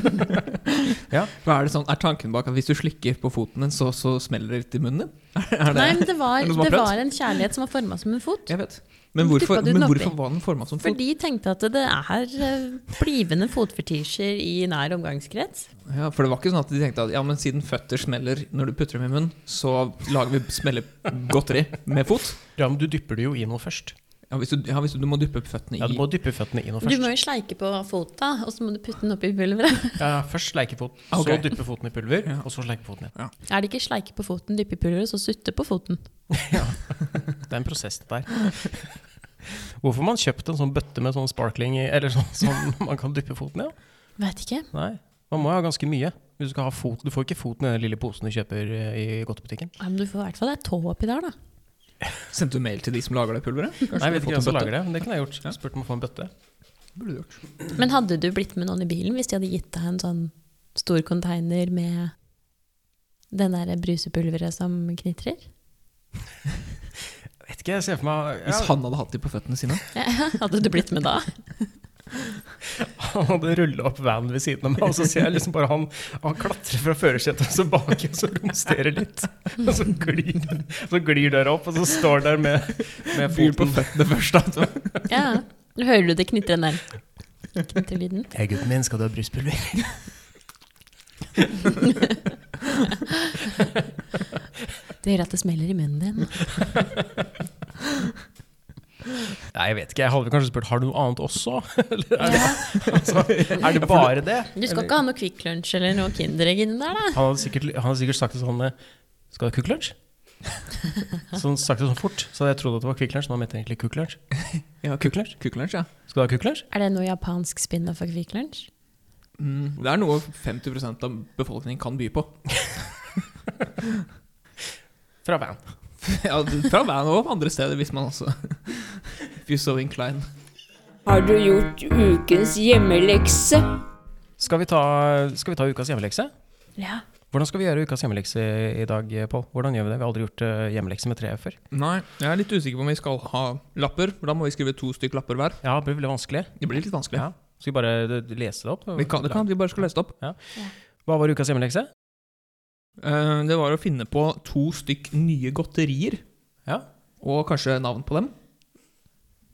[SPEAKER 2] Ja.
[SPEAKER 3] For er, det sånn, er tanken bak at hvis du slikker på foten din, så, så smeller det litt i munnen din? Er, er det,
[SPEAKER 4] Nei, men det var,
[SPEAKER 3] Er det noen som har
[SPEAKER 4] det
[SPEAKER 3] prøvd?
[SPEAKER 4] var en kjærlighet som var forma som en fot.
[SPEAKER 3] Jeg vet. Men
[SPEAKER 4] Hvorfor
[SPEAKER 3] hvorfor,
[SPEAKER 4] dyppet du den
[SPEAKER 3] men
[SPEAKER 4] oppi?
[SPEAKER 3] hvorfor var den forma som
[SPEAKER 4] For
[SPEAKER 3] fot?
[SPEAKER 4] de tenkte at det er eh, blivende fotfetisjer i nær omgangskrets.
[SPEAKER 3] Ja, for det var ikke sånn at de tenkte at ja, men siden føtter smeller når du putter dem i munnen, så lager vi smellegodteri med fot?
[SPEAKER 2] Ja, men du dypper det jo i noe først.
[SPEAKER 3] Ja, hvis du, ja, hvis du, du må dyppe føttene i
[SPEAKER 2] Ja, Du må dyppe føttene i noe
[SPEAKER 4] Du må
[SPEAKER 2] først.
[SPEAKER 4] jo sleike på fota, og så må du putte den oppi pulveret.
[SPEAKER 2] Ja, først sleikefot, så
[SPEAKER 3] Ok.
[SPEAKER 2] dyppe foten i pulver,
[SPEAKER 3] Ja.
[SPEAKER 2] og så sleikefoten igjen.
[SPEAKER 4] [laughs] Er det ikke sleike på foten, dyppe i pulveret, så sutte på foten?
[SPEAKER 2] Det er en prosess, det der. [laughs] Hvorfor har man kjøpt en sånn bøtte med [laughs] sånn sparkling i, eller sånn som man kan dyppe foten i? da?
[SPEAKER 4] Vet ikke.
[SPEAKER 2] Nei, man må jo ha ganske mye. Hvis du skal ha fot, du får ikke foten i den lille posen du kjøper eh, i godtebutikken.
[SPEAKER 4] Ja, men du får i hvert fall ei tå oppi der, da.
[SPEAKER 3] Sendte du mail til de som lager det pulveret? Kanskje
[SPEAKER 2] Nei, jeg vet
[SPEAKER 3] du
[SPEAKER 2] ikke
[SPEAKER 3] har
[SPEAKER 2] hvem som
[SPEAKER 3] fått en
[SPEAKER 2] lager det, men det kunne jeg gjort.
[SPEAKER 3] Ja.
[SPEAKER 2] Spurt om å få en bøtte.
[SPEAKER 3] bøtte? Burde du gjort.
[SPEAKER 4] Men hadde du blitt med noen i bilen hvis de hadde gitt deg en sånn stor container med den der brusepulveret som knitrer?
[SPEAKER 2] Vet ikke, jeg ser for meg
[SPEAKER 3] Hvis
[SPEAKER 2] ja,
[SPEAKER 3] han hadde hatt de på føttene sine?
[SPEAKER 4] [laughs] Hadde du blitt med da?
[SPEAKER 2] Han hadde rulla opp vanen ved siden av meg, og så ser jeg liksom bare han, han klatre fra førersetet og så bak, og så romsterer litt. Og så glir, så glir døra opp, og så står han der med, med
[SPEAKER 3] Fyr på
[SPEAKER 2] foten
[SPEAKER 3] føttene først, da.
[SPEAKER 4] Ja. Hører du det knitrer der? Knitrelyden?
[SPEAKER 2] Hei, gutten min, skal du ha bruspulver?
[SPEAKER 4] [laughs] Det gjør at det smeller i munnen din.
[SPEAKER 2] Nei, jeg vet ikke. Jeg hadde kanskje spurt har du noe annet også? [laughs] Eller er det,
[SPEAKER 4] Ja.
[SPEAKER 2] altså, er det bare det?
[SPEAKER 4] Du skal ikke ha noe Kvikk Lunsj eller noe Kinderegg inni der, da?
[SPEAKER 2] Han hadde sikkert, han hadde sikkert sagt det sånn eh, Skal du ha Kukk [laughs] Lunsj? Så han sagt det sånn fort, så hadde jeg trodd at det var Kvikk Lunsj. Men han mente egentlig Kukk Lunsj.
[SPEAKER 3] Ja,
[SPEAKER 2] Kukk Lunsj?
[SPEAKER 3] Kukelunsj, ja.
[SPEAKER 2] Skal du ha Kukk Lunsj?
[SPEAKER 4] Er det noe japansk spin-off av Kvikk Lunsj?
[SPEAKER 3] Mm, det er noe 50 av befolkningen kan by på.
[SPEAKER 2] Fra Van.
[SPEAKER 3] [laughs] ja, fra van og andre steder, hvis man også [laughs] If you so incline.
[SPEAKER 1] Har du gjort ukens hjemmelekse?
[SPEAKER 2] Skal vi ta, skal vi ta ukas hjemmelekse?
[SPEAKER 4] Ja.
[SPEAKER 2] Hvordan skal vi gjøre ukas hjemmelekse i dag, Pål? Hvordan gjør vi det? Vi har aldri gjort eh, hjemmelekse med tre før.
[SPEAKER 3] Nei, jeg er litt usikker på om vi skal ha lapper. for Da må vi skrive to stykk lapper hver.
[SPEAKER 2] Ja, det blir veldig vanskelig.
[SPEAKER 3] Det blir litt vanskelig.
[SPEAKER 2] Ja. Skal vi bare eh, lese det opp?
[SPEAKER 3] Vi kan, det kan, at vi bare skal lese det opp.
[SPEAKER 2] Hva var ukas hjemmelekse?
[SPEAKER 3] Eh, det var å finne på to stykk nye godterier.
[SPEAKER 2] Ja.
[SPEAKER 3] Og kanskje navn på dem.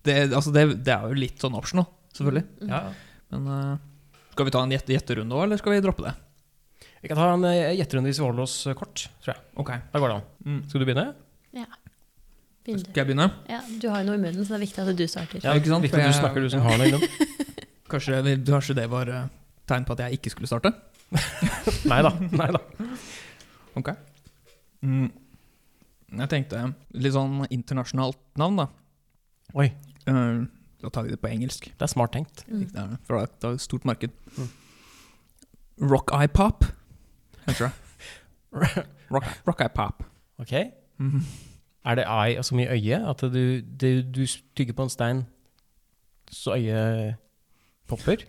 [SPEAKER 3] Det, altså det, det er jo litt sånn optional, selvfølgelig.
[SPEAKER 4] Mm.
[SPEAKER 2] Ja.
[SPEAKER 3] Men eh, skal vi ta en gjette- gjetterunde òg, eller skal vi droppe det?
[SPEAKER 2] Vi kan ta en eh, gjetterunde hvis vi holder oss eh, kort, tror jeg.
[SPEAKER 3] Ok.
[SPEAKER 2] Da går det an.
[SPEAKER 3] Mm.
[SPEAKER 2] Skal du begynne?
[SPEAKER 4] Begynn du.
[SPEAKER 3] Skal jeg begynne?
[SPEAKER 4] Ja, du har jo noe i munnen, så det er viktig at du starter.
[SPEAKER 3] Ja, ikke sant?
[SPEAKER 2] Viktig at du snakker, du som har noe innom. [laughs]
[SPEAKER 3] Kanskje, kanskje det var eh, tegn på at jeg ikke skulle starte?
[SPEAKER 2] Nei da. Nei da.
[SPEAKER 3] Ok. Mm. Jeg tenkte litt sånn internasjonalt navn, da.
[SPEAKER 2] Oi,
[SPEAKER 3] Eh, da tar vi det på engelsk.
[SPEAKER 2] det er smart tenkt.
[SPEAKER 4] Mm.
[SPEAKER 3] Det er- For det er- det er et stort marked. Rock Eye Pop, heter det. Rock, [laughs] rock Eye Pop.
[SPEAKER 2] [laughs] Ok? Er det eye, altså mye øye? At du, du, du tygger på en stein, så øyet popper?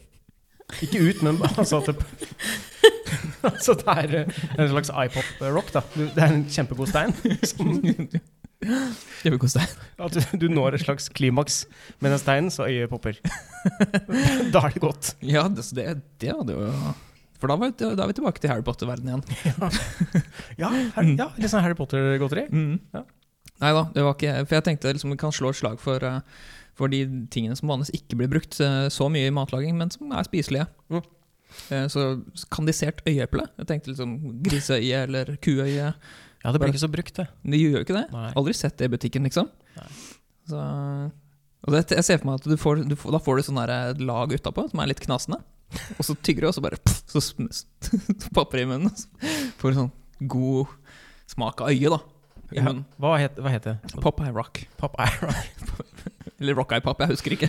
[SPEAKER 2] Ikke ut, men [laughs] altså at det [laughs] Altså det er eh, en slags iPop-rock, da. Du, det er en kjempegod stein. Som,
[SPEAKER 3] Det vil koste deg.
[SPEAKER 2] at du, du når et slags klimaks med den steinen, så øyet popper. [laughs] Da er det godt.
[SPEAKER 3] Ja, det, så det, det hadde jo For da, var, vi- da er vi tilbake til Harry Potter-verdenen igjen.
[SPEAKER 2] Ja, her, ja litt sånn Harry Potter-godteri. Ja.
[SPEAKER 3] Nei da, det var ikke For jeg tenkte liksom vi kan slå et slag for, eh, for de tingene som vanligvis ikke blir brukt eh, så mye i matlaging, men som er spiselige.
[SPEAKER 2] Mm.
[SPEAKER 3] Eh, Så kandisert øyeeple. Jeg tenkte liksom griseøye eller kuøye.
[SPEAKER 2] Ja, det blir ikke så brukt, det.
[SPEAKER 3] Men De gjør jo ikke det.
[SPEAKER 2] Nei.
[SPEAKER 3] Aldri sett det i butikken, liksom.
[SPEAKER 2] Nei.
[SPEAKER 3] Så, og det, jeg ser for meg at du får, du får, da får du sånn der lag utapå som er litt knasende. Og så tygger du, og så bare pff, så, sm- [laughs] så papper det i munnen. og Så får du sånn god smak av øye, da. I
[SPEAKER 2] Ja.
[SPEAKER 3] munnen.
[SPEAKER 2] Hva het, hva het det?
[SPEAKER 3] Pop eye rock.
[SPEAKER 2] Pop Iron.
[SPEAKER 3] Eller rock eye pop, jeg husker ikke.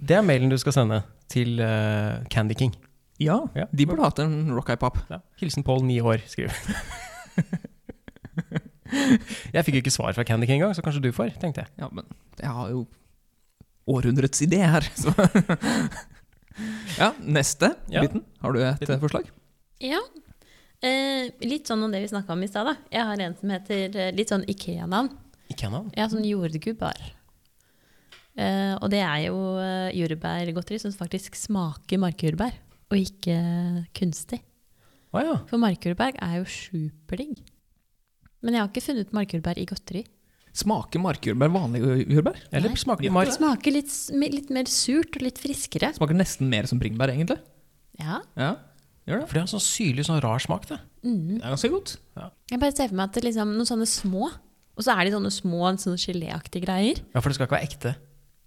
[SPEAKER 2] Det er mailen du skal sende til eh, Candy King.
[SPEAKER 3] Ja,
[SPEAKER 2] Ja.
[SPEAKER 3] de burde hatt en rock eye pop.
[SPEAKER 2] Hilsen Pål, ni år, skriver Jeg fikk jo ikke svar fra Candy King engang, så kanskje du får, tenkte jeg.
[SPEAKER 3] Ja, men jeg har jo århundrets idé her, så [laughs] Ja, neste
[SPEAKER 2] Ja.
[SPEAKER 3] biten. Har du et eh,
[SPEAKER 2] Biten.
[SPEAKER 3] forslag?
[SPEAKER 4] Ja. Eh, litt sånn om det vi snakka om i stad, da. Jeg har en som heter eh, litt sånn Ikea-navn.
[SPEAKER 2] Ikke han
[SPEAKER 4] Ja, sånn jordgubbar. Eh, og det er jo eh, jordbærgodteri som faktisk smaker markjordbær, og ikke kunstig.
[SPEAKER 2] Å ja.
[SPEAKER 4] For markjordbær er jo superdigg. Men jeg har ikke funnet markjordbær i godteri.
[SPEAKER 3] Smaker markjordbær vanlige jordbær?
[SPEAKER 2] Eller
[SPEAKER 4] Nei.
[SPEAKER 2] smaker
[SPEAKER 3] Gjør
[SPEAKER 2] det
[SPEAKER 4] Det
[SPEAKER 2] mark?
[SPEAKER 4] smaker litt, s- me- litt mer surt og litt friskere.
[SPEAKER 3] Smaker nesten mer som bringebær, egentlig.
[SPEAKER 4] Ja.
[SPEAKER 3] Ja, gjør det.
[SPEAKER 2] For det har sånn syrlig, sånn rar smak, det.
[SPEAKER 4] Mm.
[SPEAKER 3] Det er ganske godt.
[SPEAKER 4] Jeg bare ser for meg at det liksom, noen sånne små, og så er de sånne små sånn geléaktige greier.
[SPEAKER 2] Ja, for det skal ikke være ekte.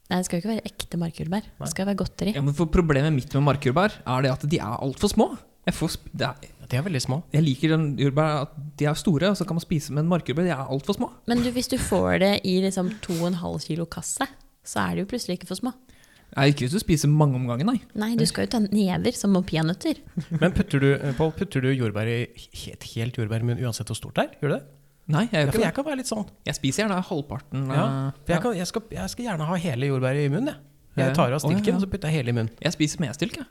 [SPEAKER 4] Nei, det skal jo ikke være ekte markjordbær. Det skal være godteri.
[SPEAKER 3] Ja, men for Problemet mitt med markjordbær er det at de er altfor små. Jeg, får sp det er,
[SPEAKER 2] Ja, De er veldig små.
[SPEAKER 3] jeg liker den jordbær at de er store, og så kan man spise med en markjordbær. De er altfor små.
[SPEAKER 4] Men du, hvis du får det i liksom 2,5 kilo kasse, så er det jo plutselig ikke for små.
[SPEAKER 3] Nei, ikke hvis du spiser mange om gangen, nei.
[SPEAKER 4] Nei, du skal jo ta never som om peanøtter.
[SPEAKER 2] Men putter du, eh, Paul, putter du jordbær i helt, helt jordbær i munnen uansett hvor stort det er? Gjør du det?
[SPEAKER 3] Nei, jeg
[SPEAKER 2] Ja,
[SPEAKER 3] gjør
[SPEAKER 2] for
[SPEAKER 3] ikke det.
[SPEAKER 2] jeg kan være litt sånn.
[SPEAKER 3] Jeg spiser gjerne halvparten.
[SPEAKER 2] Ja,
[SPEAKER 3] eh,
[SPEAKER 2] for jeg, kan, jeg, skal, jeg skal gjerne ha hele jordbæret i munnen, jeg.
[SPEAKER 3] Ja.
[SPEAKER 2] Jeg tar av
[SPEAKER 3] Å, ja,
[SPEAKER 2] stilken,
[SPEAKER 3] ja.
[SPEAKER 2] og så putter jeg hele i munnen. [laughs]
[SPEAKER 3] Jeg spiser med stilk, jeg.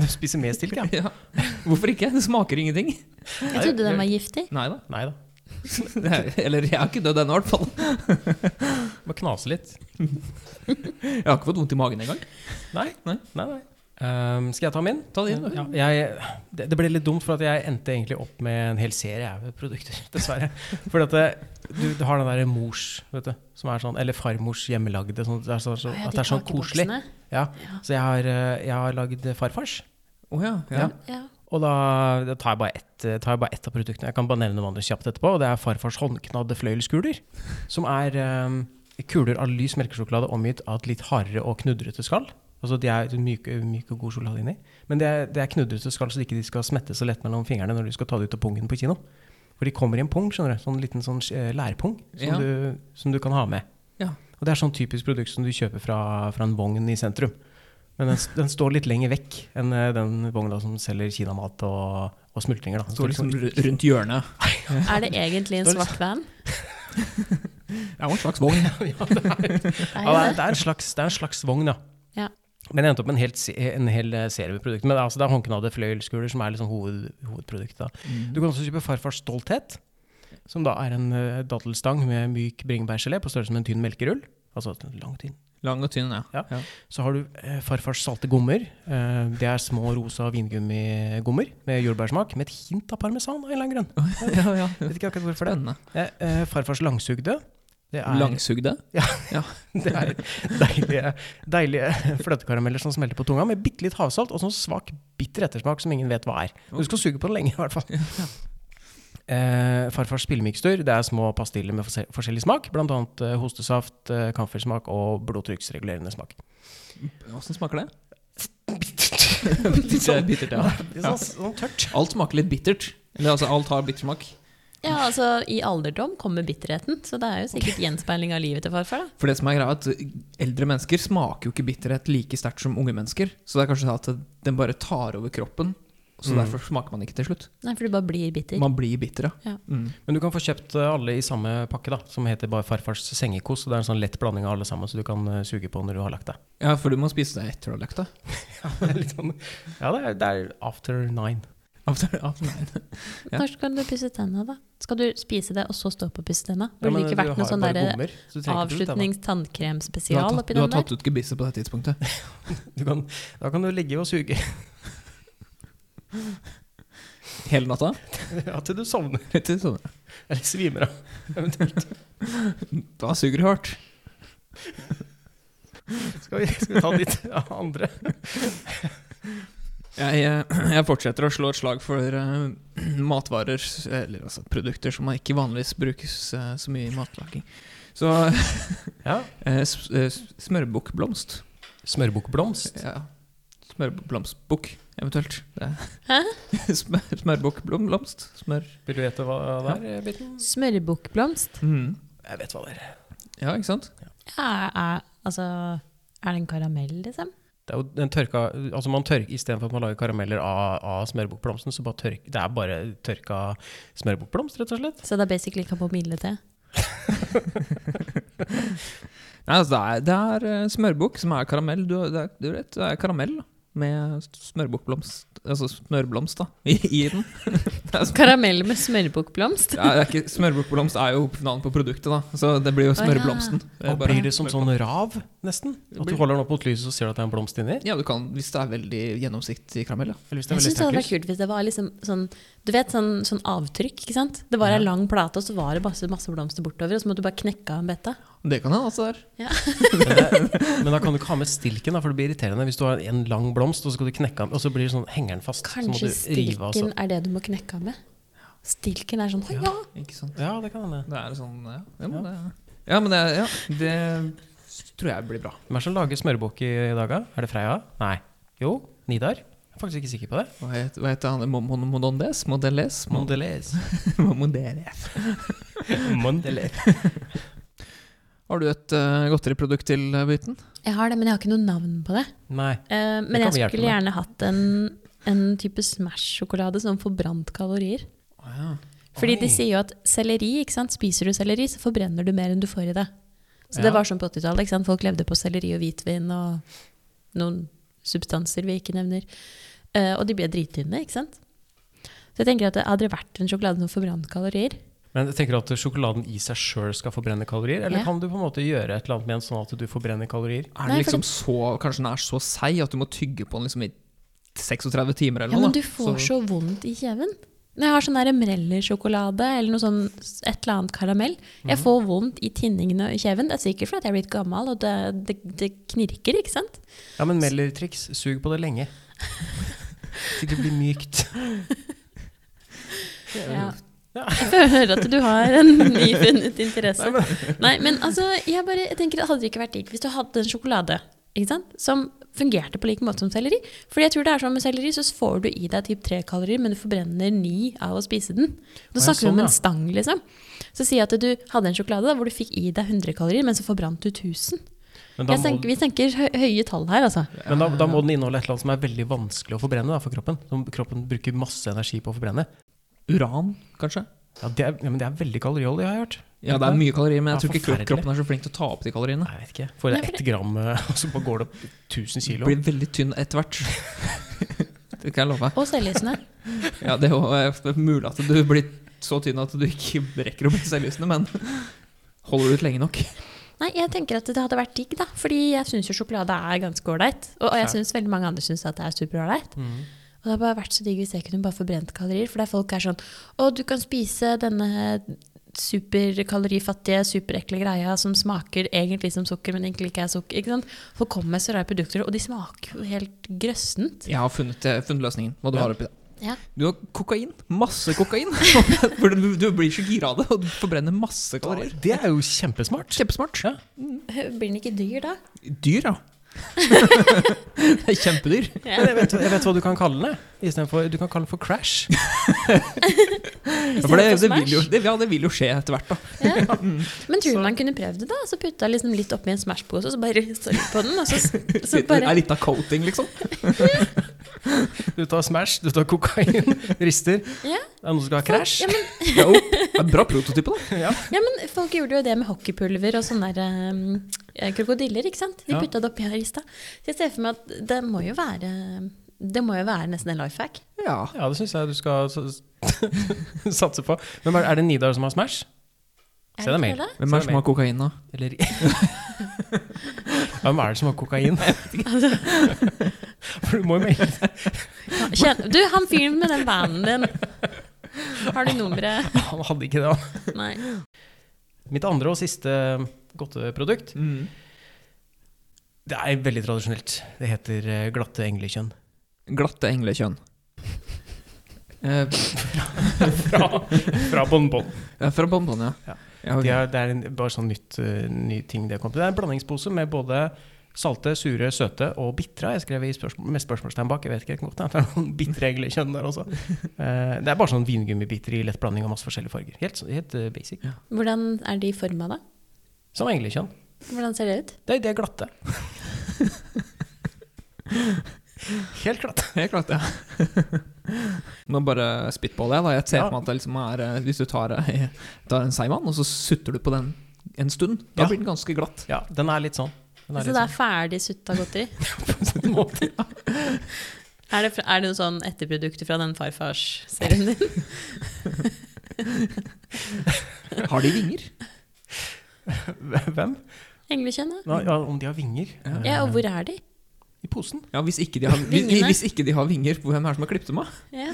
[SPEAKER 2] du spiser mer stilk, ja? [laughs]
[SPEAKER 3] Ja. [laughs] Hvorfor ikke? Det smaker ingenting.
[SPEAKER 4] Jeg trodde den var giftig.
[SPEAKER 3] Nei da.
[SPEAKER 2] Nei da.
[SPEAKER 3] [laughs] Det er, eller jeg har ikke dødd ennå, i hvert fall.
[SPEAKER 2] Må knase litt.
[SPEAKER 3] Jeg har ikke fått vondt i magen engang.
[SPEAKER 2] Nei.
[SPEAKER 3] Nei.
[SPEAKER 2] nei, nei. Ehm, skal jeg ta min?
[SPEAKER 3] Ta din, du.
[SPEAKER 2] Ja, jeg, det, det ble litt dumt, for at jeg endte egentlig opp med en hel serie jeg, med produkter, [laughs] dessverre. For at det, du, du har den derre mors, vet du, som er sånn, eller farmors hjemmelagde, sånn, det er så, så,
[SPEAKER 4] Å ja,
[SPEAKER 2] at
[SPEAKER 4] de
[SPEAKER 2] det er sånn koselig.
[SPEAKER 4] kakeboksene.
[SPEAKER 2] Ja.
[SPEAKER 4] Ja.
[SPEAKER 2] Så jeg har, eh, jeg har lagd farfars.
[SPEAKER 3] Å ja. ja.
[SPEAKER 2] Ja.
[SPEAKER 4] Ja.
[SPEAKER 2] Og da, da tar, jeg bare ett, eh, tar jeg bare ett av produktene. Jeg kan bare nevne noen andre kjapt etterpå. Og det er farfars håndknadde fløyelskuler. Som er eh, kuler av lys melkesjokolade omgitt av et litt hardere og knudrete skall. Altså De er myke, myke og god sjokolade inni. Men det er, det er knudrete skall, så de ikke skal smette så lett mellom fingrene når du skal ta det ut av pungen på kino. For de kommer i en pung, skjønner du. Sånn liten sånn eh, lærpung som,
[SPEAKER 3] Ja.
[SPEAKER 2] du, som du kan ha med.
[SPEAKER 3] Ja.
[SPEAKER 2] Og det er sånn typisk produkt som du kjøper fra, fra en vogn i sentrum. Men den, den står litt lenger vekk enn eh, den vogna som selger kinamat og, og smultringer. Da. Den
[SPEAKER 3] Står liksom
[SPEAKER 2] liksom-
[SPEAKER 3] ru- rundt hjørnet.
[SPEAKER 4] Er det egentlig en
[SPEAKER 2] Står det- sånn-
[SPEAKER 4] svart van?
[SPEAKER 3] Det er jo en slags vogn.
[SPEAKER 4] Det er
[SPEAKER 2] ja, det,
[SPEAKER 4] jo
[SPEAKER 2] er, det, er en slags, det er en slags vogn, ja.
[SPEAKER 4] Ja.
[SPEAKER 2] Men jeg endte opp med en hel, se- en hel eh, serie med produkter. Men det er, altså, det er håndknadde fløyelskuler som er liksom hoved, hovedproduktet. Da. Du kan også kjøpe Farfars Stolthet, som da er en eh, dattelstang med myk bringebærgelé på størrelse med en tynn melkerull. Altså lang, tynn.
[SPEAKER 3] Lang og tynn, ja.
[SPEAKER 2] Ja. Så har du eh, farfars salte gommer. Eh, det er små rosa vingummigommer med jordbærsmak med et hint av parmesan av en eller annen grunn.
[SPEAKER 3] [laughs] ja, ja.
[SPEAKER 2] Vet ikke akkurat hvorfor det.
[SPEAKER 3] Spennende.
[SPEAKER 2] Eh, eh, farfars langsugde. Det er,
[SPEAKER 3] Langsugde.
[SPEAKER 2] [laughs] det er deilige, deilige [laughs] fløtekarameller som smelter på tunga, med bitte litt havsalt og sånn svak, bitter ettersmak som ingen vet hva er. Men Du skal suge på den lenge, i hvert fall. [laughs] Eh, farfars spillemikstur. Det er små pastiller med forse- forskjellig smak, bl.a. Eh, hostesaft, eh, kamfersmak og blodtrykksregulerende smak.
[SPEAKER 3] Åssen smaker det? [laughs]
[SPEAKER 2] Bittert.
[SPEAKER 3] Det er bittert, ja.
[SPEAKER 2] Litt sånn, sånn tørt.
[SPEAKER 3] Alt smaker litt bittert. Eller altså, alt har bittersmak.
[SPEAKER 4] Ja, altså I alderdom kommer bitterheten, så det er jo sikkert gjenspeiling av livet til farfar. da.
[SPEAKER 3] For det som er greia, er at eldre mennesker smaker jo ikke bitterhet like sterkt som unge mennesker. Så det er kanskje sånn at den bare tar over kroppen, så
[SPEAKER 2] Mm.
[SPEAKER 3] derfor smaker man ikke til slutt.
[SPEAKER 4] Nei, for du bare blir bitter.
[SPEAKER 3] Man blir bitter,
[SPEAKER 4] Ja.
[SPEAKER 3] Mm.
[SPEAKER 2] Men du kan få kjøpt eh, alle i samme pakke, da, som heter bare Farfars sengekos. og Det er en sånn lett blanding av alle sammen, så du kan eh, suge på når du har lagt deg.
[SPEAKER 3] ja, for du må spise det etter du har [laughs] lagt deg.
[SPEAKER 2] Ja, det er, [laughs] litt sånn, ja, det er, det er after nine.
[SPEAKER 3] After, after nine. ja.
[SPEAKER 4] Når skal du pusse tenna, da? Skal du spise det, og så stå opp og pusse tenna?
[SPEAKER 2] Ja,
[SPEAKER 4] Burde
[SPEAKER 2] men
[SPEAKER 4] det ikke
[SPEAKER 2] du
[SPEAKER 4] vært
[SPEAKER 2] har
[SPEAKER 4] noe
[SPEAKER 2] jo
[SPEAKER 4] sånn
[SPEAKER 2] bare
[SPEAKER 4] derre
[SPEAKER 2] gommer, så du trenger ikke putte tenna.
[SPEAKER 3] Du har,
[SPEAKER 4] Avslutnings-tannkremspesial
[SPEAKER 3] tatt,
[SPEAKER 4] oppi
[SPEAKER 3] du har
[SPEAKER 4] den der.
[SPEAKER 3] tatt ut gebisset på det tidspunktet.
[SPEAKER 2] Du kan, da kan du ligge og suge [laughs]
[SPEAKER 3] Hele
[SPEAKER 4] [laughs]
[SPEAKER 3] natta.
[SPEAKER 2] ja, til du sovner
[SPEAKER 3] Litt til sånn.
[SPEAKER 2] eller svimer av. Eventuelt.
[SPEAKER 3] [laughs] Da suger det hardt.
[SPEAKER 2] Skal vi, skal vi ta litt av [laughs] andre?
[SPEAKER 3] Jeg, eh, [clears throat] jeg fortsetter å slå et slag for eh, [clears throat] matvarer, s- eller altså produkter som ikke vanligvis brukes eh, så mye i matlaging. Så
[SPEAKER 2] Ja.
[SPEAKER 3] eh, s- eh, s- smørbukkblomst.
[SPEAKER 2] Smørbukkblomst.
[SPEAKER 3] Ja. Smørblomstbukk, eventuelt. Det-
[SPEAKER 4] Hæ?
[SPEAKER 3] [laughs] Smør, smørbukkblomst. Smør.
[SPEAKER 2] Vil du vite hva det er, Bitten?
[SPEAKER 4] Smørbukkblomst?
[SPEAKER 3] Mm.
[SPEAKER 2] Jeg vet hva det er.
[SPEAKER 3] Ja, ikke sant?
[SPEAKER 4] Ja, er, altså, er det en karamell, liksom?
[SPEAKER 2] Det er jo den tørka, altså man tørk, Istedenfor at man lager karameller av, av smørbukkblomsten, så bare tørk, det er bare tørka smørbukkblomst, rett og slett.
[SPEAKER 4] Så det er basically kamomille til?
[SPEAKER 3] Nei, altså, det er, det er eh, smørbukk som er karamell. Du, det er, du vet, det er karamell da, med smørbukkblomst Altså smørblomst, da, i, i den. [laughs] Det er, sm-
[SPEAKER 4] Karamell med smørbukkblomst?
[SPEAKER 3] Ja, det er ikke, smørbukkblomst er jo navnet på produktet, da, så det blir jo
[SPEAKER 4] ja.
[SPEAKER 3] smørblomsten. Det er
[SPEAKER 2] Og
[SPEAKER 3] bare-
[SPEAKER 2] blir det som sånn rav, nesten? At du holder den opp mot lyset og ser du at det er en blomst inni?
[SPEAKER 3] Ja, du kan, hvis det er veldig gjennomsiktig karamell. Ja.
[SPEAKER 2] Eller hvis det
[SPEAKER 4] Jeg
[SPEAKER 2] er
[SPEAKER 4] syns
[SPEAKER 2] veldig
[SPEAKER 4] det hadde
[SPEAKER 2] sterkt
[SPEAKER 4] vært
[SPEAKER 2] lys?
[SPEAKER 4] kult hvis det var liksom sånn Du vet sånn, sånn avtrykk, ikke sant? Det var ei
[SPEAKER 2] Ja.
[SPEAKER 4] lang plate, og så var det masse, masse blomster bortover, og så måtte du bare knekke av en bete.
[SPEAKER 3] Det kan hende, altså. Der.
[SPEAKER 2] Men, det, men da kan du ikke ha med stilken, da, for det blir irriterende hvis du har en lang blomst, og så skal du knekke den, og så blir det sånn, henger den fast. så må
[SPEAKER 4] Kanskje
[SPEAKER 2] du rive av, så-
[SPEAKER 4] stilken er det du må knekke av med? Stilken er sånn Å ja!
[SPEAKER 3] Ikke sant.
[SPEAKER 2] Ja, det kan hende.
[SPEAKER 3] Det er sånn Ja, ja, men, det, ja, men det, ja, det s- tror jeg blir bra.
[SPEAKER 2] Hvem er det som lager smørbukk i i dag, da? Er det Freia? Nei. Jo, Nidar? Jeg er faktisk ikke sikker på det.
[SPEAKER 3] Hva heter, hva heter han? Mon- Mon- Monondes? Modelles? Mon- [laughs]
[SPEAKER 2] Mondelez. [laughs]
[SPEAKER 3] Mondeles.
[SPEAKER 2] Mondelez.
[SPEAKER 3] Har du et eh, godteriprodukt til eh, Byten?
[SPEAKER 4] Jeg har det, men jeg har ikke noe navn på det.
[SPEAKER 2] Nei.
[SPEAKER 4] Eh, men
[SPEAKER 2] kan
[SPEAKER 4] jeg
[SPEAKER 2] vi hjelpe
[SPEAKER 4] skulle gjerne hatt en, en type Smash-sjokolade som forbrant kalorier.
[SPEAKER 3] Å ja.
[SPEAKER 4] Fordi
[SPEAKER 2] Oi.
[SPEAKER 4] de sier jo at selleri, ikke sant? spiser du selleri, så forbrenner du mer enn du får i det. Så
[SPEAKER 2] Ja.
[SPEAKER 4] det var sånn på 80-tallet. ikke sant? Folk levde på selleri og hvitvin og noen substanser vi ikke nevner. Eh, og de ble drittynne, ikke sant. Så jeg tenker at det hadde det vært en sjokolade som forbrant kalorier.
[SPEAKER 2] Men tenker du at sjokoladen i seg sjøl skal forbrenne kalorier, eller
[SPEAKER 4] Ja.
[SPEAKER 2] kan du på en måte gjøre et eller annet med den sånn at du forbrenner kalorier?
[SPEAKER 3] Er den
[SPEAKER 4] Nei, for
[SPEAKER 3] liksom så Kanskje den er så seig at du må tygge på den liksom i 36 timer eller
[SPEAKER 4] Ja,
[SPEAKER 3] noe?
[SPEAKER 4] men
[SPEAKER 3] da.
[SPEAKER 4] du får så vondt i kjeven. Når jeg har sånn der Morelli-sjokolade eller noe sånn, et eller annet karamell, jeg får vondt i tinningene og i kjeven. Det er sikkert fordi jeg er blitt gammel, og det, det, det knirker, ikke sant?
[SPEAKER 2] Ja, men Meller-triks. Sug på det
[SPEAKER 4] [laughs]
[SPEAKER 2] lenge. Til det blir mykt.
[SPEAKER 4] Ja.
[SPEAKER 2] Ja.
[SPEAKER 4] Jeg føler at du har
[SPEAKER 2] [laughs]
[SPEAKER 4] en nyfunnet interesse. Nei, men, altså, jeg, bare, jeg tenker det hadde ikke vært digg hvis du hadde en sjokolade ikke sant? som fungerte på like måte som selleri. Fordi jeg tror det er sånn med selleri, så får du i deg typ tre kalorier, men du forbrenner ni av å spise den. Da
[SPEAKER 2] Å, ja,
[SPEAKER 4] snakker vi
[SPEAKER 2] sånn,
[SPEAKER 4] om
[SPEAKER 2] ja.
[SPEAKER 4] en stang, liksom. Så si at du hadde en sjokolade da, hvor du fikk i deg 100 kalorier, men så forbrant du 1000.
[SPEAKER 2] Men, da
[SPEAKER 4] Jeg
[SPEAKER 2] må,
[SPEAKER 4] tenker, vi tenker hø- høye tall her, altså.
[SPEAKER 2] men da, da må den inneholde et eller annet som er veldig vanskelig å forbrenne da, for kroppen. Som kroppen bruker masse energi på å forbrenne.
[SPEAKER 3] Uran, kanskje?
[SPEAKER 2] Ja, det er, ja, men det er veldig kaloriholdig, har jeg hørt.
[SPEAKER 3] Ja, det er mye kalorier, men jeg
[SPEAKER 2] Ja,
[SPEAKER 3] tror ikke
[SPEAKER 2] forferdelig.
[SPEAKER 3] kroppen er så flink til å ta opp de kaloriene.
[SPEAKER 2] Nei, jeg vet ikke. Får
[SPEAKER 4] Nei,
[SPEAKER 2] jeg
[SPEAKER 4] for
[SPEAKER 2] ett gram, eh, [laughs] og så bare går det opp 1000
[SPEAKER 3] Du
[SPEAKER 2] kilo.
[SPEAKER 3] blir veldig tynn etter hvert. [laughs] det kan jeg love.
[SPEAKER 4] Og selvlysende.
[SPEAKER 3] Ja, det er jo eh, mulig at du blir så tynn at du ikke rekker å bli selvlysende, men holder du ut lenge nok?
[SPEAKER 4] Nei, jeg tenker at det hadde vært digg, da. Fordi jeg syns jo sjokolade er ganske ålreit. Og og jeg syns veldig mange andre syns at det er superålreit.
[SPEAKER 2] Mm.
[SPEAKER 4] Og det hadde bare vært så digg hvis jeg kunne bare forbrent kalorier. For der folk er sånn Å, du kan spise denne superkalorifattige, superekle greia som smaker egentlig som sukker, men egentlig ikke er sukker. Ikke sant? Folk kommer med så rare produkter, og de smaker jo helt grøssent.
[SPEAKER 3] Jeg har funnet, eh, funnet løsningen. Hva du
[SPEAKER 2] Ja.
[SPEAKER 3] har oppi det.
[SPEAKER 4] Ja.
[SPEAKER 3] Du har kokain. Masse kokain. [laughs] For du, du blir så gira av det, og du forbrenner masse kalorier.
[SPEAKER 2] Det er jo kjempesmart.
[SPEAKER 3] Kjempesmart.
[SPEAKER 2] Ja.
[SPEAKER 4] [laughs] Blir den ikke dyr da?
[SPEAKER 3] Dyr, ja. [laughs] det er kjempedyr.
[SPEAKER 2] Men jeg vet, jeg vet hva du kan kalle den. eh, i stedet for- Du kan kalle den for Crash.
[SPEAKER 3] Ja, for det, det,
[SPEAKER 4] Istedenfor
[SPEAKER 3] vil jo,
[SPEAKER 4] Smash?
[SPEAKER 3] det, ja, det vil jo skje etter hvert, da.
[SPEAKER 4] Men tror du man kunne prøvd det, da? Så putta liksom litt oppi en Smash-pose, og så bare [laughs] rysta litt på den, og så, så
[SPEAKER 3] [laughs] Det
[SPEAKER 4] bare
[SPEAKER 3] er litt av coating, liksom.
[SPEAKER 2] Du tar Smash, du tar kokain, [laughs] rister.
[SPEAKER 4] Ja.
[SPEAKER 2] Det er noen som skal ha Crash.
[SPEAKER 4] Ja, men
[SPEAKER 3] Ja, jo. Det er en bra prototype, da.
[SPEAKER 2] [laughs] Ja.
[SPEAKER 4] Ja, men folk gjorde jo det med hockeypulver og sånne der, eh, krokodiller, ikke sant? De
[SPEAKER 2] Ja.
[SPEAKER 4] putta det oppi her i stad. Så jeg ser for meg at det må jo være det må jo være nesten en life hack.
[SPEAKER 3] Ja.
[SPEAKER 2] Ja, det syns jeg du skal s- [laughs] s- satse på. Men er er det Nidar som har Smash? Se deg mail.
[SPEAKER 3] Hvem er det som har kokain, da?
[SPEAKER 2] Eller Hvem er det som har [laughs] kokain? [laughs] For du må jo melde
[SPEAKER 4] Kjenn, du, han fyren med den vanen din. Har du nummeret?
[SPEAKER 2] Han hadde ikke det. han.
[SPEAKER 4] Nei.
[SPEAKER 2] Mitt andre og siste eh, godteprodukt,
[SPEAKER 3] Mm.
[SPEAKER 2] det er veldig tradisjonelt. Det heter eh, glatte englekjønn.
[SPEAKER 3] Glatte englekjønn. Eh,
[SPEAKER 2] [laughs] Fra, fra bonbon.
[SPEAKER 3] det er fra Bonbon, ja.
[SPEAKER 2] Ja.
[SPEAKER 3] Ja, ok.
[SPEAKER 2] De har, [laughs] det er en, bare sånn nytt, eh, ny ting de har kommet til. Det er en blandingspose med både salte, sure, søte og bitre. Jeg skrev i spørsmål, med spørsmålstegn bak, jeg vet ikke helt godt. Det er noen bitre englekjønn der [laughs] også. Eh, det er bare sånn vingummibiter i lett blanding av masse forskjellige farger. Helt, så- helt eh, basic.
[SPEAKER 4] Hvordan er de forma, da?
[SPEAKER 2] Som englekjønn.
[SPEAKER 4] Hvordan ser det ut?
[SPEAKER 2] Det, er- det er glatte. [laughs] Helt glatte.
[SPEAKER 3] [laughs] Helt klart, ja. [laughs] Nå bare spyttballer jeg, da. Jeg ser
[SPEAKER 2] Ja.
[SPEAKER 3] for meg at det liksom er eh, Hvis du tar, eh, tar en seigmann, og så sutter du på den en stund, da
[SPEAKER 2] Ja.
[SPEAKER 3] blir den ganske glatt.
[SPEAKER 2] Ja, den er litt [laughs] sånn. Den er
[SPEAKER 4] Så
[SPEAKER 2] litt
[SPEAKER 4] det er
[SPEAKER 2] sånn.
[SPEAKER 4] ferdig sutta godteri?
[SPEAKER 2] På en måte.
[SPEAKER 4] Er det, fra- er det noe sånn etterprodukter fra den farfars-serien din?
[SPEAKER 3] Har de vinger?
[SPEAKER 2] Hvem?
[SPEAKER 4] Englekjønn, da?
[SPEAKER 2] Ja, om de har vinger?
[SPEAKER 4] Ja, og hvor er de?
[SPEAKER 2] I posen.
[SPEAKER 3] [laughs]
[SPEAKER 2] [laughs]
[SPEAKER 3] Ja, hvis ikke de har, hvis,
[SPEAKER 4] Vingene?
[SPEAKER 3] hvis ikke de har vinger, hvem er det som har klippet dem av?
[SPEAKER 4] Ja.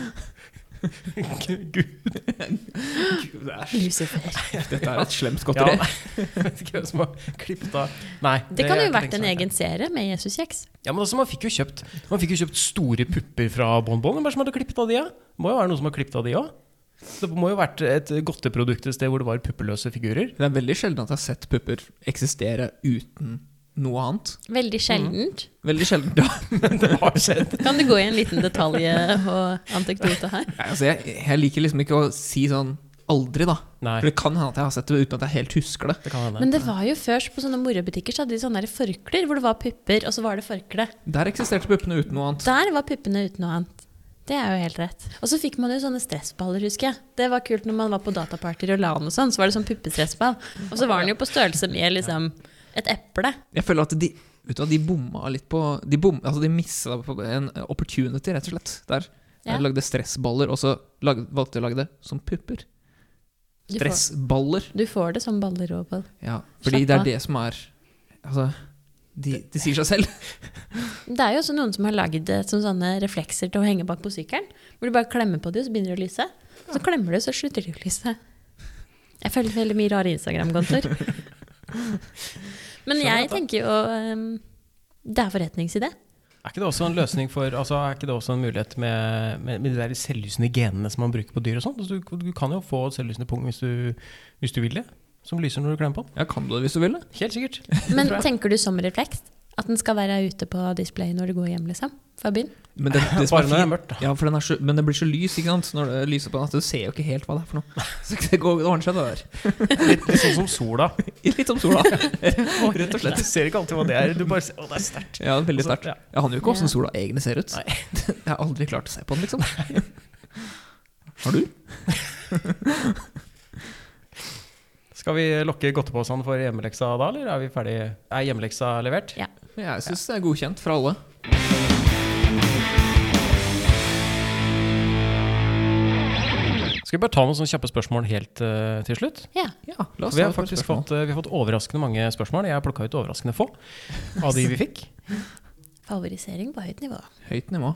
[SPEAKER 2] Gud,
[SPEAKER 3] Gud, æsj.
[SPEAKER 4] Lucifer.
[SPEAKER 3] Dette er et slemt godteri.
[SPEAKER 2] Ja, jeg vet ikke hvem som har klippet av Nei.
[SPEAKER 4] Det kan
[SPEAKER 2] er
[SPEAKER 4] jo
[SPEAKER 2] ikke
[SPEAKER 4] vært
[SPEAKER 2] tenkt
[SPEAKER 4] en
[SPEAKER 2] sånn.
[SPEAKER 4] egen serie med Jesuskjeks.
[SPEAKER 2] Ja, men altså, man fikk jo kjøpt Man fikk jo kjøpt store pupper fra Bonbon. Hvem er det som hadde klippet av de, ja? Det må jo være noen som har klippet av de òg. Det må jo ha vært et godteprodukt et sted hvor det var puppeløse figurer. [laughs]
[SPEAKER 3] Det er veldig sjelden at jeg har sett pupper eksistere uten noe annet.
[SPEAKER 4] Veldig sjeldent.
[SPEAKER 3] Veldig sjelden. Ja,
[SPEAKER 2] Men det har skjedd.
[SPEAKER 4] Kan du gå i en liten detalj eh, og antekdote her?
[SPEAKER 3] altså jeg, jeg liker liksom ikke å si sånn aldri, da.
[SPEAKER 2] Nei,
[SPEAKER 3] For det kan hende at jeg har sett det uten at jeg helt husker det.
[SPEAKER 2] det kan hende.
[SPEAKER 4] Men det var jo først på sånne morabutikker så hadde de sånne der forklær hvor det var pupper, og så var det forkle.
[SPEAKER 3] Der eksisterte puppene uten noe annet.
[SPEAKER 4] Der var puppene uten noe annet. Det er jo helt rett. Og så fikk man jo sånne stressballer, husker jeg. Det var kult når man var på datapartyer og la an og sånn, så var det sånn puppestressball. Og så var den jo på størrelse med liksom et eple.
[SPEAKER 3] Jeg føler at de vet du, hva, de bomma litt på De, bom, altså de missa på en opportunity, rett og slett. Der
[SPEAKER 4] Ja.
[SPEAKER 3] Jeg lagde stressballer, og så lag, valgte jeg å lage det som pupper.
[SPEAKER 4] Du får,
[SPEAKER 3] Stressballer.
[SPEAKER 4] du får det som baller og ball.
[SPEAKER 3] Ja, fordi
[SPEAKER 4] Slapp
[SPEAKER 3] det
[SPEAKER 4] av.
[SPEAKER 3] er det som er Altså, de, de sier seg selv.
[SPEAKER 4] Det er jo også noen som har lagd eh, som sånne reflekser til å henge bak på sykkelen. Hvor du bare klemmer på dem, så begynner de å lyse. Så klemmer du, så slutter de å lyse. Jeg følger veldig mye rare Instagram-kontoer. Men jeg tenker jo ehm, Det er forretningsidé.
[SPEAKER 2] Er ikke det også en løsning for altså, Er ikke det også en mulighet med, med, med de der selvlysende genene som man bruker på dyr og sånt? Altså, du, du kan jo få et selvlysende pung hvis du, hvis du vil det, som lyser når du klemmer på den.
[SPEAKER 3] Ja, kan du det hvis du vil det?
[SPEAKER 2] Helt [laughs] sikkert.
[SPEAKER 4] Men tenker du som refleks? At den skal være ute på display når du går hjem, liksom? Fra byen?
[SPEAKER 3] Men det, [laughs] det som
[SPEAKER 2] Bare når
[SPEAKER 3] er
[SPEAKER 2] det er
[SPEAKER 3] fint-
[SPEAKER 2] mørkt, da.
[SPEAKER 3] Ja, for den er så, men det blir så lys, ikke sant? Når det lyser på natta, du ser jo ikke helt hva det er for noe. [laughs] Så det går det ordner seg, det
[SPEAKER 2] Litt, litt sånn som [laughs] sola.
[SPEAKER 3] der. [laughs] Litt som sola. Rett og slett.
[SPEAKER 2] Du
[SPEAKER 3] [laughs]
[SPEAKER 2] ser ikke alltid hva det er. Du bare ser, å, det er sterkt.
[SPEAKER 3] Ja, veldig
[SPEAKER 2] Altså,
[SPEAKER 3] sterkt.
[SPEAKER 2] ja.
[SPEAKER 3] Jeg aner jo ikke
[SPEAKER 4] Ja.
[SPEAKER 3] åssen sola egentlig ser ut.
[SPEAKER 2] Nei.
[SPEAKER 3] [laughs] Jeg har aldri klart å se på den, liksom. Har du?
[SPEAKER 2] Skal vi lokke godteposen for hjemmeleksa da, eller er vi ferdig? Er hjemmeleksa levert?
[SPEAKER 4] Ja.
[SPEAKER 3] Jeg syns det er godkjent for alle.
[SPEAKER 2] Skal vi bare ta noen sånne kjappe spørsmål helt eh, til slutt?
[SPEAKER 4] ja.
[SPEAKER 3] Ja, la oss
[SPEAKER 2] Vi
[SPEAKER 3] ta
[SPEAKER 2] har
[SPEAKER 3] et par
[SPEAKER 2] faktisk
[SPEAKER 3] spørsmål.
[SPEAKER 2] fått, eh, vi har fått overraskende mange spørsmål. Jeg har plukka ut overraskende få av de vi [laughs] fikk.
[SPEAKER 4] Favorisering på høyt nivå.
[SPEAKER 3] høyt nivå.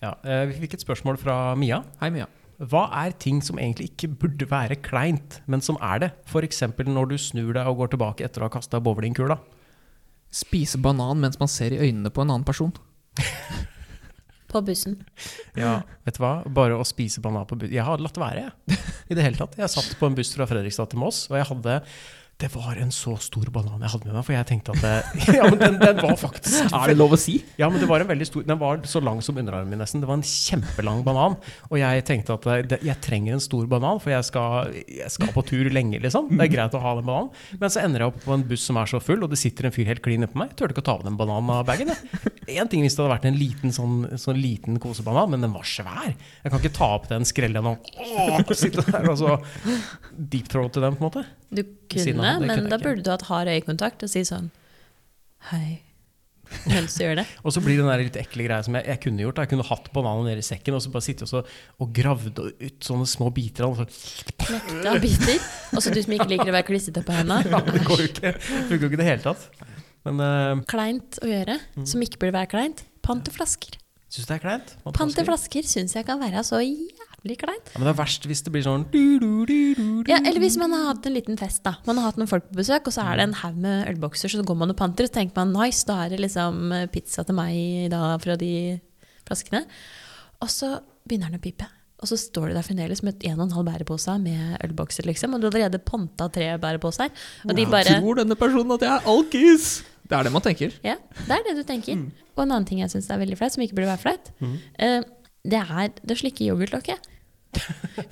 [SPEAKER 2] Ja, eh, vi fikk et spørsmål fra Mia.
[SPEAKER 3] Hei, Mia.
[SPEAKER 2] Hva er ting som egentlig ikke burde være kleint, men som er det? F.eks. når du snur deg og går tilbake etter å ha kasta bowlingkula.
[SPEAKER 3] Spise banan mens man ser i øynene på en annen person.
[SPEAKER 4] På bussen.
[SPEAKER 2] Ja, vet du hva? Bare å spise banan på buss Jeg har latt være, jeg. I det hele tatt. Jeg satt på en buss fra Fredrikstad til Moss, og jeg hadde det var en så stor banan jeg hadde med meg, for jeg tenkte at det, [laughs] Ja, men den, den var faktisk
[SPEAKER 3] [laughs] Er det lov å si?
[SPEAKER 2] Ja, men det var en veldig stor Den var så lang som underarmen min, nesten. Det var en kjempelang banan. Og jeg tenkte at det- det- jeg trenger en stor banan, for jeg skal, jeg skal på tur lenge, liksom. Det er greit å ha den bananen. Men så ender jeg opp på en buss som er så full, og det sitter en fyr helt klin nede på meg. Jeg turte ikke å ta av den bananen av bagen. Én ting hvis det hadde vært en liten sånn, sånn liten kosebanan, men den var svær. Jeg kan ikke ta opp den, skrelle den og åh, sitte der og så deep throat til den, på en måte.
[SPEAKER 4] Du
[SPEAKER 2] Siden
[SPEAKER 4] kunne,
[SPEAKER 2] av, det
[SPEAKER 4] men
[SPEAKER 2] kunne jeg
[SPEAKER 4] da
[SPEAKER 2] ikke.
[SPEAKER 4] burde du hatt hard øyekontakt og si sånn Hei. Mens du gjør det.
[SPEAKER 2] Og så blir det den der litt ekle greia som jeg, jeg kunne gjort. da. Jeg kunne hatt bananen nede i sekken og så bare sitte og, så, og gravd ut sånne små biter av den. og så- [laughs]
[SPEAKER 4] Knekte av biter. Også Altså, du som ikke liker å være klissete på
[SPEAKER 2] Ja, det går
[SPEAKER 4] hendene.
[SPEAKER 2] jo ikke. Det funker jo ikke i det hele tatt. Men uh,
[SPEAKER 4] Kleint å gjøre,
[SPEAKER 2] Mm.
[SPEAKER 4] som ikke burde være kleint. Panteflasker.
[SPEAKER 2] syns du det er kleint? At man skal-
[SPEAKER 4] Panteflasker syns jeg kan være så jævlig kleint.
[SPEAKER 2] Ja, men det er verst hvis det blir sånn du, du, du, du, du.
[SPEAKER 4] Ja, eller hvis man har hatt en liten fest, da. Man har hatt noen folk på besøk, og så er det
[SPEAKER 2] Mm.
[SPEAKER 4] en haug med ølbokser, så går man og panter, og så tenker man nice, da er det liksom eh, pizza til meg da fra de flaskene. Og så begynner den å pipe. Og så står du der fremdeles med en og en halv bærepose med ølbokser, liksom. Og du har allerede panta tre bæreposer. Og de bare
[SPEAKER 3] Tror denne personen at jeg er alkis? Det er det man tenker.
[SPEAKER 4] Ja, det er det du tenker. Og en annen ting jeg syns er veldig flaut, som ikke burde være flaut, eh, det er det å slikke yoghurtlokket.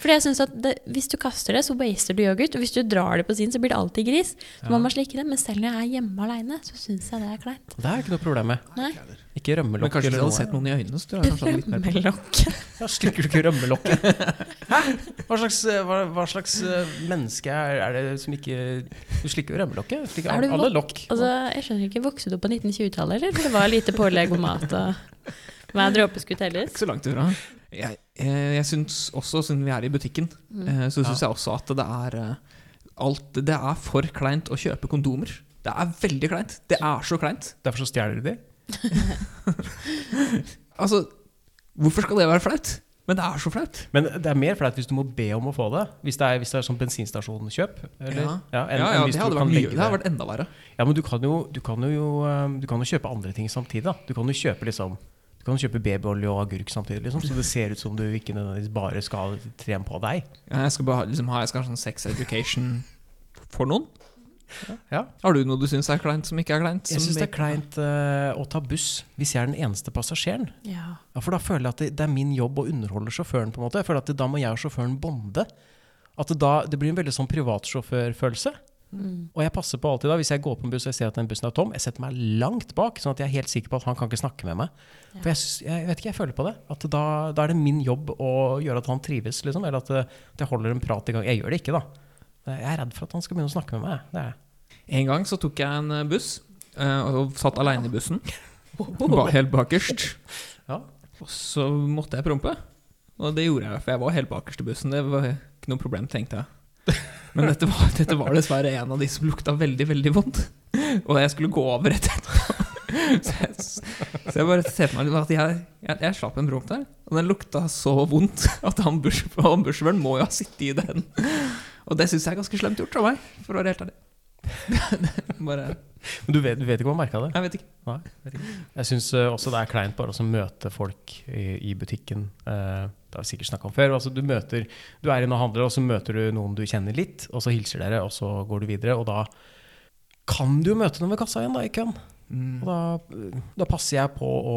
[SPEAKER 4] For jeg synes at det, hvis du kaster det, så waster du yoghurt. Og hvis du drar det på siden, så blir det alltid gris. Så man må slikke det. Men selv når jeg er hjemme aleine, så syns jeg det er kleint.
[SPEAKER 2] Det er ikke noe problem med.
[SPEAKER 4] Nei.
[SPEAKER 2] Ikke
[SPEAKER 3] Men
[SPEAKER 2] rømmelokk
[SPEAKER 3] kanskje
[SPEAKER 2] eller
[SPEAKER 3] hvis jeg
[SPEAKER 2] noe.
[SPEAKER 3] hadde sett noen i øynene, så tror jeg kanskje jeg hadde sånn litt mer på.
[SPEAKER 4] [laughs] Rømmelokket.
[SPEAKER 2] Ja, slikker du ikke rømmelokket? [laughs] Hæ? Hva slags, eh, hva, hva slags eh, menneske er, er det som ikke Du slikker jo rømmelokket. Du Slikker
[SPEAKER 4] Er du
[SPEAKER 2] alle
[SPEAKER 4] vok-
[SPEAKER 2] lokk.
[SPEAKER 4] Altså, jeg skjønner ikke, vokste du opp på 1920-tallet, eller? For det var lite pålegg og mat og hver dråpe skulle telles.
[SPEAKER 3] Ikke så langt ifra. Jeg, eh, jeg syns også, siden vi er i butikken,
[SPEAKER 4] Mm.
[SPEAKER 3] eh, så syns jeg også at det er eh, alt Det er for kleint å kjøpe kondomer. Det er veldig kleint. Det er så kleint.
[SPEAKER 2] Derfor så stjeler de de.
[SPEAKER 3] Altså, hvorfor skal det være flaut? Men det er så flaut.
[SPEAKER 2] Men det er mer flaut hvis du må be om å få det. Hvis det er, hvis det er sånn bensinstasjonkjøp. Eller,
[SPEAKER 3] Ja.
[SPEAKER 2] enn-
[SPEAKER 3] ja,
[SPEAKER 2] enn
[SPEAKER 3] ja,
[SPEAKER 2] hvis
[SPEAKER 3] det
[SPEAKER 2] du
[SPEAKER 3] hadde
[SPEAKER 2] kan
[SPEAKER 3] vært mye.
[SPEAKER 2] legge
[SPEAKER 3] Det hadde vært enda verre.
[SPEAKER 2] Ja, men du kan, jo, du, kan jo, eh, du kan jo kjøpe andre ting samtidig. Da. Du kan jo kjøpe liksom du kan jo kjøpe babyolje og agurk samtidig, liksom, så det ser ut som du ikke nødvendigvis bare skal trene på deg.
[SPEAKER 3] Ja, jeg skal bare ha- liksom ha jeg skal ha sånn sex education for noen.
[SPEAKER 2] Ja.
[SPEAKER 3] Har du noe du syns er kleint som ikke er kleint?
[SPEAKER 2] Jeg
[SPEAKER 3] som
[SPEAKER 2] syns det er
[SPEAKER 3] ikke-
[SPEAKER 2] kleint eh, å ta buss hvis jeg er den eneste passasjeren.
[SPEAKER 4] Ja.
[SPEAKER 2] Ja, For da føler jeg at det, det er min jobb å underholde sjåføren. på en måte. Jeg føler at det, Da må jeg og sjåføren bonde. At det, da, det blir en veldig sånn privatsjåførfølelse.
[SPEAKER 4] Mm.
[SPEAKER 2] Og jeg passer på alltid da, hvis jeg går på en buss og jeg ser at den bussen er tom, jeg setter meg langt bak, sånn at jeg er helt sikker på at han kan ikke snakke med meg.
[SPEAKER 4] Ja.
[SPEAKER 2] For jeg, syns- jeg vet ikke, jeg føler på det. At da, da er det min jobb å gjøre at han trives, liksom. Eller at, eh, at jeg holder en prat i gang. Jeg gjør det ikke, da. Jeg er redd for at han skal begynne å snakke med meg. Det er jeg.
[SPEAKER 3] En gang så tok jeg en eh, buss, eh, og satt aleine i bussen. Ba helt bakerst.
[SPEAKER 2] Ja.
[SPEAKER 3] Og så måtte jeg prompe. Og det gjorde jeg, for jeg var helt bakerst i bussen. Det var ikke noe problem, tenkte jeg. Men dette var, dette var dessverre en av de som lukta veldig, veldig vondt. Og jeg skulle gå over rett etterpå. Så jeg, så jeg bare ser for meg at jeg, jeg, jeg slapp en promp der, og den lukta så vondt at han buss- han bussjåføren må jo ha sittet i den. Og det syns jeg er ganske slemt gjort av meg, for å være helt ærlig. [laughs] Bare,
[SPEAKER 2] Men du vet, du vet ikke om han merka det?
[SPEAKER 3] jeg vet ikke.
[SPEAKER 2] Jeg syns eh, også det er kleint bare å møte folk i, i butikken. Eh, det har vi sikkert snakka om før. Altså, du, møter, du er inne og handler, og så møter du noen du kjenner litt, og så hilser dere, og så går du videre. Og da kan du jo møte noen ved kassa igjen, da, i køen. Og
[SPEAKER 3] Mm.
[SPEAKER 2] da, da passer jeg på å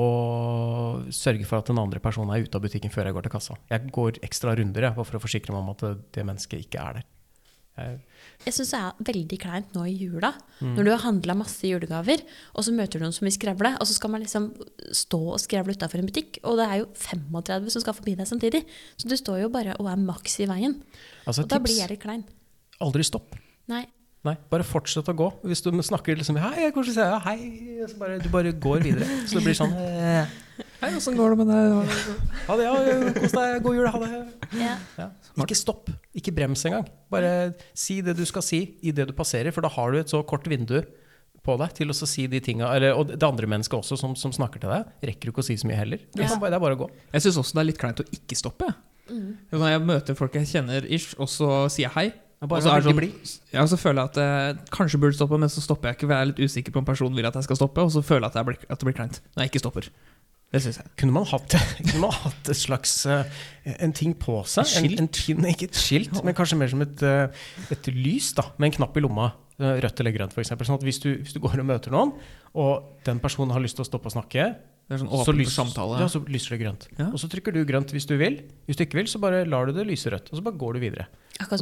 [SPEAKER 2] sørge for at den andre personen er ute av butikken før jeg går til kassa. Jeg går ekstra runder jeg, bare for å forsikre meg om at det- det mennesket ikke er der. Jeg,
[SPEAKER 4] Jeg syns det er veldig kleint nå i jula,
[SPEAKER 2] Mm.
[SPEAKER 4] når du har handla masse julegaver, og så møter du noen som vil skrevle, og så skal man liksom stå og skrevle utafor en butikk, og det er jo 35 som skal forbi deg samtidig. Så du står jo bare og er maks i veien.
[SPEAKER 2] altså,
[SPEAKER 4] Og da blir
[SPEAKER 2] tips,
[SPEAKER 4] jeg litt klein.
[SPEAKER 2] aldri stopp.
[SPEAKER 4] Nei.
[SPEAKER 2] Nei, bare fortsett å gå. Hvis du snakker liksom Hei, jeg kanskje sier ja, hei. Så bare, du bare går videre. Så det blir sånn eh,
[SPEAKER 3] Hei, åssen går det med deg?
[SPEAKER 2] Ha det, ja. Kos deg. God jul. Ha det.
[SPEAKER 4] Ja.
[SPEAKER 2] Ja. Ikke stopp. Ikke brems engang. Bare si det du skal si idet du passerer, for da har du et så kort vindu på deg til å så si de tinga Eller og det andre mennesket også som, som snakker til deg, rekker du ikke å si så mye heller. Du
[SPEAKER 4] Ja.
[SPEAKER 2] kan bare, det er bare å gå.
[SPEAKER 3] Jeg syns også det er litt kleint å ikke stoppe. jeg.
[SPEAKER 4] mm.
[SPEAKER 3] Når jeg møter folk jeg kjenner, ish, og så sier jeg hei.
[SPEAKER 2] Bare
[SPEAKER 3] og så
[SPEAKER 2] å
[SPEAKER 3] er det
[SPEAKER 2] velge
[SPEAKER 3] sånn-
[SPEAKER 2] blid.
[SPEAKER 3] Ja, og så føler jeg at jeg kanskje burde stoppe, men så stopper jeg ikke. For jeg er litt usikker på om personen vil at jeg skal stoppe, og så føler jeg at, jeg blir, at det blir kleint når jeg ikke stopper. Det syns jeg.
[SPEAKER 2] Kunne man hatt, [laughs] kunne man hatt et slags eh, en ting på seg?
[SPEAKER 3] Et skilt?
[SPEAKER 2] En, en pin, ikke et skilt, men kanskje mer som et, eh, et lys da, med en knapp i lomma. eh, Rødt eller grønt, f.eks. Sånn at hvis du, hvis du går og møter noen, og den personen har lyst til å stoppe og snakke,
[SPEAKER 3] Det er sånn
[SPEAKER 2] så,
[SPEAKER 3] åpen
[SPEAKER 2] lys,
[SPEAKER 3] for samtale.
[SPEAKER 2] ja, så lyser det grønt.
[SPEAKER 3] Ja.
[SPEAKER 2] Og så trykker du grønt hvis du vil. Hvis du ikke vil, så bare lar du det lyse rødt. Og så bare går du videre.
[SPEAKER 4] Akkurat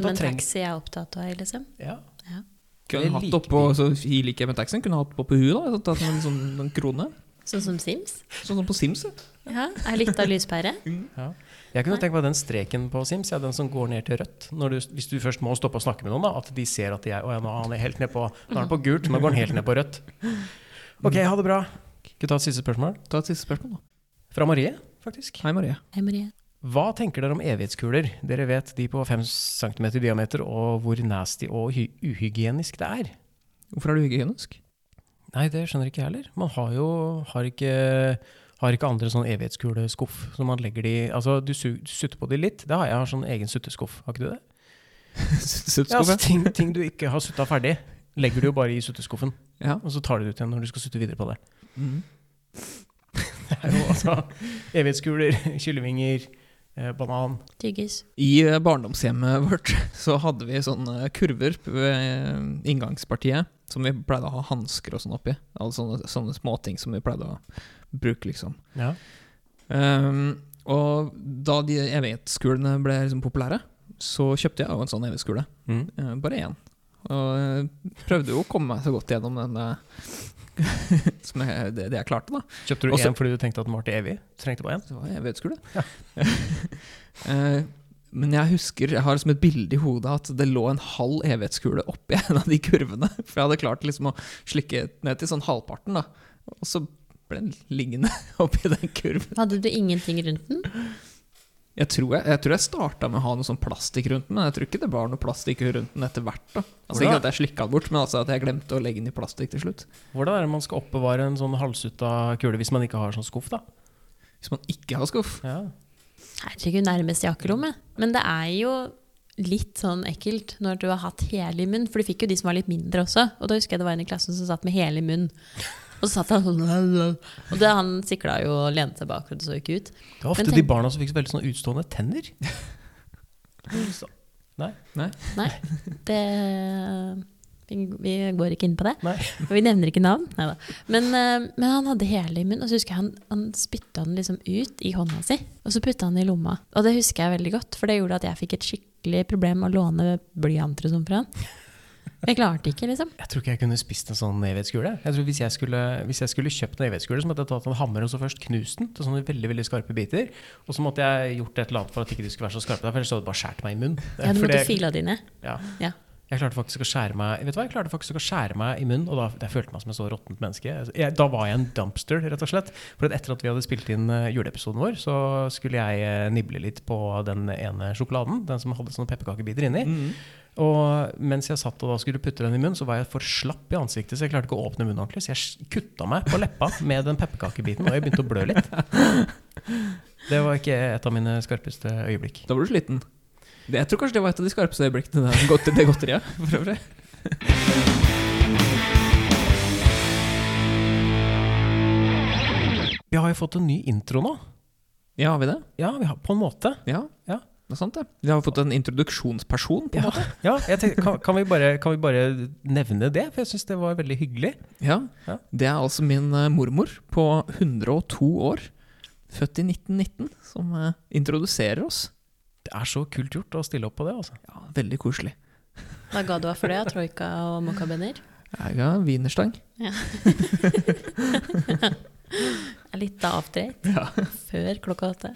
[SPEAKER 2] Da
[SPEAKER 4] som en
[SPEAKER 2] treng-
[SPEAKER 4] taxi jeg er opptatt av, liksom.
[SPEAKER 2] Ja.
[SPEAKER 4] Ja.
[SPEAKER 3] kunne
[SPEAKER 2] det
[SPEAKER 3] hatt
[SPEAKER 2] liker
[SPEAKER 3] oppå, så I likhet med taxien, kunne hatt oppå huet, da. Tatt en sånn en krone.
[SPEAKER 4] Sånn som Sims.
[SPEAKER 3] Sånn som på Sims. ja.
[SPEAKER 4] Ja, Er litt av lyspære.
[SPEAKER 2] Ja. Jeg kunne tenke meg den streken på Sims, ja, den som går ned til rødt. Når du, hvis du først må stoppe og snakke med noen, da, at de ser at de er, å, ja, nå er han helt ned på, nå er han på gult, nå går han helt ned på
[SPEAKER 3] [laughs]
[SPEAKER 2] rødt. Ok, ha det bra. Skal vi ta et siste spørsmål?
[SPEAKER 3] Ta et siste spørsmål, da.
[SPEAKER 2] Fra Marie, faktisk.
[SPEAKER 3] Hei, Marie.
[SPEAKER 4] Hei, Marie.
[SPEAKER 2] Hva tenker dere om evighetskuler? Dere vet de på 5 cm i diameter, og hvor nasty og hy uhygienisk det er.
[SPEAKER 3] Hvorfor er du [laughs] hygienisk?
[SPEAKER 2] Nei, det skjønner ikke jeg heller. Man har jo har ikke, har ikke andre sånn evighetskule-skuff som man legger de Altså, du, su du sutter på de litt. Det har jeg. jeg har sånn egen sutteskuff. Har ikke du det? Ja, altså,
[SPEAKER 3] Sutskuffe?
[SPEAKER 2] ting, ting du ikke har sutta ferdig, legger du jo bare i sutteskuffen.
[SPEAKER 3] Ja.
[SPEAKER 2] Og så tar du det ut igjen når du skal sutte videre på det. [laughs]
[SPEAKER 3] Mm.
[SPEAKER 2] Det er jo altså evighetskuler, kyllingvinger, eh, banan
[SPEAKER 4] Tyggis.
[SPEAKER 3] I eh, barndomshjemmet vårt [laughs] så hadde vi sånne kurver p- ved inngangspartiet som vi pleide å ha hansker og sånn oppi. Alle sånne, sånne småting som vi pleide å bruke, liksom.
[SPEAKER 2] Ja.
[SPEAKER 3] Ehm, og da de evighetskulene ble liksom populære, så kjøpte jeg jo en sånn evighetskule.
[SPEAKER 2] Mm.
[SPEAKER 3] Eh, bare én. Og eh, prøvde jo å komme meg så godt gjennom den eh, [laughs] som jeg, det, det jeg klarte, da.
[SPEAKER 2] Kjøpte du
[SPEAKER 3] Også-
[SPEAKER 2] én fordi du tenkte at den var til evig? Trengte bare én?
[SPEAKER 3] Det var evighetskule. [laughs] Eh, Men jeg husker, jeg har liksom et bilde i hodet at det lå en halv evighetskule oppi [laughs] en av de kurvene. For jeg hadde klart liksom å slikke ned til sånn halvparten, da. Og så ble den liggende [laughs] oppi den kurven.
[SPEAKER 4] Hadde du ingenting rundt den?
[SPEAKER 3] Jeg tror jeg, jeg, tror jeg starta med å ha noe sånn plastikk rundt den, men jeg tror ikke det var noe plastikk rundt den etter hvert. da. Altså
[SPEAKER 2] Hvordan?
[SPEAKER 3] Ikke at jeg slikka den bort, men altså at jeg glemte å legge den i plastikk til slutt.
[SPEAKER 2] Hvordan er det man skal oppbevare en sånn halvsutta kule hvis man ikke har sånn skuff, da?
[SPEAKER 3] Hvis man ikke har skuff.
[SPEAKER 2] Ja.
[SPEAKER 4] Herregud, nærmest jakkelomme. Men det er jo litt sånn ekkelt når du har hatt hele i munnen. For du fikk jo de som var litt mindre også. Og da husker jeg det var en i klassen som satt med hele i munnen. Og så satt han sånn [laughs] Og det, han sikla jo og lente seg bakover, det så ikke ut.
[SPEAKER 2] Det var ofte
[SPEAKER 4] Men tenk-
[SPEAKER 2] de barna som fikk så veldig sånn utstående tenner. Så-
[SPEAKER 4] Det vi, vi går ikke inn på det.
[SPEAKER 2] Nei.
[SPEAKER 4] Og [laughs] vi nevner ikke navn. Neida. Men, eh, men han hadde hele i munnen, og så husker jeg han, han spytta den liksom ut i hånda si. Og så putta han den i lomma. Og det husker jeg veldig godt, for det gjorde at jeg fikk et skikkelig skikkelig problem å låne blyanter og sånn fra han. Jeg klarte ikke, liksom.
[SPEAKER 2] Jeg tror ikke jeg kunne spist en sånn evighetskule. Jeg tror hvis jeg skulle, hvis jeg skulle kjøpt en evighetskule, så måtte jeg tatt en hammer og så først knust den til sånne veldig veldig skarpe biter. Og så måtte jeg gjort et eller annet for at ikke de skulle være så skarpe, der, for ellers hadde det bare skåret meg i munnen.
[SPEAKER 4] Ja, du
[SPEAKER 2] For
[SPEAKER 4] måtte
[SPEAKER 2] det-
[SPEAKER 4] fila de ned.
[SPEAKER 2] ja.
[SPEAKER 4] Ja.
[SPEAKER 2] Jeg klarte faktisk å skjære meg Vet du hva, jeg klarte faktisk å skjære meg i munnen, og da jeg følte meg som et så råttent menneske. Altså, Jeg, da var jeg en dumpster, rett og slett. For at etter at vi hadde spilt inn eh, juleepisoden vår, så skulle jeg eh, nible litt på den ene sjokoladen, den som hadde sånne pepperkakebiter inni.
[SPEAKER 3] Mm.
[SPEAKER 2] Og mens jeg satt og da skulle putte den i munnen, så var jeg for slapp i ansiktet, så jeg klarte ikke å åpne munnen ordentlig. Så jeg s- kutta meg på leppa med den pepperkakebiten, og jeg begynte å blø litt. Det var ikke et av mine skarpeste øyeblikk.
[SPEAKER 3] Da var du sliten. Det, jeg tror kanskje det var et av de skarpeste øyeblikkene [laughs] der. Godt, det godteriet. For øvrig.
[SPEAKER 2] Vi har jo fått en ny intro nå.
[SPEAKER 3] Ja, har vi det?
[SPEAKER 2] Ja, vi har, på en måte.
[SPEAKER 3] Ja.
[SPEAKER 2] Ja.
[SPEAKER 3] Det er sant, det. Vi har fått en introduksjonsperson, på en
[SPEAKER 2] Ja.
[SPEAKER 3] måte.
[SPEAKER 2] Ja, jeg tenkte, kan, kan, vi bare, kan vi bare nevne det? For jeg syns det var veldig hyggelig.
[SPEAKER 3] Ja.
[SPEAKER 2] Ja.
[SPEAKER 3] Det er altså min eh, mormor på 102 år, født i 1919, som eh, introduserer oss.
[SPEAKER 2] Det er så kult gjort å stille opp på det. altså.
[SPEAKER 3] Ja, Veldig koselig.
[SPEAKER 4] Hva ga du av for det? Troika og [laughs] mokkabønner?
[SPEAKER 3] Jeg har wienerstang.
[SPEAKER 4] Litt avdreit
[SPEAKER 3] Ja.
[SPEAKER 4] før klokka åtte.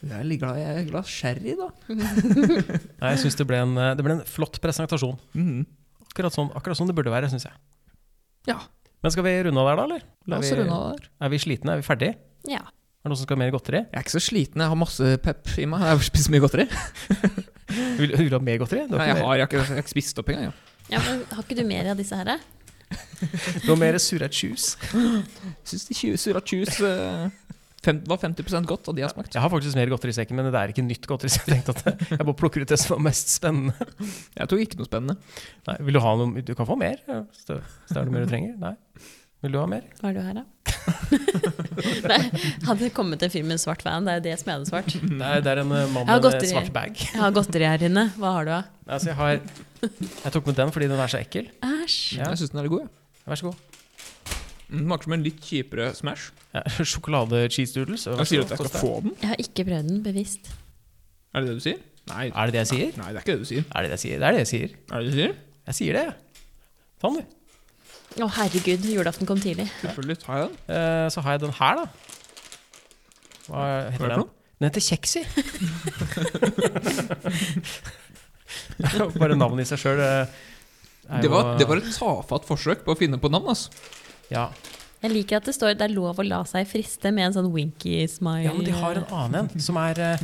[SPEAKER 3] Jeg er litt glad jeg er glad sherry, da.
[SPEAKER 2] Nei, jeg synes det, ble en, eh, det ble en flott presentasjon.
[SPEAKER 3] Mhm.
[SPEAKER 2] Akkurat sånn, akkurat sånn det burde være, syns jeg.
[SPEAKER 3] Ja.
[SPEAKER 2] Men skal vi runde av der, da? eller?
[SPEAKER 3] La
[SPEAKER 2] Er
[SPEAKER 3] oss
[SPEAKER 2] vi-
[SPEAKER 3] runde av der.
[SPEAKER 2] Er vi slitne? Er vi ferdige?
[SPEAKER 4] Ja.
[SPEAKER 2] Er det noen som skal ha mer godteri?
[SPEAKER 3] Jeg er ikke så sliten, jeg har masse pep i meg. Jeg har spist mye godteri. [laughs]
[SPEAKER 2] Vil, vil du ha mer godteri? Du
[SPEAKER 3] Nei,
[SPEAKER 2] har, ikke
[SPEAKER 3] jeg har, jeg har ikke, jeg har ikke spist opp engang. Jeg
[SPEAKER 4] ja, men Har ikke du mer av disse her? da?
[SPEAKER 2] mer- du har mer surretjus.
[SPEAKER 3] syns de tju- sura juice eh, fem, var 50 godt, og de har smakt.
[SPEAKER 2] Jeg har faktisk mer godterisekken, men det er ikke nytt godteri. Så jeg tenkte at jeg bare plukker ut det som var mest spennende.
[SPEAKER 3] Jeg tok ikke noe spennende.
[SPEAKER 2] Nei, vil du ha noe? Du kan få mer, ja, hvis det hvis det er noe mer du trenger. Nei. Vil du ha mer?
[SPEAKER 4] Hva har du her, da? [laughs] Nei, hadde det kommet en fyr med en svart van, det er jo det som jeg hadde svart.
[SPEAKER 2] Nei, det er en eh, mann med
[SPEAKER 4] Jeg har
[SPEAKER 2] en
[SPEAKER 4] godteri.
[SPEAKER 2] svart bag.
[SPEAKER 4] Jeg har godteri her inne. Hva har du av?
[SPEAKER 2] Nei, så jeg, har, jeg tok med den fordi den er så ekkel.
[SPEAKER 4] Æsj.
[SPEAKER 2] Ja.
[SPEAKER 3] Jeg syns den er litt god. Ja. Mm,
[SPEAKER 2] Vær så god.
[SPEAKER 3] Den smaker som en litt kjipere Smash.
[SPEAKER 2] Ja, [laughs] Sjokolade-cheese doodles. vær
[SPEAKER 3] Jeg
[SPEAKER 2] så
[SPEAKER 3] sier
[SPEAKER 2] god.
[SPEAKER 3] at jeg
[SPEAKER 2] Koste.
[SPEAKER 3] skal få den.
[SPEAKER 4] Jeg har ikke prøvd den bevisst.
[SPEAKER 3] Er det det du sier? Nei.
[SPEAKER 2] Er det det jeg sier?
[SPEAKER 3] Nei, det er ikke det du sier.
[SPEAKER 2] Er det det jeg sier? Det er det jeg sier.
[SPEAKER 3] Er det det du sier?
[SPEAKER 2] Jeg sier det, jeg. Sånn, du.
[SPEAKER 4] Å, herregud, julaften kom tidlig.
[SPEAKER 3] Selvfølgelig tar jeg den.
[SPEAKER 2] Eh, så har jeg den her, da. Hva
[SPEAKER 3] Hva er
[SPEAKER 2] heter
[SPEAKER 3] det for
[SPEAKER 2] den?
[SPEAKER 3] noe?
[SPEAKER 2] Den heter Kjeksi. [laughs] Bare navnet i seg eh, sjøl
[SPEAKER 3] Det var, det var et tafatt forsøk på å finne på navn. ass.
[SPEAKER 2] ja.
[SPEAKER 4] Jeg liker at det står det er lov å la seg friste med en sånn winky-smile.
[SPEAKER 2] ja, men de har en annen en som er eh,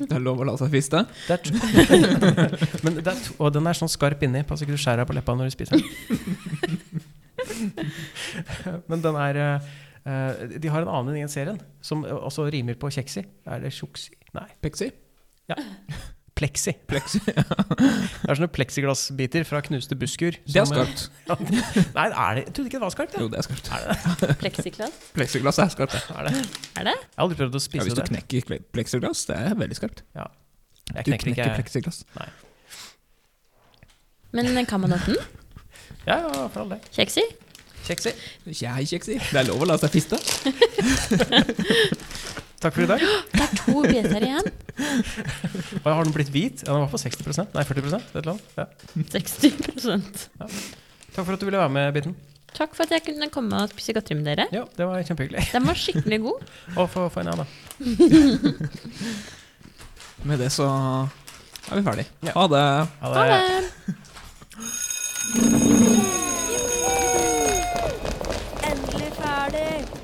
[SPEAKER 3] Det er lov å la seg fiste.
[SPEAKER 2] det er to, [laughs] men det er to, Og den er sånn skarp inni. Pass ikke du skjærer deg på leppa når du spiser den. [laughs] men den er eh, eh, De har en annen i den serien som også rimer på kjeksi. Er det tjuksi? Nei,
[SPEAKER 3] Peksi.
[SPEAKER 2] pleksi.
[SPEAKER 3] Pleksi.
[SPEAKER 2] Det er sånne pleksiglassbiter fra knuste busker.
[SPEAKER 3] [laughs] Det er
[SPEAKER 2] som, eh, [laughs]
[SPEAKER 3] skarpt.
[SPEAKER 2] Ja, det- Nei, er det, jeg trodde ikke det var skarpt.
[SPEAKER 3] Jo,
[SPEAKER 2] Jeg.
[SPEAKER 3] det er skarpt.
[SPEAKER 4] Plexiglass.
[SPEAKER 3] Pleksiglass er skarpt. det.
[SPEAKER 2] Er det?
[SPEAKER 4] Er det?
[SPEAKER 2] jeg har aldri prøvd å
[SPEAKER 3] Ja,
[SPEAKER 2] spise
[SPEAKER 3] hvis du
[SPEAKER 2] det.
[SPEAKER 3] knekker kle- pleksiglass, det er veldig skarpt.
[SPEAKER 2] Jeg
[SPEAKER 3] Du knekker
[SPEAKER 2] ikke.
[SPEAKER 3] pleksiglass.
[SPEAKER 4] Men kan man åpne den?
[SPEAKER 2] Ja, ja, for all del.
[SPEAKER 4] Kjeksi?
[SPEAKER 2] Kjeksi.
[SPEAKER 3] Jeg kjeksi. Det er lov å la seg fiste.
[SPEAKER 2] Takk for i
[SPEAKER 4] [gasps]
[SPEAKER 2] dag.
[SPEAKER 4] Det er
[SPEAKER 2] [laughs]
[SPEAKER 4] to biter igjen.
[SPEAKER 2] Og har den blitt hvit? Ja, den var på 60 Nei, 40 et eller annet. Ja.
[SPEAKER 4] 60
[SPEAKER 2] Takk for at du ville være med, Bitten.
[SPEAKER 4] Takk for at jeg kunne komme og spise godteri med dere.
[SPEAKER 2] Ja, det var kjempehyggelig.
[SPEAKER 4] Den var skikkelig god.
[SPEAKER 2] Og få få en annen, da.
[SPEAKER 3] Med det så er vi ferdig.
[SPEAKER 2] Ja.
[SPEAKER 3] Ha det.
[SPEAKER 4] Ha det.
[SPEAKER 5] Endelig ferdig!